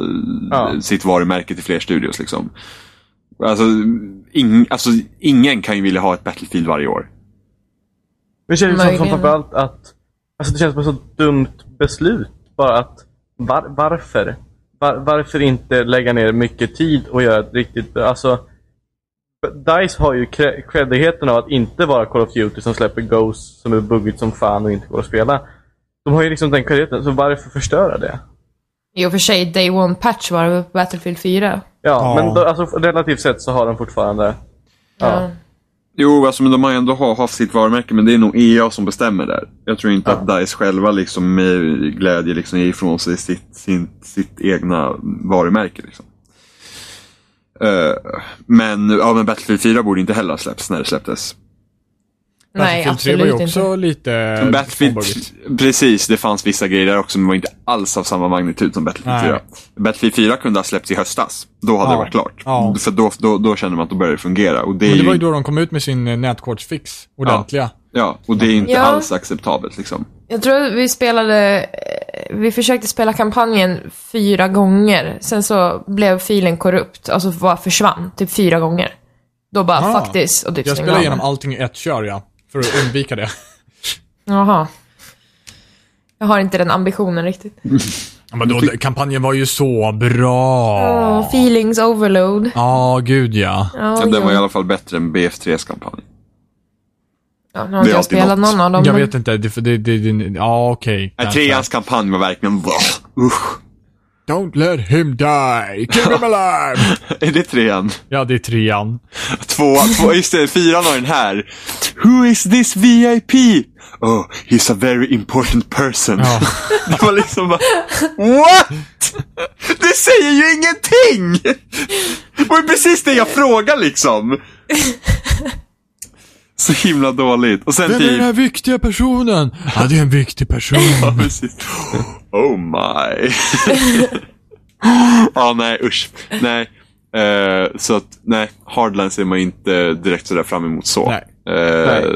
[SPEAKER 3] Ja.
[SPEAKER 2] sitt varumärke till fler studios. Liksom. Alltså, ing, alltså, ingen kan ju vilja ha ett Battlefield varje år.
[SPEAKER 3] Men det känns som, som
[SPEAKER 1] Möjligen.
[SPEAKER 3] framförallt att... Alltså det känns som ett så dumt beslut. Bara att... Var, varför? Var, varför inte lägga ner mycket tid och göra ett riktigt... Alltså... DICE har ju kre- creddigheten av att inte vara Call of Duty som släpper Ghost som är buggigt som fan och inte går att spela. De har ju liksom den creddigheten, så varför förstöra det?
[SPEAKER 1] I och för sig, Day One Patch var det på Battlefield 4.
[SPEAKER 3] Ja,
[SPEAKER 4] Ja.
[SPEAKER 3] men då, alltså, relativt sett så har de fortfarande... Ja.
[SPEAKER 2] Jo, alltså, men de har ju ändå ha- haft sitt varumärke, men det är nog EA som bestämmer där. Jag tror inte att DICE själva liksom med glädje liksom ger ifrån sig sitt, sin, sitt egna varumärke. Liksom. Eh, men, ja, men Battlefield 4 borde inte heller ha släppts när det släpptes.
[SPEAKER 1] Nej,
[SPEAKER 4] Battlefield 3 var ju
[SPEAKER 1] absolut
[SPEAKER 4] också
[SPEAKER 1] inte.
[SPEAKER 4] lite...
[SPEAKER 2] Battlefield,
[SPEAKER 4] småbuggigt.
[SPEAKER 2] precis, det fanns vissa grejer där också, men var inte alls av samma magnitud som Battlefield
[SPEAKER 4] Nej.
[SPEAKER 2] 4. Battlefield 4 kunde ha släppts i höstas. Då hade
[SPEAKER 4] Ja.
[SPEAKER 2] det varit klart.
[SPEAKER 4] Ja.
[SPEAKER 2] För då, då, då kände man att då började det fungera. Och det är
[SPEAKER 4] Men det
[SPEAKER 2] ju
[SPEAKER 4] var ju då de kom ut med sin eh, nätkortsfix, ordentliga.
[SPEAKER 2] Ja, och det är inte
[SPEAKER 1] Ja.
[SPEAKER 2] alls acceptabelt. Liksom.
[SPEAKER 1] Jag tror vi spelade, eh, vi försökte spela kampanjen fyra gånger. Sen så blev filen korrupt, alltså bara försvann, typ fyra gånger. Då bara
[SPEAKER 4] Ah.
[SPEAKER 1] fuck this och typ stängde
[SPEAKER 4] Jag spelade
[SPEAKER 1] av
[SPEAKER 4] igenom
[SPEAKER 1] den.
[SPEAKER 4] allting i ett kör, ja. För att undvika det.
[SPEAKER 1] Jaha. Jag har inte den ambitionen riktigt.
[SPEAKER 4] *laughs* Ja, Men då, kampanjen var ju så bra!
[SPEAKER 1] Åh, feelings overload. Oh,
[SPEAKER 4] Ja, gud ja.
[SPEAKER 1] ja,
[SPEAKER 2] Ja, den var i alla fall bättre än BF3s kampanj.
[SPEAKER 1] Ja, nu har inte
[SPEAKER 2] det är
[SPEAKER 1] jag
[SPEAKER 2] alltid
[SPEAKER 1] spelat
[SPEAKER 2] något.
[SPEAKER 1] någon av dem.
[SPEAKER 4] Jag
[SPEAKER 1] men-
[SPEAKER 4] vet inte, det, för det, det, det ja okej.
[SPEAKER 2] Nej,
[SPEAKER 4] kanske.
[SPEAKER 2] Äh, treans kampanj var verkligen... Usch.
[SPEAKER 4] Don't let him die, keep *laughs* him alive!
[SPEAKER 2] Är det trean?
[SPEAKER 4] ja, det är trean.
[SPEAKER 2] Två, två, just det, fyran har den här. Who is this VIP? Oh, he's a very important person.
[SPEAKER 4] Ja.
[SPEAKER 2] *laughs* Det var liksom bara... What? Det säger ju ingenting! Det var ju precis det jag frågade *laughs* liksom. Så himla dåligt. Och sen
[SPEAKER 4] Vem är den
[SPEAKER 2] typ...
[SPEAKER 4] här viktiga personen? Ja, det är en viktig person.
[SPEAKER 2] Ja, precis. Oh my. Ja, nej usch. Nej. Eh, så att, nej. Hardline ser man inte direkt sådär fram emot så.
[SPEAKER 4] Nej.
[SPEAKER 2] Eh,
[SPEAKER 3] Nej.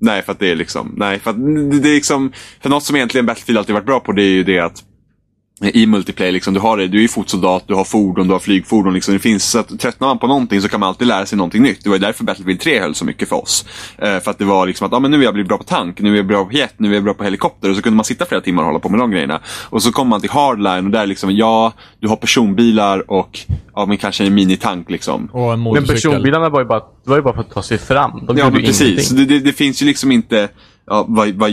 [SPEAKER 2] nej, för att det är liksom, nej, för att det det är liksom, för något som egentligen Battlefield alltid varit bra på det är ju det att i multiplayer, liksom, du, har det, du är fotsoldat, du har fordon, du har flygfordon. Liksom, det finns, så att, tröttnar man på någonting så kan man alltid lära sig någonting nytt. Det var ju därför Battlefield 3 höll så mycket för oss. Eh, för att det var liksom att ah, men nu är jag blivit bra på tank, nu är jag bra på jet, nu är jag bra på helikopter. Och så kunde man sitta flera timmar och hålla på med de grejerna. Och så kommer man till hardline och där liksom, ja, du har personbilar och ja, men kanske en minitank. Liksom.
[SPEAKER 4] *laughs* Och en
[SPEAKER 3] Men
[SPEAKER 4] motorcykel.
[SPEAKER 3] personbilarna var ju, bara, var ju bara för att ta sig fram. De
[SPEAKER 2] Ja,
[SPEAKER 3] gjorde
[SPEAKER 2] men precis.
[SPEAKER 3] ingenting.
[SPEAKER 2] Det, det, det finns ju liksom inte ja, vad, vad,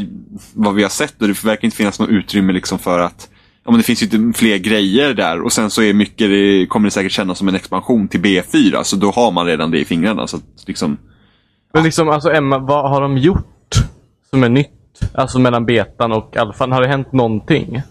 [SPEAKER 2] vad vi har sett och det verkar inte finnas något utrymme liksom för att Ja, men det finns ju inte fler grejer där och sen så är mycket, det kommer det säkert kännas som en expansion till B4 så då har man redan det i fingrarna. Så att, liksom,
[SPEAKER 3] Men liksom, alltså Emma, vad har de gjort som är nytt? Alltså mellan betan och alfan. Har det hänt någonting?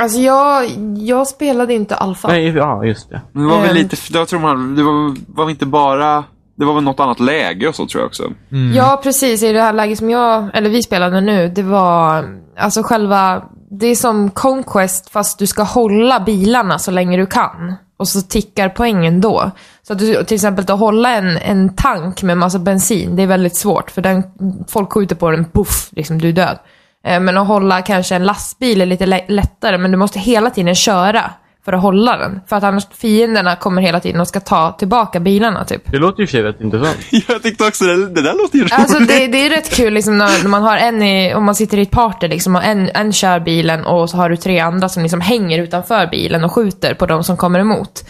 [SPEAKER 1] Alltså jag, jag spelade inte alfa.
[SPEAKER 3] Nej, ja, just det.
[SPEAKER 2] men det var väl
[SPEAKER 1] Ehm.
[SPEAKER 2] lite, jag tror man, det var, var väl inte bara, det var väl något annat läge och så tror jag också.
[SPEAKER 1] Ja, precis. I det här läget som jag, eller vi spelade nu, det var, alltså själva det är som Conquest fast du ska hålla bilarna så länge du kan. Och så tickar poängen då. Så att du till exempel att hålla en, en tank med massa bensin, det är väldigt svårt. För den, folk skjuter på den, puff, liksom du är död. Eh, Men att hålla kanske en lastbil är lite lä- lättare, men du måste hela tiden köra för att hålla den. För att annars fienderna kommer hela tiden och ska ta tillbaka bilarna typ.
[SPEAKER 3] Det låter ju i och för sig rätt intressant.
[SPEAKER 2] *laughs* Jag tyckte också det, det där låter ju *laughs* roligt.
[SPEAKER 1] Alltså det, det är rätt kul liksom, när, när man har en i, om man sitter i ett party liksom, och en, en kör bilen och så har du tre andra som liksom hänger utanför bilen och skjuter på de som kommer emot.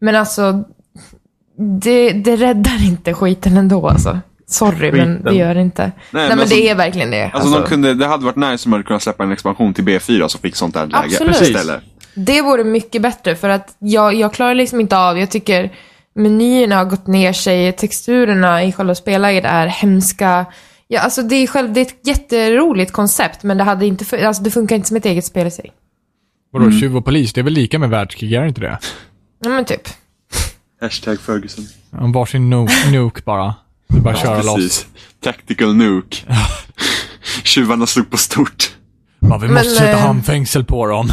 [SPEAKER 1] Men alltså, det, det räddar inte skiten ändå alltså. Sorry, men det
[SPEAKER 3] Skiten.
[SPEAKER 1] gör det inte. Nej,
[SPEAKER 2] men
[SPEAKER 1] men
[SPEAKER 2] alltså-
[SPEAKER 1] det är verkligen det.
[SPEAKER 2] Alltså,
[SPEAKER 1] alltså.
[SPEAKER 2] De kunde, det hade varit nice om man hade kunnat släppa en expansion till B4 som fick sånt där läge
[SPEAKER 1] Absolut.
[SPEAKER 2] istället.
[SPEAKER 1] Det vore mycket bättre för att jag, jag klarar liksom inte av, jag tycker menyerna har gått ner sig, texturerna i själva spelläget är hemska. Ja, alltså det, är själv, det är ett jätteroligt koncept men det, hade inte, fun- alltså det funkar inte som ett eget spel i sig.
[SPEAKER 4] Vadå, tjuv och polis? Det är väl lika med världskrig, är det inte det?
[SPEAKER 1] Ja men typ.
[SPEAKER 2] Hashtag Ferguson.
[SPEAKER 4] Om varsin nu- nuke bara. Du bara köra loss.
[SPEAKER 2] Precis. Tactical Nuke. *laughs* Tjuvarna slog på stort.
[SPEAKER 4] Bara, vi måste
[SPEAKER 1] Men,
[SPEAKER 4] sätta
[SPEAKER 1] eh,
[SPEAKER 4] handfängsel på *laughs* dem.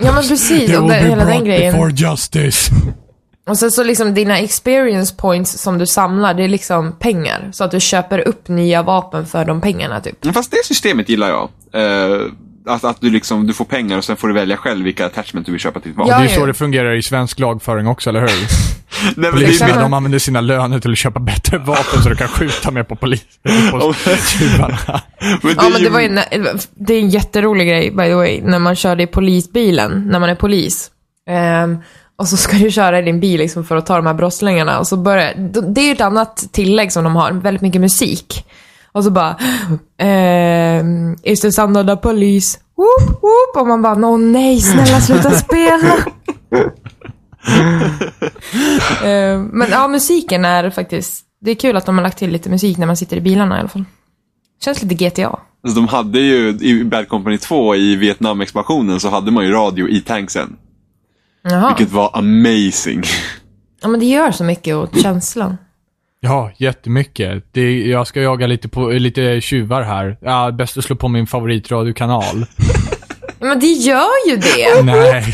[SPEAKER 1] Ja men precis, och det, hela den grejen.
[SPEAKER 4] justice.
[SPEAKER 1] Och sen så liksom dina experience points som du samlar, det är liksom pengar. Så att du köper upp nya vapen för de pengarna typ.
[SPEAKER 2] Men Fast det systemet gillar jag. Eh, att att du, liksom, du får pengar och sen får du välja själv vilka attachment du vill köpa till ditt vapen.
[SPEAKER 4] Det är ju
[SPEAKER 1] Ja,
[SPEAKER 4] så
[SPEAKER 1] ja.
[SPEAKER 4] det fungerar i svensk lagföring också, eller hur?
[SPEAKER 2] *laughs* Nej, *laughs* men det är ju *laughs*
[SPEAKER 4] Poliserna,
[SPEAKER 1] Exakt.
[SPEAKER 4] de använder sina löner till att köpa bättre vapen så de kan skjuta mer på polis. *laughs* På tjuvarna.
[SPEAKER 2] Men det
[SPEAKER 1] Ja
[SPEAKER 2] är
[SPEAKER 1] men
[SPEAKER 2] ju-
[SPEAKER 1] det var ju, en- det är en jätterolig grej by the way, när man körde i polisbilen, när man är polis. Ehm, och så ska du köra i din bil liksom för att ta de här brottslingarna. Och så börjar, det är ju ett annat tillägg som de har, väldigt mycket musik. Och så bara, *gasps* ehm, is this another police? Woop, woop. Och man bara, åh nej, snälla
[SPEAKER 2] *laughs*
[SPEAKER 1] sluta spela. Ehm, men ja, musiken är faktiskt, det är kul att de har lagt till lite musik när man sitter i bilarna i alla fall. Känns lite GTA.
[SPEAKER 2] Alltså, de hade ju, i Bad Company 2, i Vietnam-expansionen, så hade man ju radio i tanksen.
[SPEAKER 1] Jaha.
[SPEAKER 2] Vilket var amazing.
[SPEAKER 1] Ja, men det gör så mycket åt känslan.
[SPEAKER 4] Ja, jättemycket. Det är, jag ska jaga lite, på, lite tjuvar här. Ja, bäst att slå på min favoritradiokanal.
[SPEAKER 1] Ja, men det gör ju det.
[SPEAKER 4] Nej.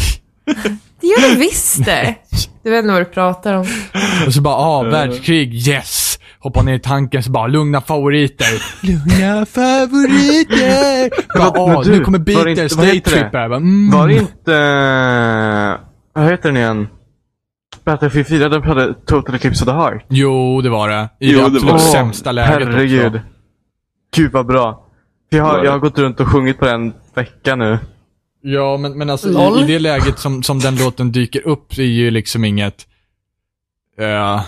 [SPEAKER 1] Det gör det visst det. Du vet inte vad du pratar om.
[SPEAKER 4] *laughs* Och så bara, ah, världskrig, yes! Hoppa ner i tanken, så bara, lugna favoriter.
[SPEAKER 3] *laughs*
[SPEAKER 4] Lugna favoriter! Bara,
[SPEAKER 3] Men
[SPEAKER 4] ah,
[SPEAKER 3] du,
[SPEAKER 4] nu kommer
[SPEAKER 3] var det inte-
[SPEAKER 4] Beatles,
[SPEAKER 3] vad
[SPEAKER 4] Day
[SPEAKER 3] heter det?
[SPEAKER 4] Trip här. Bara, Mm.
[SPEAKER 3] Var det inte... eh, Vad heter den igen? Battlefield 4, den hade Total Eclipse of the Heart.
[SPEAKER 4] Jo, det var det. I
[SPEAKER 2] Jo,
[SPEAKER 4] det
[SPEAKER 2] det
[SPEAKER 4] absolut
[SPEAKER 2] var det.
[SPEAKER 4] sämsta läget
[SPEAKER 3] Herregud.
[SPEAKER 4] också.
[SPEAKER 3] Gud vad bra. Jag
[SPEAKER 2] Var
[SPEAKER 3] har,
[SPEAKER 2] det?
[SPEAKER 3] jag har gått runt och sjungit på den vecka nu.
[SPEAKER 4] Ja, men, men alltså
[SPEAKER 1] Lol.
[SPEAKER 4] i, i det läget som, som den låten dyker upp är ju liksom inget eh,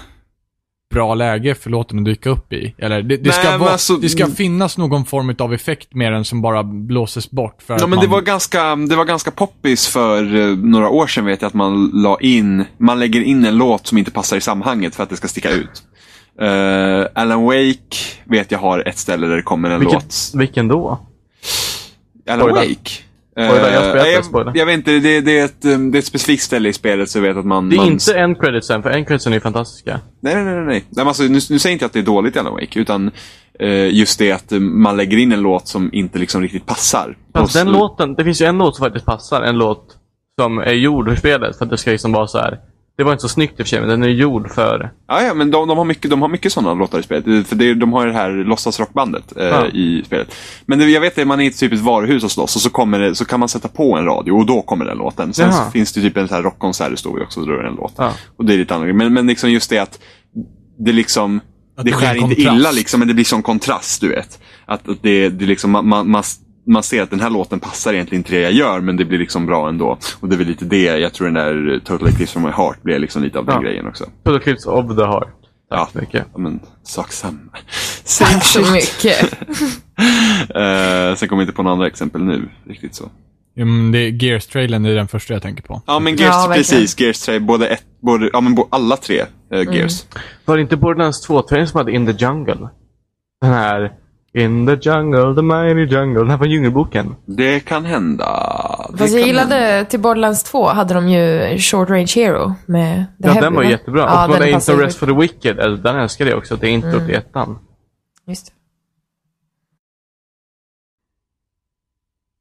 [SPEAKER 4] bra läge för låten att dyka upp i. Eller det, det,
[SPEAKER 2] Nej,
[SPEAKER 4] ska
[SPEAKER 2] men
[SPEAKER 4] vara,
[SPEAKER 2] alltså-
[SPEAKER 4] det ska finnas någon form av effekt med den som bara blåses bort för
[SPEAKER 2] Ja,
[SPEAKER 4] att
[SPEAKER 2] men det
[SPEAKER 4] man...
[SPEAKER 2] var, ganska, det var ganska poppis för eh, några år sedan vet jag att man la in, man lägger in en låt som inte passar i sammanhanget för att det ska sticka ut. Eh, Alan Wake vet jag har ett ställe där det kommer en
[SPEAKER 3] Vilken,
[SPEAKER 2] låt.
[SPEAKER 3] vilken då?
[SPEAKER 2] Alan
[SPEAKER 3] Spoiler.
[SPEAKER 2] Wake? Eh,
[SPEAKER 3] Spoiler, jag spelar inte, spoiler.
[SPEAKER 2] jag, jag vet inte, det, det, är ett, eh, det är ett specifikt ställe i spelet så jag vet att man...
[SPEAKER 3] Det är
[SPEAKER 2] man
[SPEAKER 3] inte en creditsen, för en creditsen är ju fantastiska.
[SPEAKER 2] Nej, nej, nej. nej. nej men alltså, nu, nu säger jag inte att det är dåligt i Alan Wake, utan eh, just det att eh, man lägger in en låt som inte liksom riktigt passar.
[SPEAKER 3] Fast
[SPEAKER 2] Och
[SPEAKER 3] den
[SPEAKER 2] så-
[SPEAKER 3] låten, det finns ju en låt som faktiskt passar. En låt som är gjord för spelet. För att det ska liksom vara så här. Det var inte så snyggt i och för sig, men den är gjord för...
[SPEAKER 2] Ja, ja men de, de har mycket, de har mycket sådana låtar i spelet. Eh, För det, är- de har ju det här låtsasrockbandet eh,
[SPEAKER 3] Ja.
[SPEAKER 2] i spelet. Men det, jag vet att man är i typ ett varuhus och slåss och så, kommer det, så kan man sätta på en radio och då kommer den låten. Sen
[SPEAKER 3] Jaha.
[SPEAKER 2] så finns det typ en så här rockkonsert, det står ju också, och då är det en låt.
[SPEAKER 3] Ja.
[SPEAKER 2] Och det är lite annorlunda. Men, men liksom just det att det liksom
[SPEAKER 4] Att
[SPEAKER 2] det
[SPEAKER 4] det blir
[SPEAKER 2] skär
[SPEAKER 4] en
[SPEAKER 2] inte
[SPEAKER 4] kontrast.
[SPEAKER 2] illa liksom, men det blir sån kontrast, du vet. Att, att det, det liksom, man, man, man, man ser att den här låten passar egentligen inte det jag gör, men det blir liksom bra ändå. Och det är väl lite det, jag tror den där Total Eclipse from my heart blev liksom lite av den
[SPEAKER 3] Ja.
[SPEAKER 2] grejen också.
[SPEAKER 3] Total Eclipse of the Heart. Tack
[SPEAKER 2] Ja.
[SPEAKER 3] så mycket.
[SPEAKER 2] Ja, men sak samma.
[SPEAKER 1] Tack så mycket.
[SPEAKER 2] Eh, sen kommer jag inte på några andra exempel nu, riktigt så.
[SPEAKER 4] Mm, det är Gears-trailern, det är den första jag tänker på.
[SPEAKER 2] Ja, men
[SPEAKER 1] Ja,
[SPEAKER 2] Gears,
[SPEAKER 1] verkligen.
[SPEAKER 2] precis. Gears 3, både ett, både, ja men bo- alla tre eh,
[SPEAKER 1] Mm.
[SPEAKER 2] Gears.
[SPEAKER 3] Var det inte Borderlands 2-trailern som hade In the Jungle? Den här... In the jungle, the mighty jungle. Den här från Djungelboken.
[SPEAKER 2] Det kan hända. Det
[SPEAKER 1] Fast jag
[SPEAKER 2] kan hända.
[SPEAKER 1] gillade, till Borderlands 2 hade de ju Short Range Hero med The
[SPEAKER 3] Ja,
[SPEAKER 1] Heavy,
[SPEAKER 3] den var
[SPEAKER 1] va?
[SPEAKER 3] jättebra. och
[SPEAKER 1] Ja,
[SPEAKER 3] så var det
[SPEAKER 1] den
[SPEAKER 3] Into
[SPEAKER 1] passade
[SPEAKER 3] Rest for the Wicked. Eller, den älskade jag också. att Det är inte mm. till ettan.
[SPEAKER 1] Just.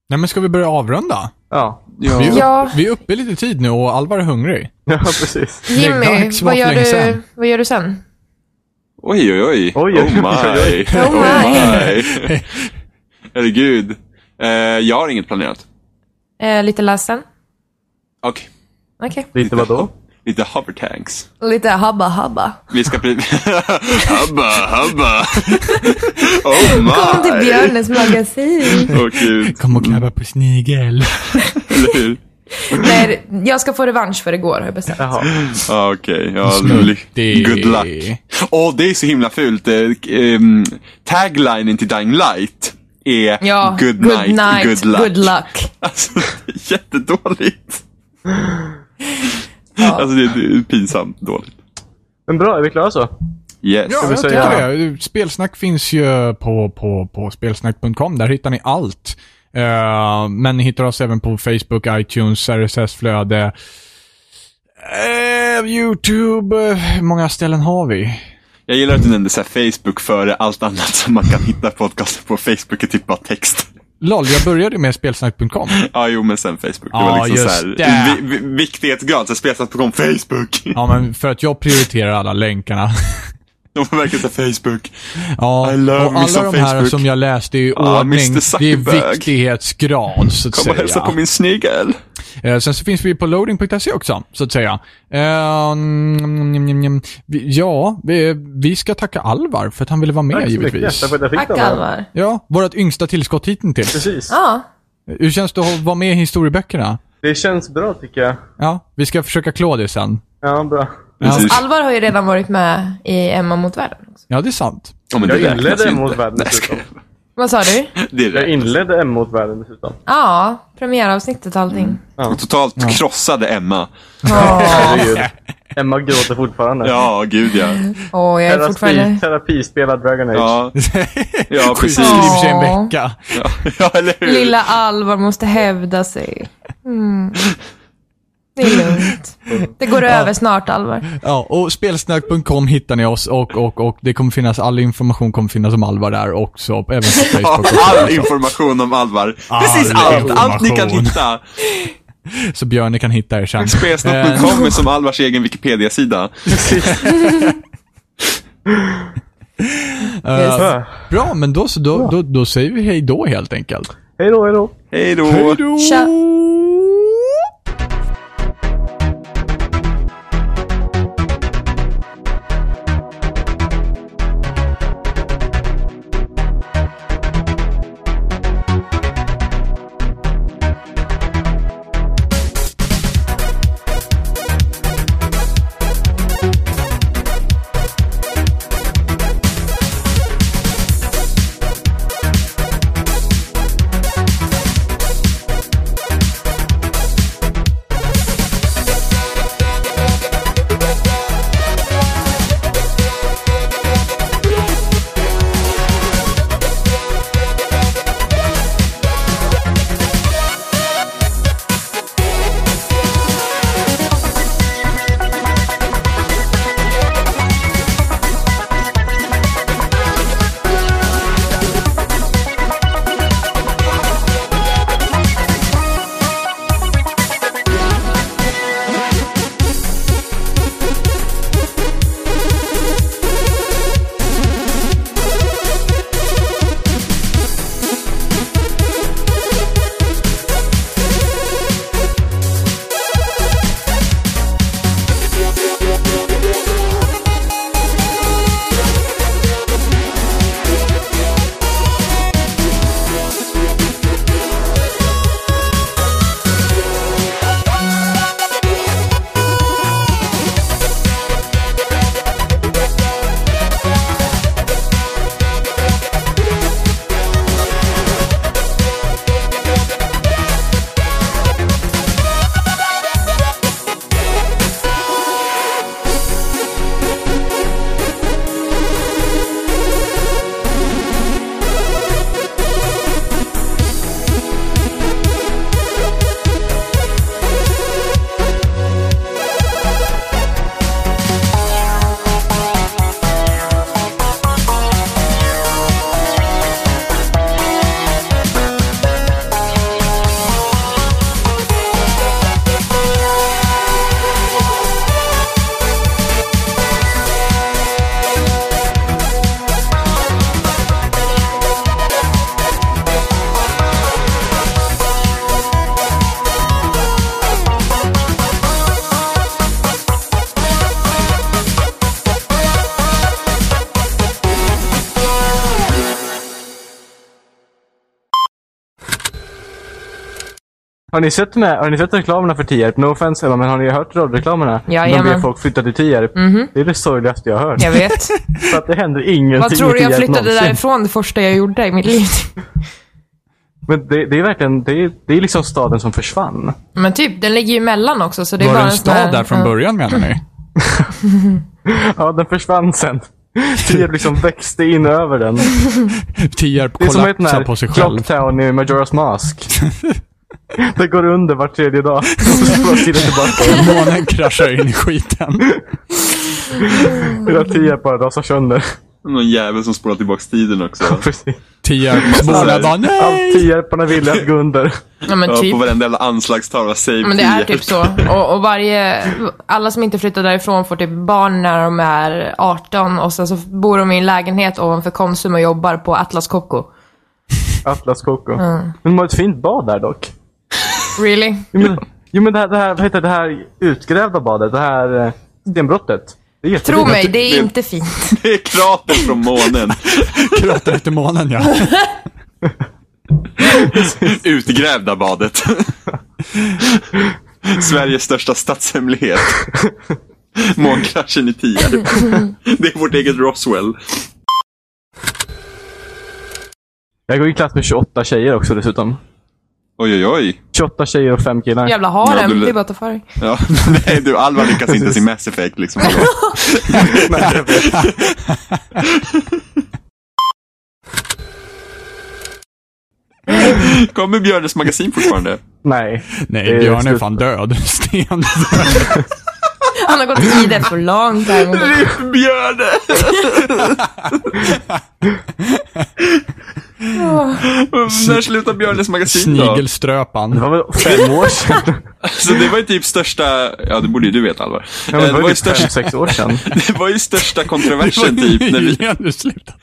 [SPEAKER 4] Nej men ska vi börja avrunda?
[SPEAKER 3] Ja. *laughs*
[SPEAKER 4] Vi, är
[SPEAKER 2] Ja.
[SPEAKER 4] uppe,
[SPEAKER 1] Ja.
[SPEAKER 4] vi är uppe lite i tid nu och Alvar är hungrig.
[SPEAKER 3] Ja, precis.
[SPEAKER 4] Lägg
[SPEAKER 1] Jimmy,
[SPEAKER 4] dags,
[SPEAKER 1] vad
[SPEAKER 4] vart
[SPEAKER 1] gör,
[SPEAKER 4] länge
[SPEAKER 1] du,
[SPEAKER 4] sen?
[SPEAKER 1] vad gör du sen?
[SPEAKER 2] Oj, oj, oj.
[SPEAKER 3] Oj,
[SPEAKER 2] oh
[SPEAKER 3] oj,
[SPEAKER 2] my.
[SPEAKER 1] oj. Oh
[SPEAKER 2] my. *laughs* Herregud. Eh, jag har inget planerat.
[SPEAKER 1] Eh, lite ledsen?
[SPEAKER 2] Okej.
[SPEAKER 1] Okej.
[SPEAKER 3] Lite vadå?
[SPEAKER 2] Lite hovertanks.
[SPEAKER 1] Lite habba habba.
[SPEAKER 2] Vi ska *laughs* bli... habba, habba. oh my.
[SPEAKER 1] Kom till Björnes
[SPEAKER 3] *laughs*
[SPEAKER 1] magasin.
[SPEAKER 2] Åh gud,
[SPEAKER 4] Kom och knäppa på snigel.
[SPEAKER 2] eller *laughs* hur?
[SPEAKER 1] Nej, jag ska få revansch för igår har jag bestämt.
[SPEAKER 3] Jaha.
[SPEAKER 2] Ah, Okej, ja,
[SPEAKER 4] Snuttig.
[SPEAKER 2] good luck. Åh, det är så himla fult. Eh, ehm, taglinen till Dying Light är
[SPEAKER 1] Ja,
[SPEAKER 2] good, night, good luck.
[SPEAKER 1] Good luck.
[SPEAKER 2] Alltså, det är jättedåligt.
[SPEAKER 1] Ja.
[SPEAKER 2] Alltså, det är, det är pinsamt dåligt.
[SPEAKER 3] Men bra, är vi klara så?
[SPEAKER 2] Yes.
[SPEAKER 4] Ja, jag
[SPEAKER 3] säga-
[SPEAKER 4] tycker det. Spelsnack finns ju på, på, på spelsnack.com. Där hittar ni allt. Eh, men ni hittar oss även på Facebook, iTunes, RSS-flöde, eh, YouTube. eh, Hur många ställen har vi?
[SPEAKER 2] Jag gillar att du nämnde så här Facebook före allt annat som man kan hitta podcasten på. Facebook är typ bara text. *laughs*
[SPEAKER 4] Lol, jag började med spelsnack.com.
[SPEAKER 2] Ja, jo, men sen Facebook. Det
[SPEAKER 4] Ja,
[SPEAKER 2] var liksom
[SPEAKER 4] just
[SPEAKER 2] så
[SPEAKER 4] det.
[SPEAKER 2] här, vi, vi, viktighetsgrad. Så spesat på kom Facebook.
[SPEAKER 4] Ja, men för att jag prioriterar alla länkarna.
[SPEAKER 2] *laughs*
[SPEAKER 4] *laughs*
[SPEAKER 2] De var verkligen så här, Facebook.
[SPEAKER 4] Ja,
[SPEAKER 2] I love
[SPEAKER 4] och
[SPEAKER 2] me
[SPEAKER 4] alla
[SPEAKER 2] some
[SPEAKER 4] de här
[SPEAKER 2] Facebook.
[SPEAKER 4] som jag läste i
[SPEAKER 2] Ah,
[SPEAKER 4] ordning,
[SPEAKER 2] Mr.
[SPEAKER 4] det är
[SPEAKER 2] Zuckerberg.
[SPEAKER 4] viktighetsgrad så att
[SPEAKER 2] Kom och hälsa
[SPEAKER 4] säga.
[SPEAKER 2] på min snigel.
[SPEAKER 4] Eh, Sen så finns vi på loading.se också, så att säga. Eh, mm, mm, mm, mm. Vi- Ja, vi, vi ska tacka Alvar för att han ville vara med givetvis.
[SPEAKER 3] Tack för att jag fick
[SPEAKER 1] Tack
[SPEAKER 3] den här.
[SPEAKER 1] Alvar.
[SPEAKER 4] Ja, vårt yngsta tillskott hittills.
[SPEAKER 3] Precis.
[SPEAKER 1] Ja,
[SPEAKER 4] Hur känns det att vara med i historieböckerna?
[SPEAKER 3] Det känns bra tycker jag.
[SPEAKER 4] Ja, vi ska försöka klå det sen.
[SPEAKER 3] Ja, bra.
[SPEAKER 2] Precis.
[SPEAKER 1] Alvar har ju redan varit med i Emma mot världen. också.
[SPEAKER 4] Ja, det är sant.
[SPEAKER 2] *laughs* Ja, men
[SPEAKER 3] Jag
[SPEAKER 2] det räknas
[SPEAKER 3] inledde
[SPEAKER 2] ju
[SPEAKER 3] mot
[SPEAKER 2] inte.
[SPEAKER 3] världen
[SPEAKER 2] Nej, jag
[SPEAKER 3] dessutom.
[SPEAKER 2] skojar.
[SPEAKER 1] Vad sa
[SPEAKER 4] *laughs*
[SPEAKER 1] du?
[SPEAKER 2] Det är
[SPEAKER 3] Jag
[SPEAKER 2] det.
[SPEAKER 3] inledde M mot världen dessutom.
[SPEAKER 1] Ja, premiäravsnittet och
[SPEAKER 4] Mm.
[SPEAKER 1] allting.
[SPEAKER 2] Hon totalt krossade Emma.
[SPEAKER 4] *laughs*
[SPEAKER 1] Åh,
[SPEAKER 3] Herregud. Emma gråter fortfarande.
[SPEAKER 2] Ja, gud ja.
[SPEAKER 1] åh, jag är
[SPEAKER 3] Terapi,
[SPEAKER 1] fortfarande...
[SPEAKER 3] terapi spelar Dragon Age.
[SPEAKER 2] Ja, ja precis.
[SPEAKER 4] Sjukskriv sig en
[SPEAKER 1] Åh.
[SPEAKER 4] vecka.
[SPEAKER 2] Ja, *laughs* ja, eller hur?
[SPEAKER 1] Lilla Alvar måste hävda sig. Mm. Det är lugnt. Det går över snart, Alvar.
[SPEAKER 4] Ja, och spelsnack.com hittar ni oss och, och, och det kommer finnas, all information kommer finnas om Alvar där också. Även på
[SPEAKER 3] *laughs*
[SPEAKER 2] Ja,
[SPEAKER 4] Facebook.
[SPEAKER 2] All information om Alvar. Precis
[SPEAKER 4] All
[SPEAKER 2] allt. Allt ni kan
[SPEAKER 4] information.
[SPEAKER 2] hitta.
[SPEAKER 4] Så Björne kan hitta er sen. Eh,
[SPEAKER 2] Spesnack.com är som Alvars egen Wikipedia-sida.
[SPEAKER 1] Yes.
[SPEAKER 3] Ja.
[SPEAKER 4] Eh, Bra, men då så, då, då, då säger vi hej då helt enkelt.
[SPEAKER 3] Hej då, hej då.
[SPEAKER 2] Hej då.
[SPEAKER 4] Hej då!
[SPEAKER 1] Tja.
[SPEAKER 3] Har ni sett, med, har ni sett reklamerna för Tierp? No offense Emma, men har ni hört radioreklamerna?
[SPEAKER 1] Jajamän. Mhm.
[SPEAKER 3] De ber folk flytta till Tierp. Det är det sorgligaste jag har hört.
[SPEAKER 1] Jag *laughs* vet.
[SPEAKER 3] För att det händer ingenting
[SPEAKER 1] Vad tror
[SPEAKER 3] i
[SPEAKER 1] du jag
[SPEAKER 3] Tierp
[SPEAKER 1] flyttade
[SPEAKER 3] någonsin.
[SPEAKER 1] därifrån det första jag gjorde i mitt
[SPEAKER 4] *laughs*
[SPEAKER 1] liv?
[SPEAKER 3] Men det, det är verkligen, det är, det är liksom staden som försvann.
[SPEAKER 1] Men typ, den ligger ju emellan också. Så det är
[SPEAKER 4] Var det
[SPEAKER 1] bara
[SPEAKER 4] en
[SPEAKER 1] sån här-
[SPEAKER 4] stad där från
[SPEAKER 1] ja.
[SPEAKER 4] början menar
[SPEAKER 3] *laughs*
[SPEAKER 4] ni?
[SPEAKER 3] Ja, den försvann sen. Tierp liksom växte in över den.
[SPEAKER 4] Tierp
[SPEAKER 3] Det är som ett den
[SPEAKER 4] kollapsar på sig
[SPEAKER 3] här
[SPEAKER 4] själv.
[SPEAKER 3] Clocktown i Majora's Mask.
[SPEAKER 2] *laughs*
[SPEAKER 3] det går under var tredje dag. Och så slår tiden tillbaka.
[SPEAKER 4] Månen kraschar in i skiten.
[SPEAKER 3] Hela Tierp bara
[SPEAKER 2] *laughs*
[SPEAKER 3] rasar sönder.
[SPEAKER 2] Någon jävel som spolar tillbaka tiden också.
[SPEAKER 3] Precis. *laughs*
[SPEAKER 4] Tierpsborna bara
[SPEAKER 3] Allt
[SPEAKER 4] nej!
[SPEAKER 3] Tierparna ville att gå under.
[SPEAKER 1] Ja, men
[SPEAKER 2] Ja,
[SPEAKER 1] typ.
[SPEAKER 2] på varenda jävla anslagstavla. Save
[SPEAKER 1] Men det är
[SPEAKER 2] Tierp.
[SPEAKER 1] typ så. Och, och varje, alla som inte flyttar därifrån får typ barn när de är 18 och sen så bor de i en lägenhet ovanför Konsum och jobbar på Atlas Copco.
[SPEAKER 3] Atlas Coco. Men de har ett fint bad där dock.
[SPEAKER 1] Really?
[SPEAKER 3] Jo men, jo, men det, här, det, här, vad heter det, det här utgrävda badet, det här eh, stenbrottet. Det är
[SPEAKER 2] *laughs*
[SPEAKER 3] jättefint.
[SPEAKER 1] Tro mig, det är
[SPEAKER 2] det-
[SPEAKER 1] inte fint.
[SPEAKER 2] *laughs* Det är krater från månen.
[SPEAKER 3] typ.
[SPEAKER 4] *laughs* Kratar efter månen
[SPEAKER 3] *laughs*
[SPEAKER 4] ja.
[SPEAKER 2] *laughs* Utgrävda
[SPEAKER 3] *laughs*
[SPEAKER 2] badet. Sveriges största statshemlighet. Månkraschen i Tierp. Det är vårt eget Roswell.
[SPEAKER 3] Jag går i klass med 28 tjejer också dessutom.
[SPEAKER 2] Oj, oj, oj.
[SPEAKER 3] 28 tjejer och 5 killar.
[SPEAKER 1] Jävla har
[SPEAKER 2] Ja,
[SPEAKER 1] den.
[SPEAKER 2] du-
[SPEAKER 1] Det är bara att ta för dig.
[SPEAKER 2] Ja, *laughs* nej du, Alvar lyckas inte se Mass Effect liksom.
[SPEAKER 3] *laughs*
[SPEAKER 2] Kommer Björnes magasin fortfarande?
[SPEAKER 3] Nej. Det
[SPEAKER 4] *laughs* Nej,
[SPEAKER 3] är
[SPEAKER 4] Björn är
[SPEAKER 3] slut.
[SPEAKER 4] fan död.
[SPEAKER 3] *laughs*
[SPEAKER 4] *laughs* Sten.
[SPEAKER 1] Han har gått i det for
[SPEAKER 2] *laughs*
[SPEAKER 1] long time.
[SPEAKER 3] *laughs*
[SPEAKER 2] Björne! När slutar Björnes magasin då?
[SPEAKER 4] Snigelströpan.
[SPEAKER 3] Det var väl fem
[SPEAKER 2] *laughs*
[SPEAKER 3] år sedan?
[SPEAKER 2] Så det var ju typ största, ja det borde ju du veta Alvar.
[SPEAKER 3] Ja,
[SPEAKER 2] Eh,
[SPEAKER 3] men det var ju
[SPEAKER 2] största-
[SPEAKER 3] typ fem, sex år sedan.
[SPEAKER 2] *laughs* det var ju största
[SPEAKER 4] *laughs* Det var
[SPEAKER 3] *laughs*
[SPEAKER 2] kontroversen typ. När
[SPEAKER 4] *laughs*
[SPEAKER 2] vi,
[SPEAKER 4] nyligen du slutade.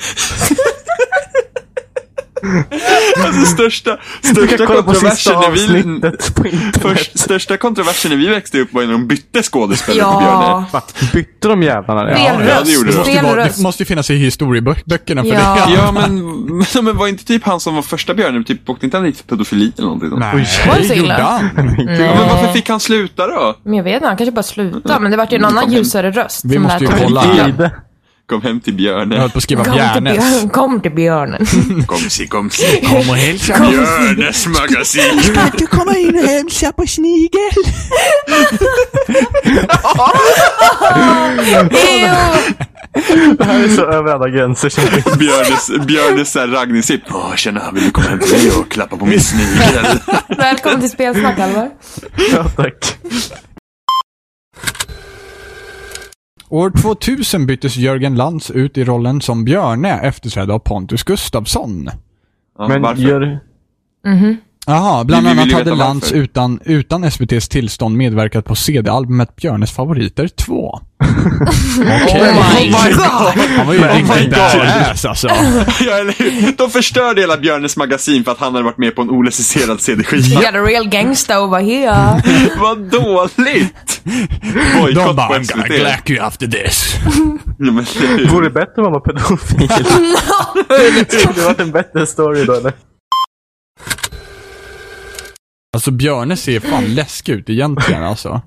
[SPEAKER 2] alltså största,
[SPEAKER 3] Du
[SPEAKER 2] största
[SPEAKER 3] kan kolla på sista
[SPEAKER 2] kontroversen när vi,
[SPEAKER 3] avsnittet på internet.
[SPEAKER 2] Först, största kontroversen när vi växte upp var ju när de bytte skådespelare på Björne.
[SPEAKER 1] Ja.
[SPEAKER 3] Va? Bytte de jävlarna det?
[SPEAKER 1] Fel Mm.
[SPEAKER 2] ja, det gjorde
[SPEAKER 1] röst.
[SPEAKER 2] du.
[SPEAKER 4] Det,
[SPEAKER 1] Fel
[SPEAKER 4] var, det
[SPEAKER 1] röst.
[SPEAKER 4] måste ju finnas i historieböckerna för
[SPEAKER 1] Ja.
[SPEAKER 4] det.
[SPEAKER 2] Ja, men, men, men var inte typ han som var första Björne, typ, åkte inte han dit för pedofili eller någonting? sånt?
[SPEAKER 4] Nej,
[SPEAKER 1] Var det så
[SPEAKER 4] det gjorde
[SPEAKER 1] illa?
[SPEAKER 4] han.
[SPEAKER 2] Ja, men varför fick han sluta då?
[SPEAKER 1] Men jag vet inte, han kanske bara slutade. Men det vart ju
[SPEAKER 2] Mm.
[SPEAKER 1] en annan ljusare röst.
[SPEAKER 4] Vi
[SPEAKER 1] som
[SPEAKER 4] måste
[SPEAKER 1] lät
[SPEAKER 4] ju
[SPEAKER 1] som-
[SPEAKER 4] kolla.
[SPEAKER 3] Ide.
[SPEAKER 2] Kom hem till
[SPEAKER 4] Jag
[SPEAKER 2] Björne.
[SPEAKER 4] höll på att skriva
[SPEAKER 1] Kom till,
[SPEAKER 4] Bjärnes.
[SPEAKER 1] björn, kom till
[SPEAKER 4] *laughs*
[SPEAKER 1] björnen.
[SPEAKER 2] Komsi, komsi.
[SPEAKER 4] Kom och hälsa.
[SPEAKER 2] Björnes magasin.
[SPEAKER 4] Kan du komma in och hälsa på Snigel?
[SPEAKER 1] Ew.
[SPEAKER 3] Det här är så över alla gränser som finns.
[SPEAKER 2] Björnes, Björnes såhär raggningssipp. Åh, tjena, vill du komma hem till mig och klappa på min snigel?
[SPEAKER 1] Välkommen till Spelsnack, Alvar.
[SPEAKER 3] Ja, tack.
[SPEAKER 4] År 2000 byttes Jörgen Lantz ut i rollen som Björne efterträdd av Pontus Gustafsson.
[SPEAKER 2] Ja,
[SPEAKER 3] Men
[SPEAKER 2] varför?
[SPEAKER 3] gör...
[SPEAKER 4] Jaha, bland
[SPEAKER 2] Vi- vi vill
[SPEAKER 4] annat
[SPEAKER 2] ju
[SPEAKER 4] hade
[SPEAKER 2] veta
[SPEAKER 4] Lantz
[SPEAKER 2] varför.
[SPEAKER 4] utan, utan SVTs tillstånd medverkat på CD-albumet Björnes favoriter 2.
[SPEAKER 2] *laughs*
[SPEAKER 4] Okej.
[SPEAKER 1] my god.
[SPEAKER 4] Han var ju en
[SPEAKER 2] my
[SPEAKER 4] riktig
[SPEAKER 2] Oh God.
[SPEAKER 4] badass alltså.
[SPEAKER 2] Ja, eller hur? De förstörde hela Björnes magasin för att han hade varit med på en olicensierad CD-skiva.
[SPEAKER 1] You got a real gangsta over here.
[SPEAKER 2] Vad dåligt!
[SPEAKER 4] De
[SPEAKER 2] Bojkott
[SPEAKER 4] bara,
[SPEAKER 2] på
[SPEAKER 4] I'm gonna
[SPEAKER 2] SVT.
[SPEAKER 4] glack you after this.
[SPEAKER 2] Ja, men Mm, eller hur?
[SPEAKER 3] Vore det bättre om man var *laughs* pedofil? det var en bättre story då eller?
[SPEAKER 4] Alltså Björne ser fan läskig ut egentligen alltså.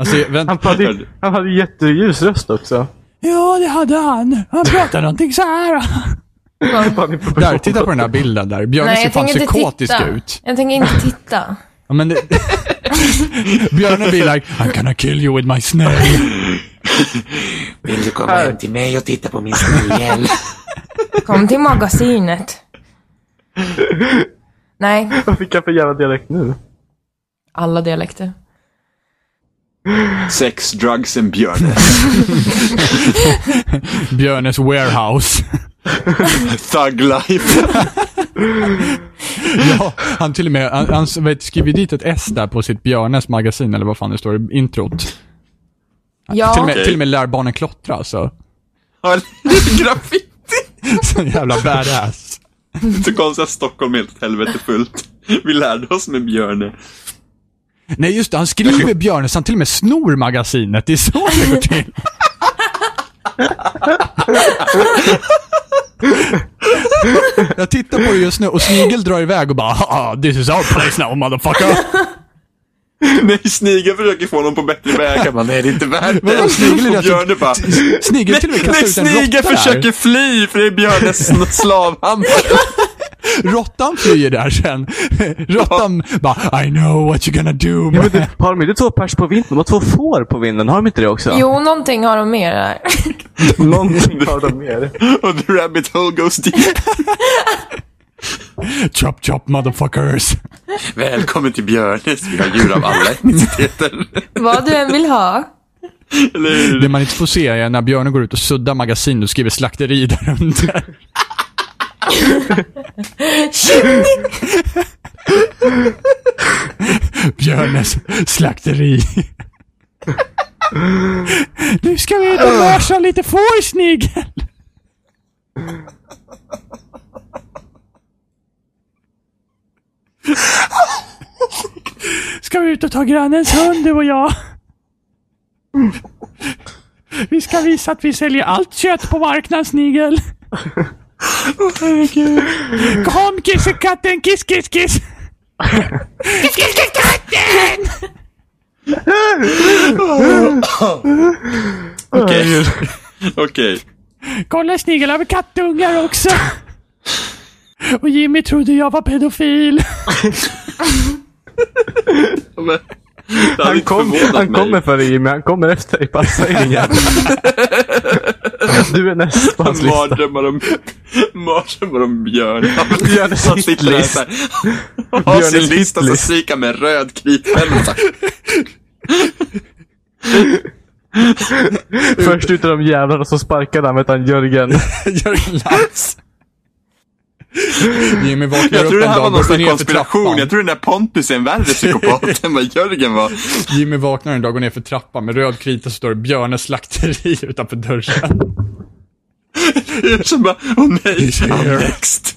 [SPEAKER 4] Alltså, vänta.
[SPEAKER 3] Han hade, ju- han hade ju jätteljus röst också.
[SPEAKER 4] Ja, det hade han. Han pratade någonting så här.
[SPEAKER 3] Fan, i proportion.
[SPEAKER 4] *laughs* Där, titta på den
[SPEAKER 3] *laughs*
[SPEAKER 4] här bilden där. Björne ser fan psykotisk ut.
[SPEAKER 1] Jag tänker inte titta.
[SPEAKER 4] Ja, men det... *laughs* Björne blir like, I'm gonna kill you with my snail.
[SPEAKER 6] Vill du komma hem till mig och titta på min snigel?
[SPEAKER 1] Kom till magasinet. Nej,
[SPEAKER 3] Vad fick han för jävla dialekt nu?
[SPEAKER 1] alla dialekter.
[SPEAKER 2] Sex, drugs and Björne.
[SPEAKER 4] Björnes warehouse.
[SPEAKER 2] Thug life.
[SPEAKER 4] Ja, *laughs* han till och med, han, han vet, skriver dit ett S där på sitt Björnes magasin, eller vad fan det står i introt. Till, och
[SPEAKER 1] Ja,
[SPEAKER 4] med, till och med lär barnen klottra alltså. *laughs*
[SPEAKER 2] Ja, Graffiti.
[SPEAKER 4] Så jävla badass.
[SPEAKER 2] Så konstigt att Stockholm är helt åt helvete fullt. Vi lärde oss med Björne.
[SPEAKER 4] Nej just det, han skriver Björnes, han till och med snor magasinet. Det är så det går till. Jag tittar på det just nu och Snigel drar iväg och bara "Haha, “This is our place now motherfucker”.
[SPEAKER 2] Nej, Snigel försöker få honom på bättre vägar. Man, nej, det är inte värt det.
[SPEAKER 4] Vadå, Snigel är
[SPEAKER 2] Och alltså
[SPEAKER 4] den som-
[SPEAKER 2] Björne bara...
[SPEAKER 4] Snigel till och med kastar
[SPEAKER 2] Nej,
[SPEAKER 4] ut en
[SPEAKER 2] Snigel
[SPEAKER 4] råtta där.
[SPEAKER 2] försöker fly för det är Björnes sn- slavhandel.
[SPEAKER 4] Råttan flyr där sen. Råttan bara “I know what you're gonna do”.
[SPEAKER 3] Ja, men det, har de inte två pers på vinden? De har två får på vinden, har de inte det också?
[SPEAKER 1] Jo, någonting har de mer där.
[SPEAKER 3] *laughs* Någonting har de mer.
[SPEAKER 2] Och the rabbit hole goes deep.
[SPEAKER 4] *laughs* “Chop chop motherfuckers”.
[SPEAKER 2] Välkommen till Björnes. Vi har djur av alla etniciteter.
[SPEAKER 1] *laughs* Vad du än vill ha.
[SPEAKER 2] Eller hur?
[SPEAKER 4] Det man inte får se är när björnen går ut och suddar magasin och skriver slakteri där under. Björnes slakteri. nu ska vi ut och mörsa lite får, Snigel. Ska vi ut och ta grannens hund, du och jag? Vi ska visa att vi säljer allt kött på marknaden, Snigel. Kom kissekatten, kiss kiss kiss! Kiss kiss kiss katten!
[SPEAKER 2] Okej. *laughs* Okej.
[SPEAKER 4] Kolla Snigel över kattungar också! Och Jimmy trodde jag var pedofil.
[SPEAKER 2] Men- det hade
[SPEAKER 3] Han,
[SPEAKER 2] inte
[SPEAKER 3] kom,
[SPEAKER 2] förvånat
[SPEAKER 3] han
[SPEAKER 2] mig.
[SPEAKER 3] kommer före Jimmy, han kommer efter dig. Passa dig *laughs* din jävel. Du är näst på hans lista.
[SPEAKER 2] Mardrömmar om, *laughs* mardrömmar om Björn.
[SPEAKER 3] Björn är
[SPEAKER 2] Han sitter där
[SPEAKER 3] hitlist.
[SPEAKER 2] så här. Har
[SPEAKER 3] Björn är
[SPEAKER 2] sin lista så
[SPEAKER 3] hitlist.
[SPEAKER 2] strikar med röd
[SPEAKER 4] *laughs*
[SPEAKER 2] kritpenna. så här.
[SPEAKER 3] Först utav de jävlarna som sparkade han vet han Jörgen.
[SPEAKER 4] Jörgen Lantz. Jimmy vaknar
[SPEAKER 2] Jag tror
[SPEAKER 4] upp
[SPEAKER 2] det
[SPEAKER 4] en
[SPEAKER 2] här var någon
[SPEAKER 4] dag, går
[SPEAKER 2] slags
[SPEAKER 4] ner för
[SPEAKER 2] konspiration. Jag
[SPEAKER 4] trappan.
[SPEAKER 2] tror den där Pontus är en värre
[SPEAKER 4] *laughs*
[SPEAKER 2] psykopat än vad Jörgen var.
[SPEAKER 4] Jimmy vaknar en dag, går ner för trappan med röd krita så står det Björnes slakteri *laughs* utanför dörren.
[SPEAKER 2] Jag känner bara, åh
[SPEAKER 4] *laughs*
[SPEAKER 2] nej,
[SPEAKER 4] He's
[SPEAKER 2] I'm
[SPEAKER 4] here.
[SPEAKER 2] next.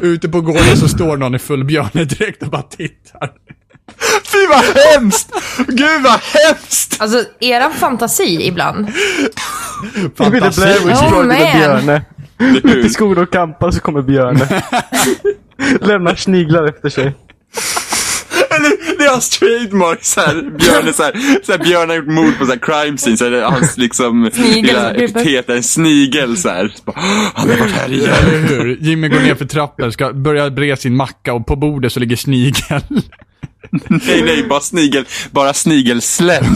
[SPEAKER 4] *laughs* Ute på gården så står någon i full björnedräkt och bara tittar.
[SPEAKER 2] Fy vad hemskt! Gud vad hemskt!
[SPEAKER 1] Alltså, eran fantasi ibland.
[SPEAKER 3] Vi ville
[SPEAKER 4] Fantasi.
[SPEAKER 3] Blair Witch
[SPEAKER 1] Oh,
[SPEAKER 3] Project med
[SPEAKER 1] man.
[SPEAKER 3] Björne.
[SPEAKER 2] *laughs*
[SPEAKER 3] Till skolor och kampar så kommer Björne. Lämnar sniglar efter sig.
[SPEAKER 2] Eller, det är hans trademark såhär, Björn är såhär, såhär Björn har gjort mord på såhär crime scene, så är det hans liksom
[SPEAKER 1] Snigel
[SPEAKER 2] lilla
[SPEAKER 1] som kryper.
[SPEAKER 2] epitet, är en snigel såhär. Så bara, "Åh, Han har varit här igen.
[SPEAKER 4] Eller hur? Jimmy går ner för trappen, ska börja bre sin macka och på bordet så ligger snigeln.
[SPEAKER 2] Nej, nej, bara snigel, bara snigelsläpp.